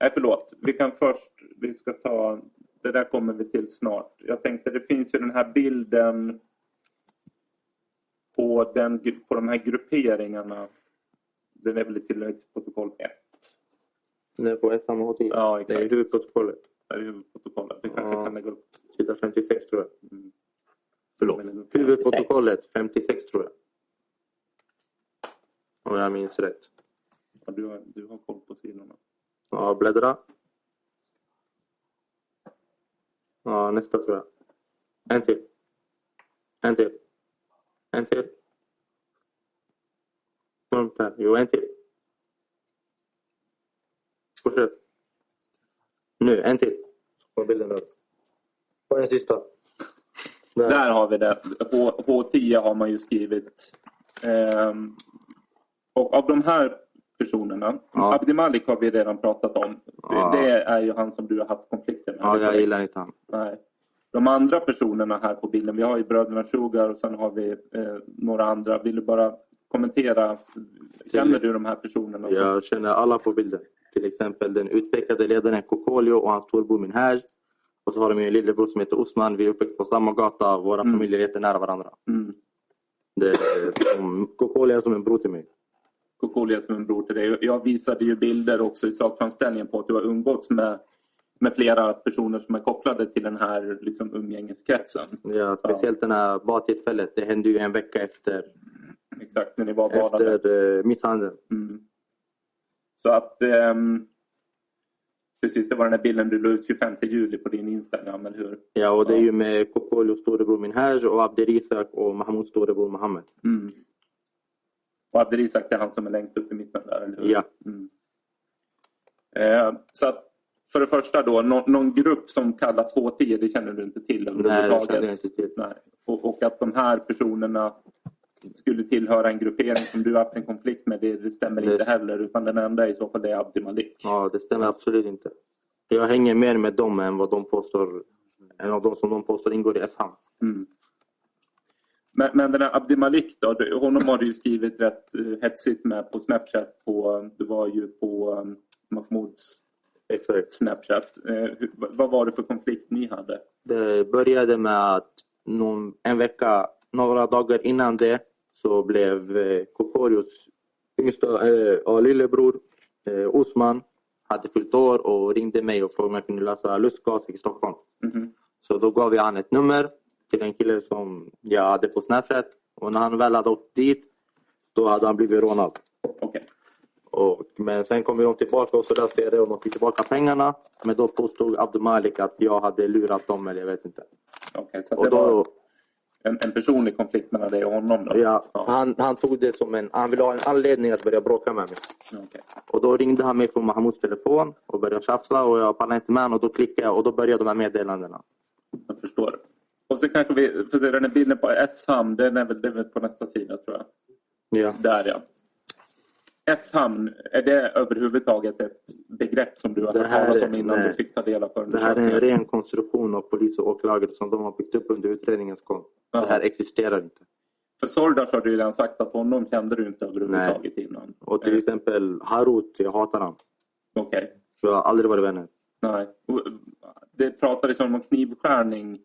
Speaker 5: Nej, förlåt. Vi kan först... Vi ska ta... Det där kommer vi till snart. Jag tänkte, det finns ju den här bilden på, den, på de här grupperingarna. Den är väl i tilläggsprotokoll 1?
Speaker 4: Det är på SMHT.
Speaker 5: Ja, exakt.
Speaker 4: Det är huvudprotokollet.
Speaker 5: Där är huvudprotokollet. Vi kanske
Speaker 4: Ja.
Speaker 5: kan lägga upp...
Speaker 4: Sida 56 tror jag.
Speaker 5: Mm.
Speaker 4: Förlåt.
Speaker 5: Men-
Speaker 4: Huvudprotokollet 56 tror jag. Om jag minns rätt.
Speaker 5: Ja, du, har, du har koll på sidorna.
Speaker 4: Ja, bläddra. Ja, nästa tror jag. En till. En till. En till. Varmt här. Jo, en till. Fortsätt. Nu, en till. Så får bilden upp. Och en sista. Där.
Speaker 5: Där har vi det. H- H10 har man ju skrivit. Ehm, och av de här personerna,
Speaker 4: Ja.
Speaker 5: Abdi Malik har vi redan pratat om.
Speaker 4: Ja.
Speaker 5: Det, det är ju han som du har haft konflikter med.
Speaker 4: Ja, jag gillar inte han.
Speaker 5: Nej. De andra personerna här på bilden, vi har ju bröderna Sugar och sen har vi eh, några andra. Vill du bara kommentera? Känner du de här personerna? som-
Speaker 4: Jag känner alla på bilden. Till exempel den utpekade ledaren Kokolio och hans storbror Minhaj. Och så har de min lillebror som heter Osman. Vi är uppväxt på samma gata. Våra
Speaker 5: Mm.
Speaker 4: familjer är jättenära varandra.
Speaker 5: Mm.
Speaker 4: Det är eh, som, Kokolio är som en bror till mig.
Speaker 5: Kokolia som en bror till dig. Jag visade ju bilder också i sakframställningen på att du har umgåtts med, med flera personer som är kopplade till den här liksom, umgängeskretsen.
Speaker 4: Ja, speciellt det här badtillfället. Det hände ju en vecka efter,
Speaker 5: Exakt när ni var badade.
Speaker 4: efter eh, misshandeln.
Speaker 5: Mm. Så att... ehm, precis, det var den här bilden du la ut 25 juli på din Instagram, eller hur?
Speaker 4: Ja, och det är
Speaker 5: Ja.
Speaker 4: ju med Kokolios storebror Minhaj och Abder Isak och Mahmouds storebror Mohammed.
Speaker 5: Mm. Och Abderisak, det är han som är längst upp i mitten där, eller hur?
Speaker 4: Ja.
Speaker 5: Mm. Eh, så att, för det första då, nå- någon grupp som kallas H10, det känner du inte till
Speaker 4: Nej, det
Speaker 5: överhuvudtaget?
Speaker 4: kände jag inte till.
Speaker 5: Nej. Och, och att de här personerna skulle tillhöra en gruppering som du haft en konflikt med, det, det stämmer
Speaker 4: Det-
Speaker 5: inte heller. Utan den enda i så fall är Abdi Malik.
Speaker 4: Ja, det stämmer absolut inte. Jag hänger mer med dem än vad de påstår, än av de som de påstår ingår i Esham.
Speaker 5: Mm. Men, men den här Abdi Malik då, det- honom har du ju skrivit rätt eh, hetsigt med på Snapchat. På, det var ju på um, Mahmouds
Speaker 4: Exakt.
Speaker 5: Snapchat. Eh, hur, vad var det för konflikt ni hade?
Speaker 4: Det började med att någon, en vecka, några dagar innan det så blev eh, Kokorios yngsta eh, ja, lillebror eh, Osman hade fyllt år och ringde mig och frågade om jag kunde lösa lustgas i Stockholm.
Speaker 5: Mhm.
Speaker 4: Så då gav jag han ett nummer till en kille som jag hade på Snapchat och när han väl hade åkt dit då hade han blivit rånad.
Speaker 5: Okej.
Speaker 4: Och, men sen kom de tillbaka och så löste jag det och de fick tillbaka pengarna. Men då påstod Abdelmalik att jag hade lurat dem eller jag vet inte.
Speaker 5: Okej, Så att
Speaker 4: Och
Speaker 5: det
Speaker 4: då,
Speaker 5: var en, en personlig konflikt mellan dig och honom? Då.
Speaker 4: ja, han, han tog det som en... Han ville ha en anledning att börja bråka med mig.
Speaker 5: Okej.
Speaker 4: Och då ringde han mig från Mahmouds telefon och började tjafsa och jag pallade inte med honom och då klickade jag och då började de här meddelandena.
Speaker 5: Jag förstår. Och så kanske vi, för den här bilden på S-hamn, den är väl den är väl på nästa sida tror jag.
Speaker 4: Ja.
Speaker 5: Där ja. S-hamn, är det överhuvudtaget ett begrepp som du har
Speaker 4: Det
Speaker 5: hört
Speaker 4: här
Speaker 5: talas
Speaker 4: är-
Speaker 5: om innan
Speaker 4: nej.
Speaker 5: du fick ta del av
Speaker 4: Det här är en
Speaker 5: förundersökningen?
Speaker 4: ren konstruktion av polis och åklagare som de har byggt upp under utredningens gång. Det här
Speaker 5: Ja.
Speaker 4: existerar inte.
Speaker 5: För Sordas har du ju redan sagt att honom kände du inte överhuvudtaget innan.
Speaker 4: Och till
Speaker 5: Eh,
Speaker 4: exempel Harut, jag hatar honom.
Speaker 5: Okej.
Speaker 4: Jag har aldrig varit vänner.
Speaker 5: Nej. Och, eh, Det pratades om någon knivskärning.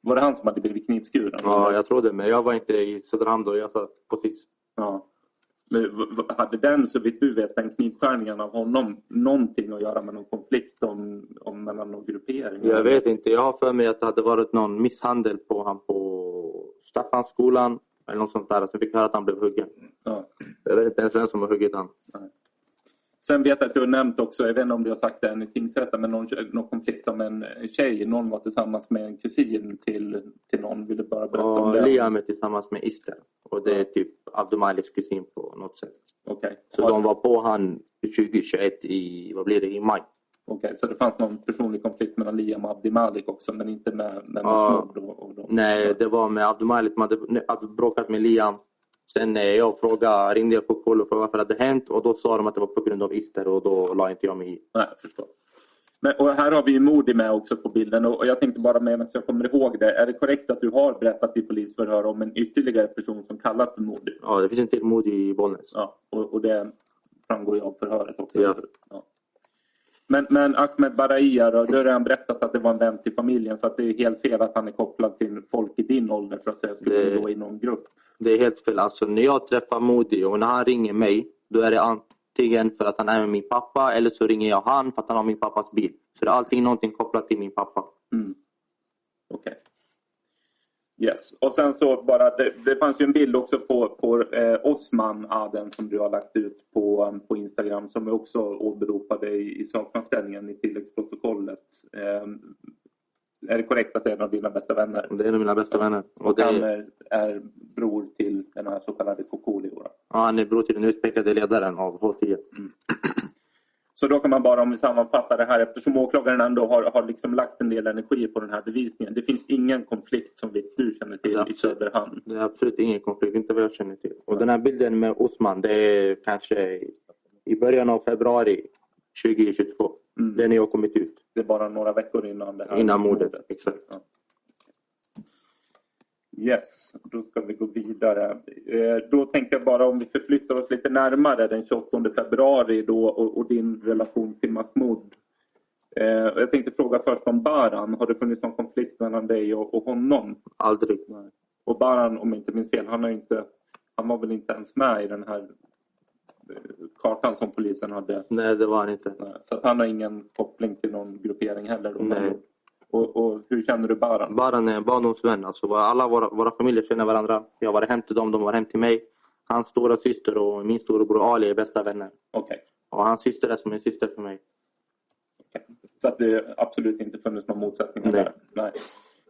Speaker 5: Var det han som hade blivit knivskuren?
Speaker 4: Ja, jag tror det. Men jag var inte i Söderhamn då. Jag satt på SIS.
Speaker 5: Ja. Men v- v- hade den, så vitt du vet, den knivskärningen av honom någonting att göra med någon konflikt om, om mellan någon gruppering?
Speaker 4: Jag vet inte. Jag har för mig att det hade varit någon misshandel på han på Staffansskolan. Eller något sånt där. Så vi fick höra att han blev huggen.
Speaker 5: Ja.
Speaker 4: Jag vet inte ens vem som har huggit han.
Speaker 5: Sen vet jag att du har nämnt också, jag vet inte om du har sagt det än i tingsrätten, men någon, någon konflikt om en tjej. Någon var tillsammans med en kusin till, till någon. Vill du bara berätta om
Speaker 4: Och
Speaker 5: det?
Speaker 4: Liam är tillsammans med Ister. Och det är typ Abdul Maliks kusin på något sätt.
Speaker 5: Okej.
Speaker 4: Så
Speaker 5: Har-
Speaker 4: de var på han 2021 i, vad blir det, i maj.
Speaker 5: Okej, så det fanns någon personlig konflikt mellan Liam och Abdi Malik också men inte med, med
Speaker 4: Ja.
Speaker 5: Mahmoud och, och dem?
Speaker 4: Nej, det var med Abdumalik. Man hade- hade bråkat med Liam. Sen eh, jag frågade, ringde jag Kokolo och frågade varför det hade hänt. Och då sa de att det var på grund av Ister och då la inte jag mig i.
Speaker 5: Nej, jag förstår. Men, och här har vi ju Modi med också på bilden och, och jag tänkte bara medan jag kommer ihåg det. Är det korrekt att du har berättat i polisförhör om en ytterligare person som kallas för Modi?
Speaker 4: Ja, det finns en till mod i Bollnäs.
Speaker 5: Ja, och, och det framgår ju av förhöret också.
Speaker 4: Ja.
Speaker 5: Ja. Men, men Ahmed Barahia då, du har redan berättat att det var en vän till familjen så att det är helt fel att han är kopplad till folk i din ålder för att säga att skulle
Speaker 4: Det-
Speaker 5: gå i någon grupp.
Speaker 4: Det är helt fel. Alltså, när jag träffar Modi och när han ringer mig, då är det antingen för att han är med min pappa eller så ringer jag han för att han har min pappas bil. Så det är alltid någonting kopplat till min pappa.
Speaker 5: Mm. Okej. Yes. Och sen så bara, det, det fanns ju en bild också på, på eh, Osman Aden som du har lagt ut på, um, på Instagram som vi också åberopade i, i sakframställningen i tilläggsprotokollet. Ehm, är det korrekt att det är en av dina bästa vänner?
Speaker 4: Det är en av mina bästa vänner. Och
Speaker 5: Och
Speaker 4: det
Speaker 5: han
Speaker 4: är,
Speaker 5: är, är bror till den här så kallade Kokolio. då.
Speaker 4: ja, han är bror till den utpekade ledaren av H10.
Speaker 5: Så då kan man bara, om vi sammanfattar det här, eftersom åklagaren ändå har, har liksom lagt en del energi på den här bevisningen. Det finns ingen konflikt som vi, du känner till i
Speaker 4: Absolut.
Speaker 5: Söderhamn.
Speaker 4: Det är absolut ingen konflikt, inte vad jag känner till. Och den här bilden med Osman, det är kanske i början av februari 2022.
Speaker 5: Mm.
Speaker 4: Det är när jag kommit ut.
Speaker 5: Det är bara några veckor innan det här
Speaker 4: Innan mordet, exakt.
Speaker 5: Ja. Yes, då ska vi gå vidare. Eh, Då tänkte jag bara om vi förflyttar oss lite närmare den 28 februari då och, och din relation till Mahmoud. Eh, och Jag tänkte fråga först om Baran. Har det funnits någon konflikt mellan dig och, och honom?
Speaker 4: Aldrig.
Speaker 5: Och Baran, om jag inte minns fel, han, har ju inte, han var väl inte ens med i den här eh, kartan som polisen hade
Speaker 4: Nej, det var han inte.
Speaker 5: Nej, Så att han har ingen koppling till någon gruppering heller? Då,
Speaker 4: Nej.
Speaker 5: Och, och hur känner du Baran?
Speaker 4: Baran är en barndomsvän. Alltså, var- alla våra, våra familjer känner varandra. Jag var hem till dem, de var hem till mig. Hans stora syster och min storebror Ali är bästa vänner.
Speaker 5: Okej.
Speaker 4: Och hans syster är som en syster för mig.
Speaker 5: Så att det absolut inte funnits någon motsättning
Speaker 4: Nej.
Speaker 5: där? Nej.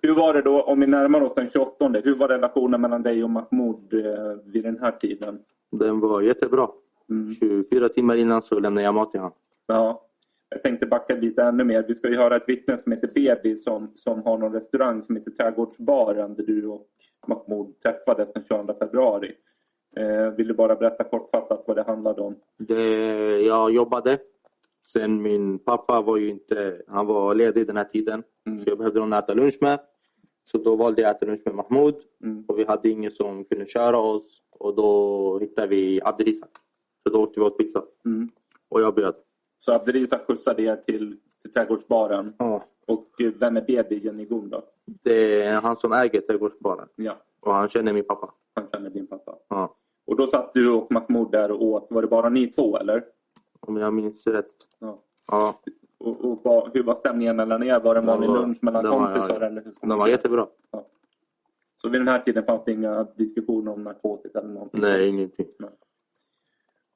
Speaker 5: Hur var det då, om vi närmar oss den 28, hur var relationen mellan dig och Mahmoud eh, vid den här tiden?
Speaker 4: Den var jättebra.
Speaker 5: Mm.
Speaker 4: 24 timmar innan så lämnade jag mat till honom.
Speaker 5: Ja. Jag tänkte backa lite ännu mer. Vi ska ju höra ett vittne som heter Bebi som, som har någon restaurang som heter Trädgårdsbaren där du och Mahmoud träffades den 22 februari. Eh, vill du bara berätta kortfattat vad det handlade om?
Speaker 4: Det, jag jobbade. Sen min pappa var ju inte, han var ledig den här tiden.
Speaker 5: Mm.
Speaker 4: Så jag behövde någon att äta lunch med. Så då valde jag att äta lunch med Mahmoud.
Speaker 5: Mm.
Speaker 4: Och vi hade ingen som kunde köra oss. Och då hittade vi Abdelisa. Så då åkte vi åt pizza.
Speaker 5: Mm.
Speaker 4: Och jag bjöd.
Speaker 5: Så Abdelisa skjutsade er till, till trädgårdsbaren.
Speaker 4: Ja.
Speaker 5: Och eh, vem är Bedigen i Gun då?
Speaker 4: Det är han som äger trädgårdsbaren.
Speaker 5: Ja,
Speaker 4: Och han känner min pappa.
Speaker 5: han känner din pappa.
Speaker 4: Ja.
Speaker 5: Och då satt du och Mahmoud där och åt. Var det bara ni två eller?
Speaker 4: Om jag minns rätt.
Speaker 5: Ja.
Speaker 4: Ja.
Speaker 5: Och, och vad, hur var stämningen mellan er? Var det en
Speaker 4: Det
Speaker 5: vanlig
Speaker 4: var-
Speaker 5: lunch mellan
Speaker 4: det var-
Speaker 5: kompisar? eller hur ska
Speaker 4: De
Speaker 5: man
Speaker 4: var
Speaker 5: säga?
Speaker 4: jättebra.
Speaker 5: Så vid den här tiden fanns det inga diskussioner om narkotika eller någonting
Speaker 4: Nej,
Speaker 5: sånt?
Speaker 4: ingenting.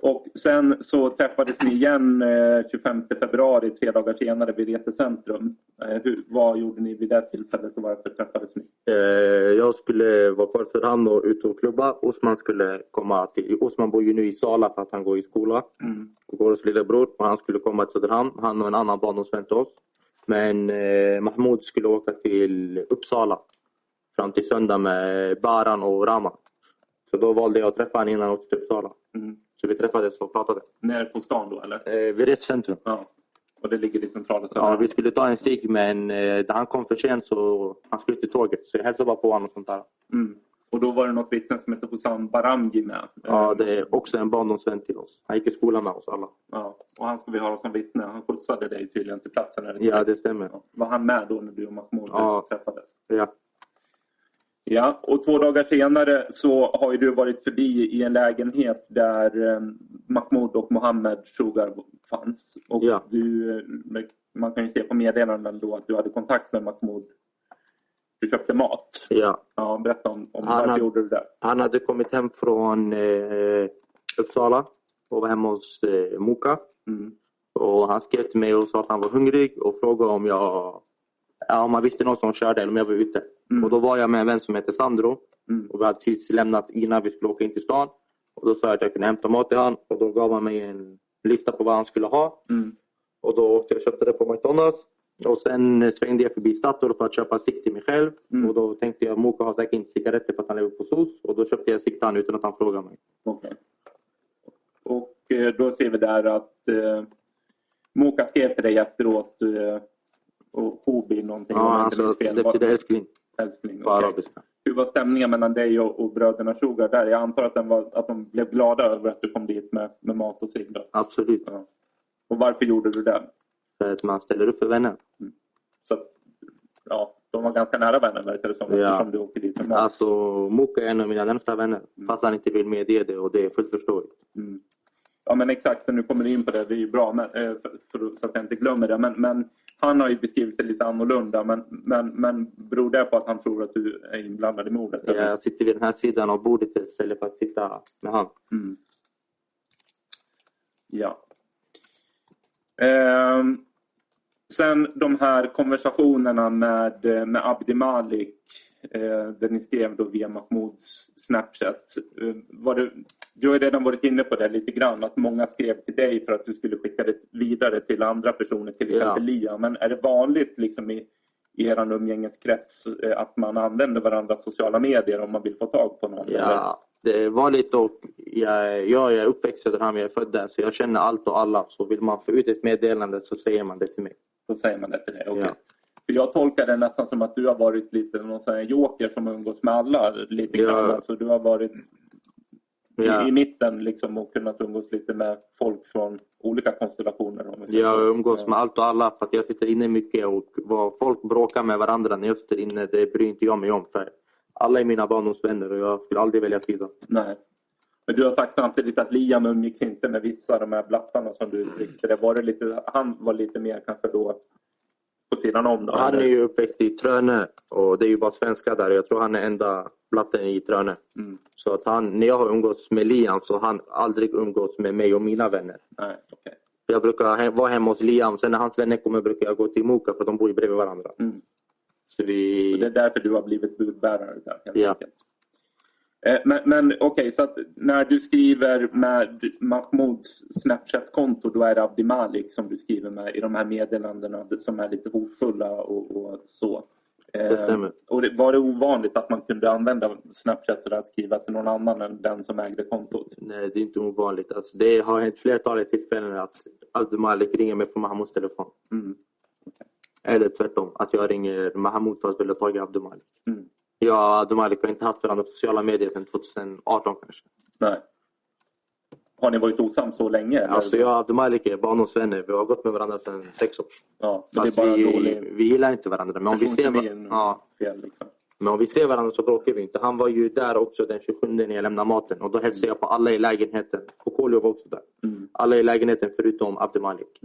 Speaker 5: Och sen så träffades ni igen eh, 25 februari, tre dagar senare vid Resecentrum. Eh, hur, vad gjorde ni vid det tillfället och varför träffades ni?
Speaker 4: Eh, jag skulle vara kvar för hand och ut och klubba. Osman skulle komma till... Osman bor ju nu i Sala för att han går i skola.
Speaker 5: Mm.
Speaker 4: Kokoros lillebror. Och han skulle komma till Söderhamn. Han och en annan barndomsvän till oss. Men eh, Mahmoud skulle åka till Uppsala. Fram till söndag med Baran och Rama. Så då valde jag att träffa honom innan han åkte till Uppsala.
Speaker 5: Mm.
Speaker 4: Så vi träffades och pratade.
Speaker 5: Nere på stan då eller?
Speaker 4: Eh, vid rättscentrum.
Speaker 5: Ja. Och det ligger i centrala
Speaker 4: Ja,
Speaker 5: Söderhamn?
Speaker 4: vi skulle ta en cigg men eh, han kom för sent så han skulle till tåget. Så jag hälsade bara på honom och sånt där.
Speaker 5: Mm. Och då var det något vittne som hette Hossam Baramji med.
Speaker 4: Ja,
Speaker 5: Eh,
Speaker 4: det är också en barndomsvän till oss. Han gick i skolan med oss alla.
Speaker 5: ja. Och han ska vi höra som vittne. Han skjutsade dig tydligen till platsen. Eller?
Speaker 4: Ja, det stämmer.
Speaker 5: Ja. Var han med då när du och Mahmoud
Speaker 4: Ja.
Speaker 5: träffades?
Speaker 4: Ja.
Speaker 5: Ja, och två dagar senare så har ju du varit förbi i en lägenhet där eh, Mahmoud och Mohammed Sugar fanns. Och
Speaker 4: Ja.
Speaker 5: du, eh, man kan ju se på meddelanden då att du hade kontakt med Mahmoud. Du köpte mat.
Speaker 4: ja.
Speaker 5: Ja, berätta om, om
Speaker 4: Han
Speaker 5: varför
Speaker 4: hade-
Speaker 5: gjorde du det?
Speaker 4: Han hade kommit hem från eh, Uppsala och var hemma hos eh, Moka.
Speaker 5: Mm.
Speaker 4: Och han skrev till mig och sa att han var hungrig och frågade om jag ja, om han visste någon som körde eller om jag var ute.
Speaker 5: Mm.
Speaker 4: Och då var jag med en vän som heter Sandro.
Speaker 5: Mm.
Speaker 4: Och vi hade precis lämnat innan vi skulle åka in till stan. Och då sa jag att jag kunde hämta mat till han och då gav han mig en lista på vad han skulle ha.
Speaker 5: Mm.
Speaker 4: Och då åkte jag och köpte det på McDonalds. Och sen eh, svängde jag förbi Statoil för att köpa cigg till mig själv.
Speaker 5: Mm.
Speaker 4: Och då tänkte jag, Moka har säkert inte cigaretter för att han lever på SOS. Och då köpte jag cigg till honom utan att han frågade mig.
Speaker 5: Okej. Och eh, då ser vi där att eh, Moka skrev till dig efteråt eh, och Hobi någonting.
Speaker 4: Ja,
Speaker 5: om jag
Speaker 4: han
Speaker 5: inte
Speaker 4: sa,
Speaker 5: minns fel.
Speaker 4: det betyder älskling
Speaker 5: Älskling,
Speaker 4: på
Speaker 5: okej.
Speaker 4: arabiska.
Speaker 5: Hur var stämningen mellan dig och, och bröderna Sugar där? Jag antar att, den var, att de blev glada över att du kom dit med, med mat och cigg. då.
Speaker 4: Absolut.
Speaker 5: Ja. Och varför gjorde du det? Mm.
Speaker 4: För att man ställer upp för vänner.
Speaker 5: Så att, ja, de var ganska nära vänner verkar det som
Speaker 4: Ja. Mm.
Speaker 5: eftersom du åkte dit med mat.
Speaker 4: Alltså, Moka är en av mina närmsta vänner. Fast han inte vill medge det och det är fullt förståeligt.
Speaker 5: Mm. Ja men exakt, när du kommer in på det, det är ju bra men, eh, för, för, så att jag inte glömmer det. Men, men han har ju beskrivit det lite annorlunda. Men, men, men beror det på att han tror att du är inblandad i mordet? eller?
Speaker 4: Jag sitter vid den här sidan av bordet istället för att sitta med han.
Speaker 5: Mm. Ja. Ehm, sen de här konversationerna med, eh, med Abdi Malik eh, där ni skrev då via Mahmouds Snapchat. Eh, var det, du har ju redan varit inne på det lite grann att många skrev till dig för att du skulle skicka det vidare till andra personer, till exempel Lia. Men är det vanligt liksom i, i er umgängeskrets eh, att man använder varandras sociala medier om man vill få tag på någon? eller?
Speaker 4: Ja, det är vanligt och jag, jag är uppväxt i Söderhamn, jag är född där så jag känner allt och alla. Så vill man få ut ett meddelande så säger man det till mig.
Speaker 5: Då säger man det till dig. okej.
Speaker 4: Ja.
Speaker 5: För jag tolkar det nästan som att du har varit lite någon sån här joker som har umgåtts med alla. Lite
Speaker 4: Ja.
Speaker 5: grann. Alltså, du har varit i,
Speaker 4: Ja.
Speaker 5: i mitten liksom, och kunnat umgås lite med folk från olika konstellationer. Om vi säger
Speaker 4: Jag
Speaker 5: så.
Speaker 4: umgås
Speaker 5: Ja.
Speaker 4: med allt och alla för att jag sitter inne mycket och vad folk bråkar med varandra när jag sitter inne det bryr inte jag mig om. För alla är mina barndomsvänner och jag skulle aldrig välja sida.
Speaker 5: Nej. Men du har sagt samtidigt att Liam umgicks inte med vissa av de här blattarna som du uttryckte det. Var det lite, han var lite mer kanske då på sidan om? Då,
Speaker 4: Han är
Speaker 5: eller?
Speaker 4: ju uppväxt i Trönö och det är ju bara svenskar där. Jag tror han är enda blatten i Trönö.
Speaker 5: Mm.
Speaker 4: Så att han, när jag har umgåtts med Liam så har han aldrig umgåtts med mig och mina vänner.
Speaker 5: Nej, okej.
Speaker 4: Jag brukar he- vara hemma hos Liam, sen när hans vänner kommer brukar jag gå till Moka för de bor ju bredvid varandra.
Speaker 5: Mm.
Speaker 4: Så vi...
Speaker 5: Så det är därför du har blivit budbärare där helt
Speaker 4: Ja.
Speaker 5: enkelt. Eh, Men, men okej, så att när du skriver med Mahmouds Snapchat-konto då är det Abdi Malik som du skriver med i de här meddelandena som är lite hotfulla och, och så. Eh,
Speaker 4: Det stämmer.
Speaker 5: Och det, var det ovanligt att man kunde använda Snapchat för att skriva till någon annan än den som ägde kontot?
Speaker 4: Nej, det är inte ovanligt. Alltså, det har hänt flertalet tillfällen att Azdi Malik ringer mig från Mahmouds telefon.
Speaker 5: Mm.
Speaker 4: Eller tvärtom, att jag ringer Mahmoud för att vilja ha tag i Abdul Malik.
Speaker 5: Mm.
Speaker 4: Jag och Abdul Malik har inte haft varandra på sociala medier sedan 2018 kanske.
Speaker 5: Nej. Har ni varit osams så länge? eller?
Speaker 4: Alltså jag och Abdul Malik är barndomsvänner. Vi har gått med varandra sedan sex år.
Speaker 5: ja, men det är
Speaker 4: Fast
Speaker 5: bara
Speaker 4: vi,
Speaker 5: dålig
Speaker 4: vi gillar inte varandra. Men om vi, ser va-
Speaker 5: personkemin och
Speaker 4: ja,
Speaker 5: fel. Liksom.
Speaker 4: men om vi ser varandra så bråkar vi inte. Han var ju där också den 27 när jag lämnade maten. Och då hälsade jag på alla i lägenheten. Kokolio var också där.
Speaker 5: Mm.
Speaker 4: Alla i lägenheten förutom Abdul Malik.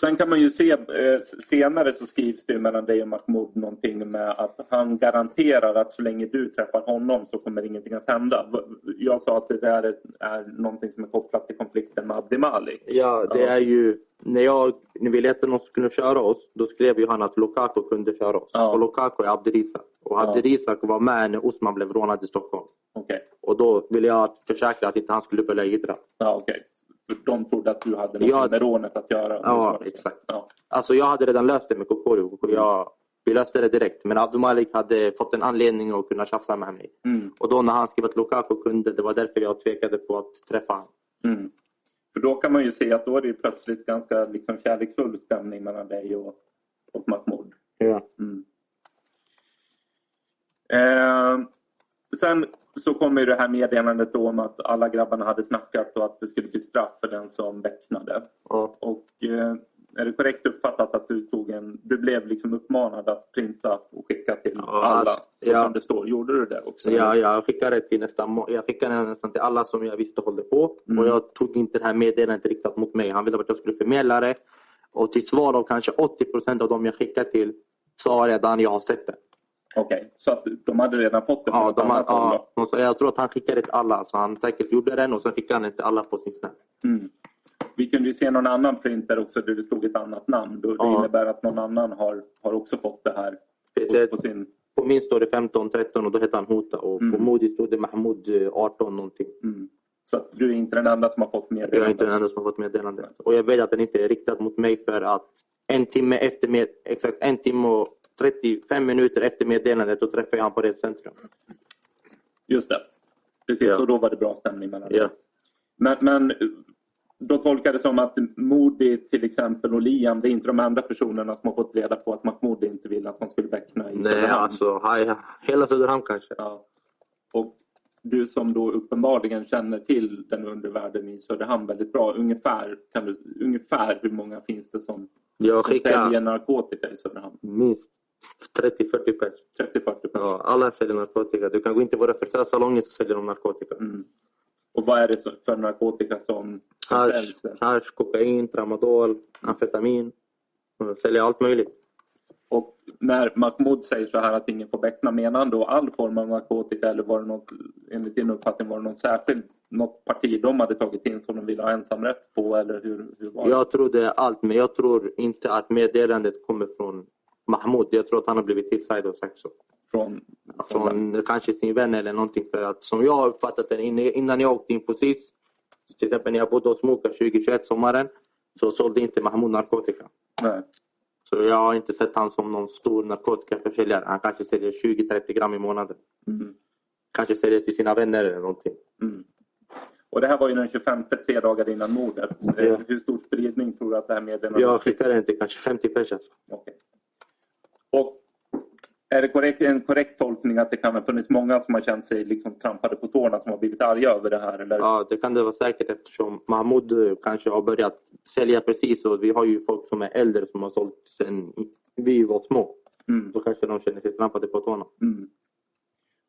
Speaker 5: Sen kan man ju se, eh, senare så skrivs det ju mellan dig och Mahmoud någonting med att han garanterar att så länge du träffar honom så kommer ingenting att hända. V- Jag sa att det där är, är någonting som är kopplat till konflikten med Abdi Malik.
Speaker 4: Ja, det
Speaker 5: Ja.
Speaker 4: är ju... När jag när vi letade någon som kunde köra oss, då skrev ju han att Lukaku kunde köra oss.
Speaker 5: Ja.
Speaker 4: Och Lukaku är Abdirisak. Och
Speaker 5: Ja.
Speaker 4: Abdirisak var med när Osman blev rånad i Stockholm.
Speaker 5: Okej,
Speaker 4: Och då ville jag försäkra att inte han skulle börja jiddra.
Speaker 5: ja, okej. För de trodde att du hade något
Speaker 4: Ja,
Speaker 5: med rånet att göra. om
Speaker 4: ja,
Speaker 5: det svarade så.
Speaker 4: exakt.
Speaker 5: Ja.
Speaker 4: Alltså jag hade redan löst det med Kokorio. Jag, vi löste det direkt. Men Abdul Malik hade fått en anledning att kunna tjafsa med mig.
Speaker 5: Mm,
Speaker 4: Och då när han skrev att Lukaku kunde, det var därför jag tvekade på att träffa honom.
Speaker 5: mm. För då kan man ju se att då är det ju plötsligt ganska liksom kärleksfull stämning mellan dig och, och Mahmoud.
Speaker 4: Ja.
Speaker 5: Mm. Eh, sen så kommer ju det här meddelandet då om att alla grabbarna hade snackat och att det skulle bli straff för den som väcknade.
Speaker 4: Ja.
Speaker 5: Och eh, är det korrekt uppfattat att du tog en... Du blev liksom uppmanad att printa och skicka till
Speaker 4: Ja,
Speaker 5: alla,
Speaker 4: alltså,
Speaker 5: så
Speaker 4: ja.
Speaker 5: som det står. Gjorde du det också?
Speaker 4: Ja, jag skickade till nästan, må- jag skickade den nästan till alla som jag visste håller på.
Speaker 5: Mm.
Speaker 4: Och jag tog inte det här meddelandet riktat mot mig. Han ville att jag skulle förmedla det. Och till svar av kanske 80 procent av dem jag skickade till sa redan jag har sett det.
Speaker 5: Okej, så att de hade redan fått det från
Speaker 4: Ja,
Speaker 5: något
Speaker 4: de,
Speaker 5: annat håll
Speaker 4: ja,
Speaker 5: då?
Speaker 4: de, sa- jag tror att han skickade till alla. Så han säkert gjorde den och sen skickade han den till alla på sin snap.
Speaker 5: Mm. Vi kunde ju se någon annan printer också där det stod ett annat namn. Då, Det
Speaker 4: Ja.
Speaker 5: innebär att någon annan har, har också fått det här
Speaker 4: Precis.
Speaker 5: på, på sin...
Speaker 4: På min står det 15, 13 och då hette han Hota. Och
Speaker 5: Mm.
Speaker 4: på Modi stod det Mahmoud eh, 18 någonting.
Speaker 5: Mm. Så att du är inte den enda som har fått mer.
Speaker 4: Jag är inte den enda som har fått meddelandet. Och jag vet att den inte är riktad mot mig för att en timme efter med, exakt en timme och 35 minuter efter meddelandet då träffade jag honom på resecentrum.
Speaker 5: Just det. Precis,
Speaker 4: Ja.
Speaker 5: och då var det bra stämning mellan er.
Speaker 4: Ja.
Speaker 5: Men, men då tolkar det som att Modi till exempel och Liam, det är inte de andra personerna som har fått reda på att Mahmoud inte ville att man skulle väckna i
Speaker 4: Nej,
Speaker 5: Söderhamn.
Speaker 4: alltså hej, hela Söderhamn kanske.
Speaker 5: Ja. Och du som då uppenbarligen känner till den undervärlden i Söderhamn väldigt bra. Ungefär, kan du, ungefär hur många finns det som,
Speaker 4: Jag
Speaker 5: som säljer
Speaker 4: skickar
Speaker 5: narkotika i Söderhamn?
Speaker 4: minst 30-40 pers.
Speaker 5: 30-40 personer.
Speaker 4: Ja, alla säljer narkotika. Du kan gå in till våra fritörsalonger så säljer de narkotika.
Speaker 5: Mm. Och vad är det så- för narkotika som, som
Speaker 4: Hasch,
Speaker 5: säljs? där?
Speaker 4: hasch, kokain, tramadol, amfetamin. De säljer allt möjligt.
Speaker 5: Och när Mahmoud säger så här att ingen får beckna, menar han då all form av narkotika eller var det något, enligt din uppfattning, var det någon särskild, något parti de hade tagit in som de ville ha ensamrätt på eller hur, hur var det?
Speaker 4: Jag tror det är allt, men jag tror inte att meddelandet kommer från Mahmoud. Jag tror att han har blivit tipsad och sagt så.
Speaker 5: Från,
Speaker 4: Från kanske sin vän eller någonting. För att som jag har uppfattat det inne- innan jag åkte in på SIS, till exempel när jag bodde hos Moka 2021, sommaren, så sålde inte Mahmoud narkotika.
Speaker 5: Nej.
Speaker 4: Så jag har inte sett han som någon stor narkotikaförsäljare. Han kanske säljer 20-30 gram i månaden.
Speaker 5: Mm.
Speaker 4: Kanske säljer till sina vänner eller någonting.
Speaker 5: Mm. Och det här var ju den 25, tre dagar innan mordet. Eh,
Speaker 4: Ja.
Speaker 5: Hur stor spridning tror du att det här meddelandet
Speaker 4: Jag skickar den till kanske alltså. 50 personer.
Speaker 5: Okej. Och är det korrekt, en korrekt tolkning att det kan ha funnits många som har känt sig liksom trampade på tårna som har blivit arga över det här? Eller?
Speaker 4: Ja, det kan det vara säkert eftersom Mahmoud eh, kanske har börjat sälja precis och vi har ju folk som är äldre som har sålt sen vi var små.
Speaker 5: Mm.
Speaker 4: Då kanske de känner sig trampade på tårna.
Speaker 5: Mm.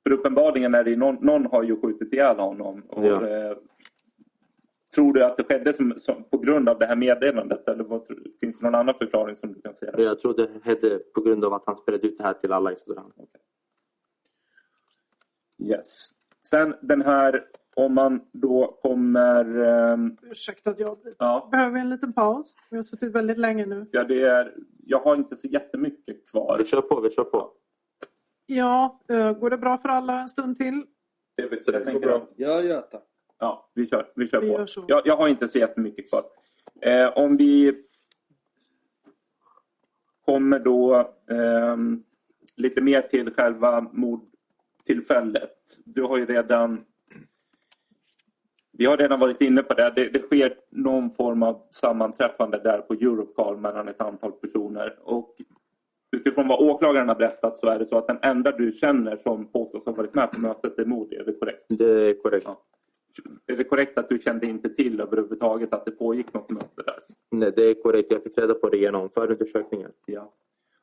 Speaker 5: För uppenbarligen är det ju någon, någon har ju skjutit ihjäl honom. Och,
Speaker 4: Ja.
Speaker 5: eh, tror du att det skedde som, som, på grund av det här meddelandet? Eller vad, tror- finns det någon annan förklaring som du kan se?
Speaker 4: Jag tror det hände på grund av att han spelade ut det här till alla i Söderhamn.
Speaker 5: Yes. Sen den här, om man då kommer... ehm,
Speaker 2: Ursäkta att jag avbryter.
Speaker 5: ja,
Speaker 2: Behöver vi en liten paus? Vi har suttit väldigt länge nu.
Speaker 5: Ja, det är, jag har inte så jättemycket kvar.
Speaker 4: Vi kör på, vi kör på.
Speaker 2: Ja, eh, går det bra för alla en stund till?
Speaker 5: Det är väl så jag tänker.
Speaker 8: Ja, ja tack.
Speaker 5: Ja, vi kör, vi kör
Speaker 2: Vi
Speaker 5: på.
Speaker 2: gör så.
Speaker 5: Jag, jag har inte så jättemycket kvar. Eh, om vi kommer då ehm, lite mer till själva mordtillfället. Du har ju redan vi har redan varit inne på det. det. Det sker någon form av sammanträffande där på Europcar mellan ett antal personer. Och utifrån vad åklagaren har berättat så är det så att den enda du känner som påstås ha varit med på mötet är Modi. Är det korrekt?
Speaker 4: Det är korrekt.
Speaker 5: Ja. Är det korrekt att du kände inte till överhuvudtaget att det pågick något möte där?
Speaker 4: Nej, det är korrekt. Jag fick reda på det genom förundersökningen.
Speaker 5: Ja.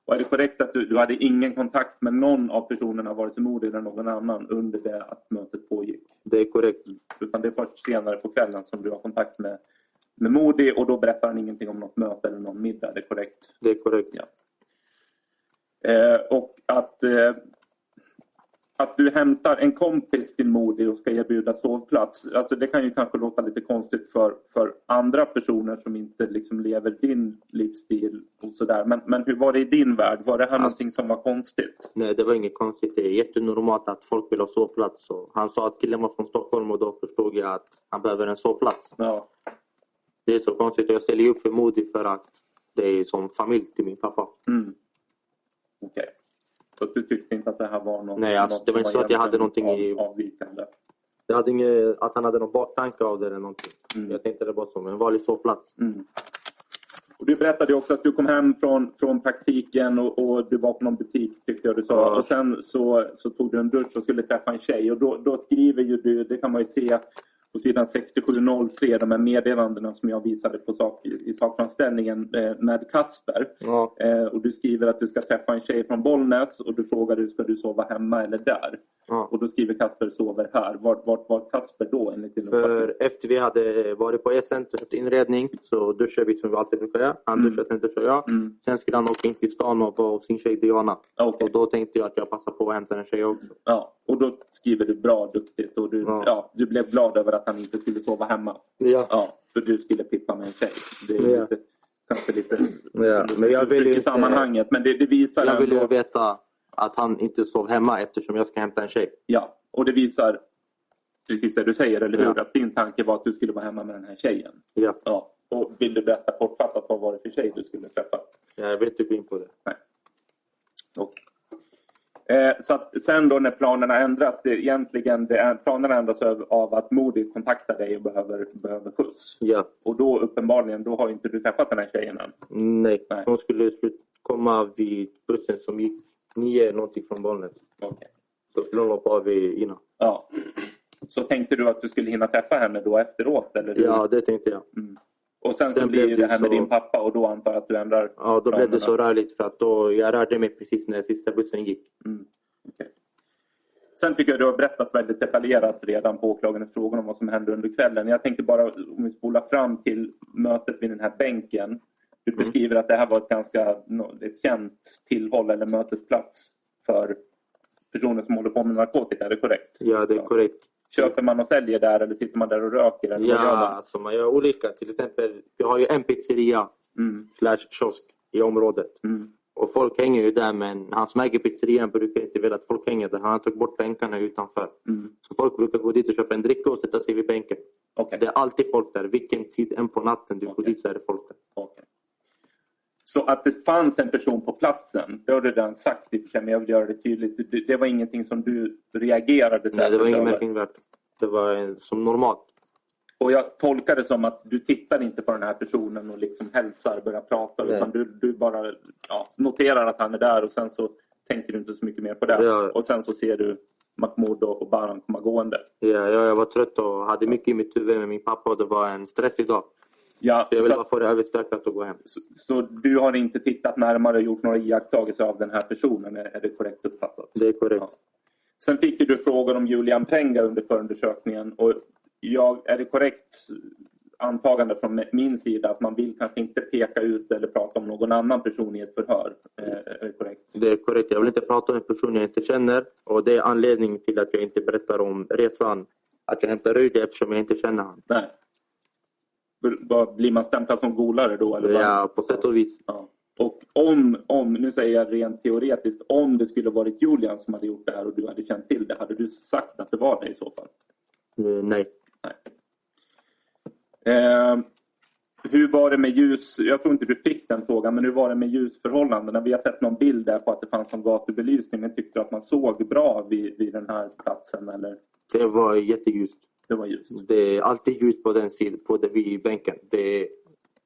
Speaker 5: Och är det korrekt att du, du hade ingen kontakt med någon av personerna, vare sig Modi eller någon annan, under det att mötet pågick?
Speaker 4: Det är korrekt.
Speaker 5: Utan det är först senare på kvällen som du har kontakt med, med Modi och då berättar han ingenting om något möte eller någon middag. Är det korrekt?
Speaker 4: Det är korrekt.
Speaker 5: Ja. Eh, och att, eh, att du hämtar en kompis till Modi och ska erbjuda sovplats. Alltså det kan ju kanske låta lite konstigt för, för andra personer som inte liksom lever din livsstil. och sådär. Men, men hur var det i din värld? Var det här någonting som var konstigt?
Speaker 4: Nej, det var inget konstigt. Det är jättenormalt att folk vill ha sovplats. Så han sa att killen var från Stockholm och då förstod jag att han behöver en sovplats.
Speaker 5: Ja.
Speaker 4: Det är så konstigt. Jag ställer ju upp för Modi för att det är som familj till min pappa.
Speaker 5: Mm. Okej. Så att du tyckte inte att det här var något,
Speaker 4: Nej, alltså,
Speaker 5: något
Speaker 4: det var inte så att jag hade
Speaker 5: egentligen
Speaker 4: någonting i-
Speaker 5: av, avvikande?
Speaker 4: Jag hade inget, att han hade någon baktanke av det eller någonting.
Speaker 5: Mm.
Speaker 4: Jag tänkte det var som en vanlig sovplats.
Speaker 5: Mm. Och du berättade ju också att du kom hem från, från praktiken och, och du var på någon butik tyckte jag du sa.
Speaker 4: Ja.
Speaker 5: Och sen så, så tog du en dusch och skulle träffa en tjej. Och då, då skriver ju du, det kan man ju se på sidan 6703, de här meddelandena som jag visade på sak, i sakframställningen eh, med Kasper.
Speaker 4: Ja.
Speaker 5: Eh, och du skriver att du ska träffa en tjej från Bollnäs och du frågar du ska du sova hemma eller där?
Speaker 4: Ja.
Speaker 5: Och då skriver Kasper sover här. Vart vart var Kasper då enligt din
Speaker 4: För efter vi hade varit på Essen och köpt inredning så duschade vi som vi alltid brukar göra. Han
Speaker 5: Mm.
Speaker 4: duschade, sen duschade jag.
Speaker 5: Mm.
Speaker 4: Sen skulle han åka in till stan och vara hos sin tjej Diana.
Speaker 5: Okej.
Speaker 4: Och då tänkte jag att jag passar på att hämta en tjej också.
Speaker 5: Ja, och då skriver du bra, duktigt och du, ja.
Speaker 4: Ja.
Speaker 5: du blev glad över att han inte skulle sova hemma.
Speaker 4: Ja.
Speaker 5: Ja, för du skulle pippa med en tjej. Det är
Speaker 4: Ja.
Speaker 5: lite, kanske lite
Speaker 4: Ja, men jag vill ju
Speaker 5: i
Speaker 4: inte-
Speaker 5: sammanhanget, men det, det visar
Speaker 4: Jag ville
Speaker 5: ändå-
Speaker 4: ju veta att han inte sov hemma eftersom jag ska hämta en tjej.
Speaker 5: Ja, och det visar precis det du säger, eller hur?
Speaker 4: Ja.
Speaker 5: Att din tanke var att du skulle vara hemma med den här tjejen.
Speaker 4: Ja.
Speaker 5: Ja. Och vill du berätta kortfattat vad var det för tjej du skulle träffa?
Speaker 4: Jag vill inte gå in på det.
Speaker 5: Och, eh, så att sen då när planerna ändras, det är egentligen det är, planerna ändras av, av att Modi kontaktar dig och behöver, behöver skjuts.
Speaker 4: Ja.
Speaker 5: Och då uppenbarligen, då har inte du träffat den här tjejen än.
Speaker 4: Nej.
Speaker 5: Nej.
Speaker 4: Hon skulle slut- komma vid bussen som gick nio någonting från Bollnäs.
Speaker 5: Okej.
Speaker 4: Då skulle hon hoppa av i- innan.
Speaker 5: Ja. Så tänkte du att du skulle hinna träffa henne då efteråt? Eller hur? Mm.
Speaker 4: Ja, det tänkte jag.
Speaker 5: och sen, så
Speaker 4: sen
Speaker 5: blir
Speaker 4: blev
Speaker 5: ju det
Speaker 4: det
Speaker 5: här med
Speaker 4: så-
Speaker 5: din pappa och då antar jag att du ändrar
Speaker 4: Ja, då blev
Speaker 5: planerna.
Speaker 4: det så rörligt för att då, jag rörde mig precis när sista bussen gick.
Speaker 5: Mm. Sen tycker jag du har berättat väldigt detaljerat redan på åklagarens frågor om vad som hände under kvällen. Jag tänkte bara om vi spolar fram till mötet vid den här bänken. Du
Speaker 4: Mm.
Speaker 5: beskriver att det här var ett ganska nå- ett känt tillhåll eller mötesplats för personer som håller på med narkotika. Är det korrekt?
Speaker 4: Ja, det är
Speaker 5: Ja.
Speaker 4: korrekt.
Speaker 5: Köper man och säljer där eller sitter man där och röker? Eller vad
Speaker 4: Ja,
Speaker 5: gör man?
Speaker 4: alltså man gör olika. Till exempel, jag har ju en pizzeria
Speaker 5: Mm,
Speaker 4: slash kiosk i området.
Speaker 5: mm,
Speaker 4: Och folk hänger ju där men han som äger pizzerian brukar inte vilja att folk hänger där. Han har tagit bort bänkarna utanför.
Speaker 5: mm.
Speaker 4: Så folk brukar gå dit och köpa en dricka och sätta sig vid bänken.
Speaker 5: Okej.
Speaker 4: Det är alltid folk där. Vilken tid än på natten du går
Speaker 5: Okej.
Speaker 4: dit så är det folk där.
Speaker 5: Okej. Så att det fanns en person på platsen, det har du redan sagt i och för sig, men jag vill göra det tydligt. Det, det var ingenting som du reagerade
Speaker 4: Nej, det var
Speaker 5: särskilt
Speaker 4: inget
Speaker 5: över.
Speaker 4: märkningsvärt. Det var eh, som normalt.
Speaker 5: Och jag tolkar det som att du tittar inte på den här personen och liksom hälsar, börjar prata.
Speaker 4: Nej.
Speaker 5: Utan du, du bara ja, noterar att han är där och sen så tänker du inte så mycket mer på det.
Speaker 4: Ja.
Speaker 5: Och sen så ser du Mahmoud och och Baran komma gående.
Speaker 4: Ja, jag, jag var trött och hade mycket i mitt huvud med min pappa och det var en stressig dag.
Speaker 5: Ja,
Speaker 4: Så jag ville
Speaker 5: så,
Speaker 4: bara få det överstökat och gå hem.
Speaker 5: så, så du har inte tittat närmare och gjort några iakttagelser av den här personen? Är är det korrekt uppfattat?
Speaker 4: Det är korrekt.
Speaker 5: Ja. Sen fick ju du frågor om Julian Penga under förundersökningen. Och jag, är det korrekt antagande från min sida att man vill kanske inte peka ut eller prata om någon annan person i ett förhör? Eh, Är det korrekt?
Speaker 4: Det är korrekt. Jag vill inte prata om en person jag inte känner. Och det är anledningen till att jag inte berättar om resan. Att jag hämtar ut det eftersom jag inte känner honom.
Speaker 5: Nej. B- vad- Blir man stämplad som golare då? Eller vad?
Speaker 4: Ja, på sätt och vis.
Speaker 5: Ja. Och om, om, nu säger jag rent teoretiskt, om det skulle varit Julian som hade gjort det här och du hade känt till det, hade du sagt att det var det i så fall?
Speaker 4: Eh, Nej.
Speaker 5: Nej. Eh, hur var det med ljus? Jag tror inte du fick den frågan, men hur var det med ljusförhållandena? Vi har sett någon bild där på att det fanns någon gatubelysning, men tyckte du att man såg bra vid, vid den här platsen? Eller?
Speaker 4: Det var jätteljust.
Speaker 5: Det var ljust.
Speaker 4: Det är alltid ljus på den sidan, på den vid bänken. Det,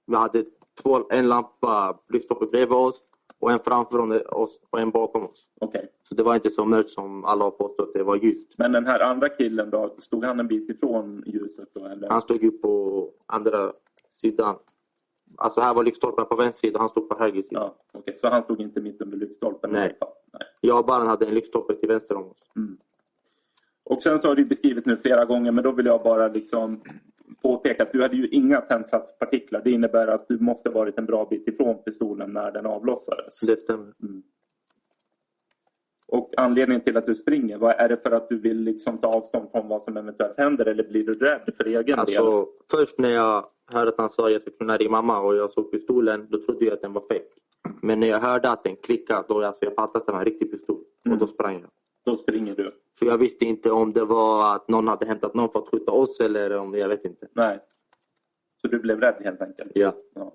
Speaker 4: vi hade två, en lampa lyft upp bredvid oss och en framför oss och en bakom oss.
Speaker 5: Okej.
Speaker 4: Så det var inte så mörkt som alla har påstått. Det var ljust.
Speaker 5: Men den här andra killen då, stod han en bit ifrån ljuset då? Eller?
Speaker 4: Han stod ju på andra sidan. Alltså här var lyktstolpen på vänster sida, han stod på höger sida.
Speaker 5: Ja, okej. Så han stod inte mitt under lyktstolpen? i
Speaker 4: Nej.
Speaker 5: alla fall? Nej.
Speaker 4: Jag och Baran hade en lyktstolpe till vänster om oss.
Speaker 5: Mm. Och sen så har du beskrivit nu flera gånger, men då vill jag bara liksom påpeka att du hade ju inga tändsatspartiklar. Det innebär att du måste ha varit en bra bit ifrån pistolen när den avlossades. Mm.
Speaker 4: Det stämmer.
Speaker 5: Och anledningen till att du springer, vad är det för att du vill liksom ta avstånd från vad som eventuellt händer eller blir du rädd för egen del?
Speaker 4: Alltså, först när jag hörde att han sa att jag skulle kunna ringa mamma och jag såg pistolen, då trodde jag att den var fake. Men när jag hörde att den klickade, då alltså jag fattade att det var en riktig pistol.
Speaker 5: Mm.
Speaker 4: Och då sprang jag.
Speaker 5: Då springer du.
Speaker 4: För jag visste inte om det var att någon hade hämtat någon för att skjuta oss eller om, jag vet inte.
Speaker 5: Nej. Så du blev rädd helt enkelt?
Speaker 4: Ja.
Speaker 5: Ja.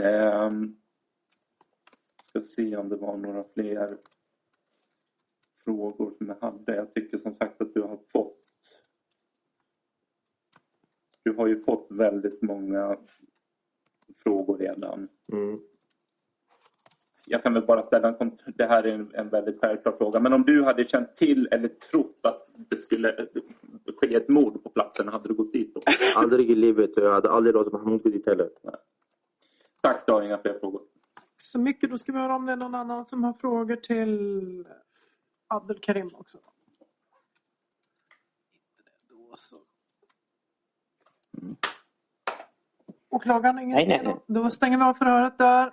Speaker 5: Ehm, ska se om det var några fler frågor som jag hade. Jag tycker som sagt att du har fått du har ju fått väldigt många frågor redan.
Speaker 4: Mm.
Speaker 5: Jag kan väl bara ställa en kont- Det här är en, en väldigt självklar fråga. Men om du hade känt till eller trott att det skulle ske ett mord på platsen, hade du gått dit då?
Speaker 4: Aldrig i livet. och Jag hade aldrig låtit Mahmoud gå dit heller.
Speaker 5: Tack, du har inga fler frågor.
Speaker 2: Så mycket. Då ska vi höra om det är någon annan som har frågor till Abdelkarim också. Inte det då så. Åklagaren, har inget
Speaker 3: Nej, nej,
Speaker 2: mer då? Då stänger vi av förhöret där.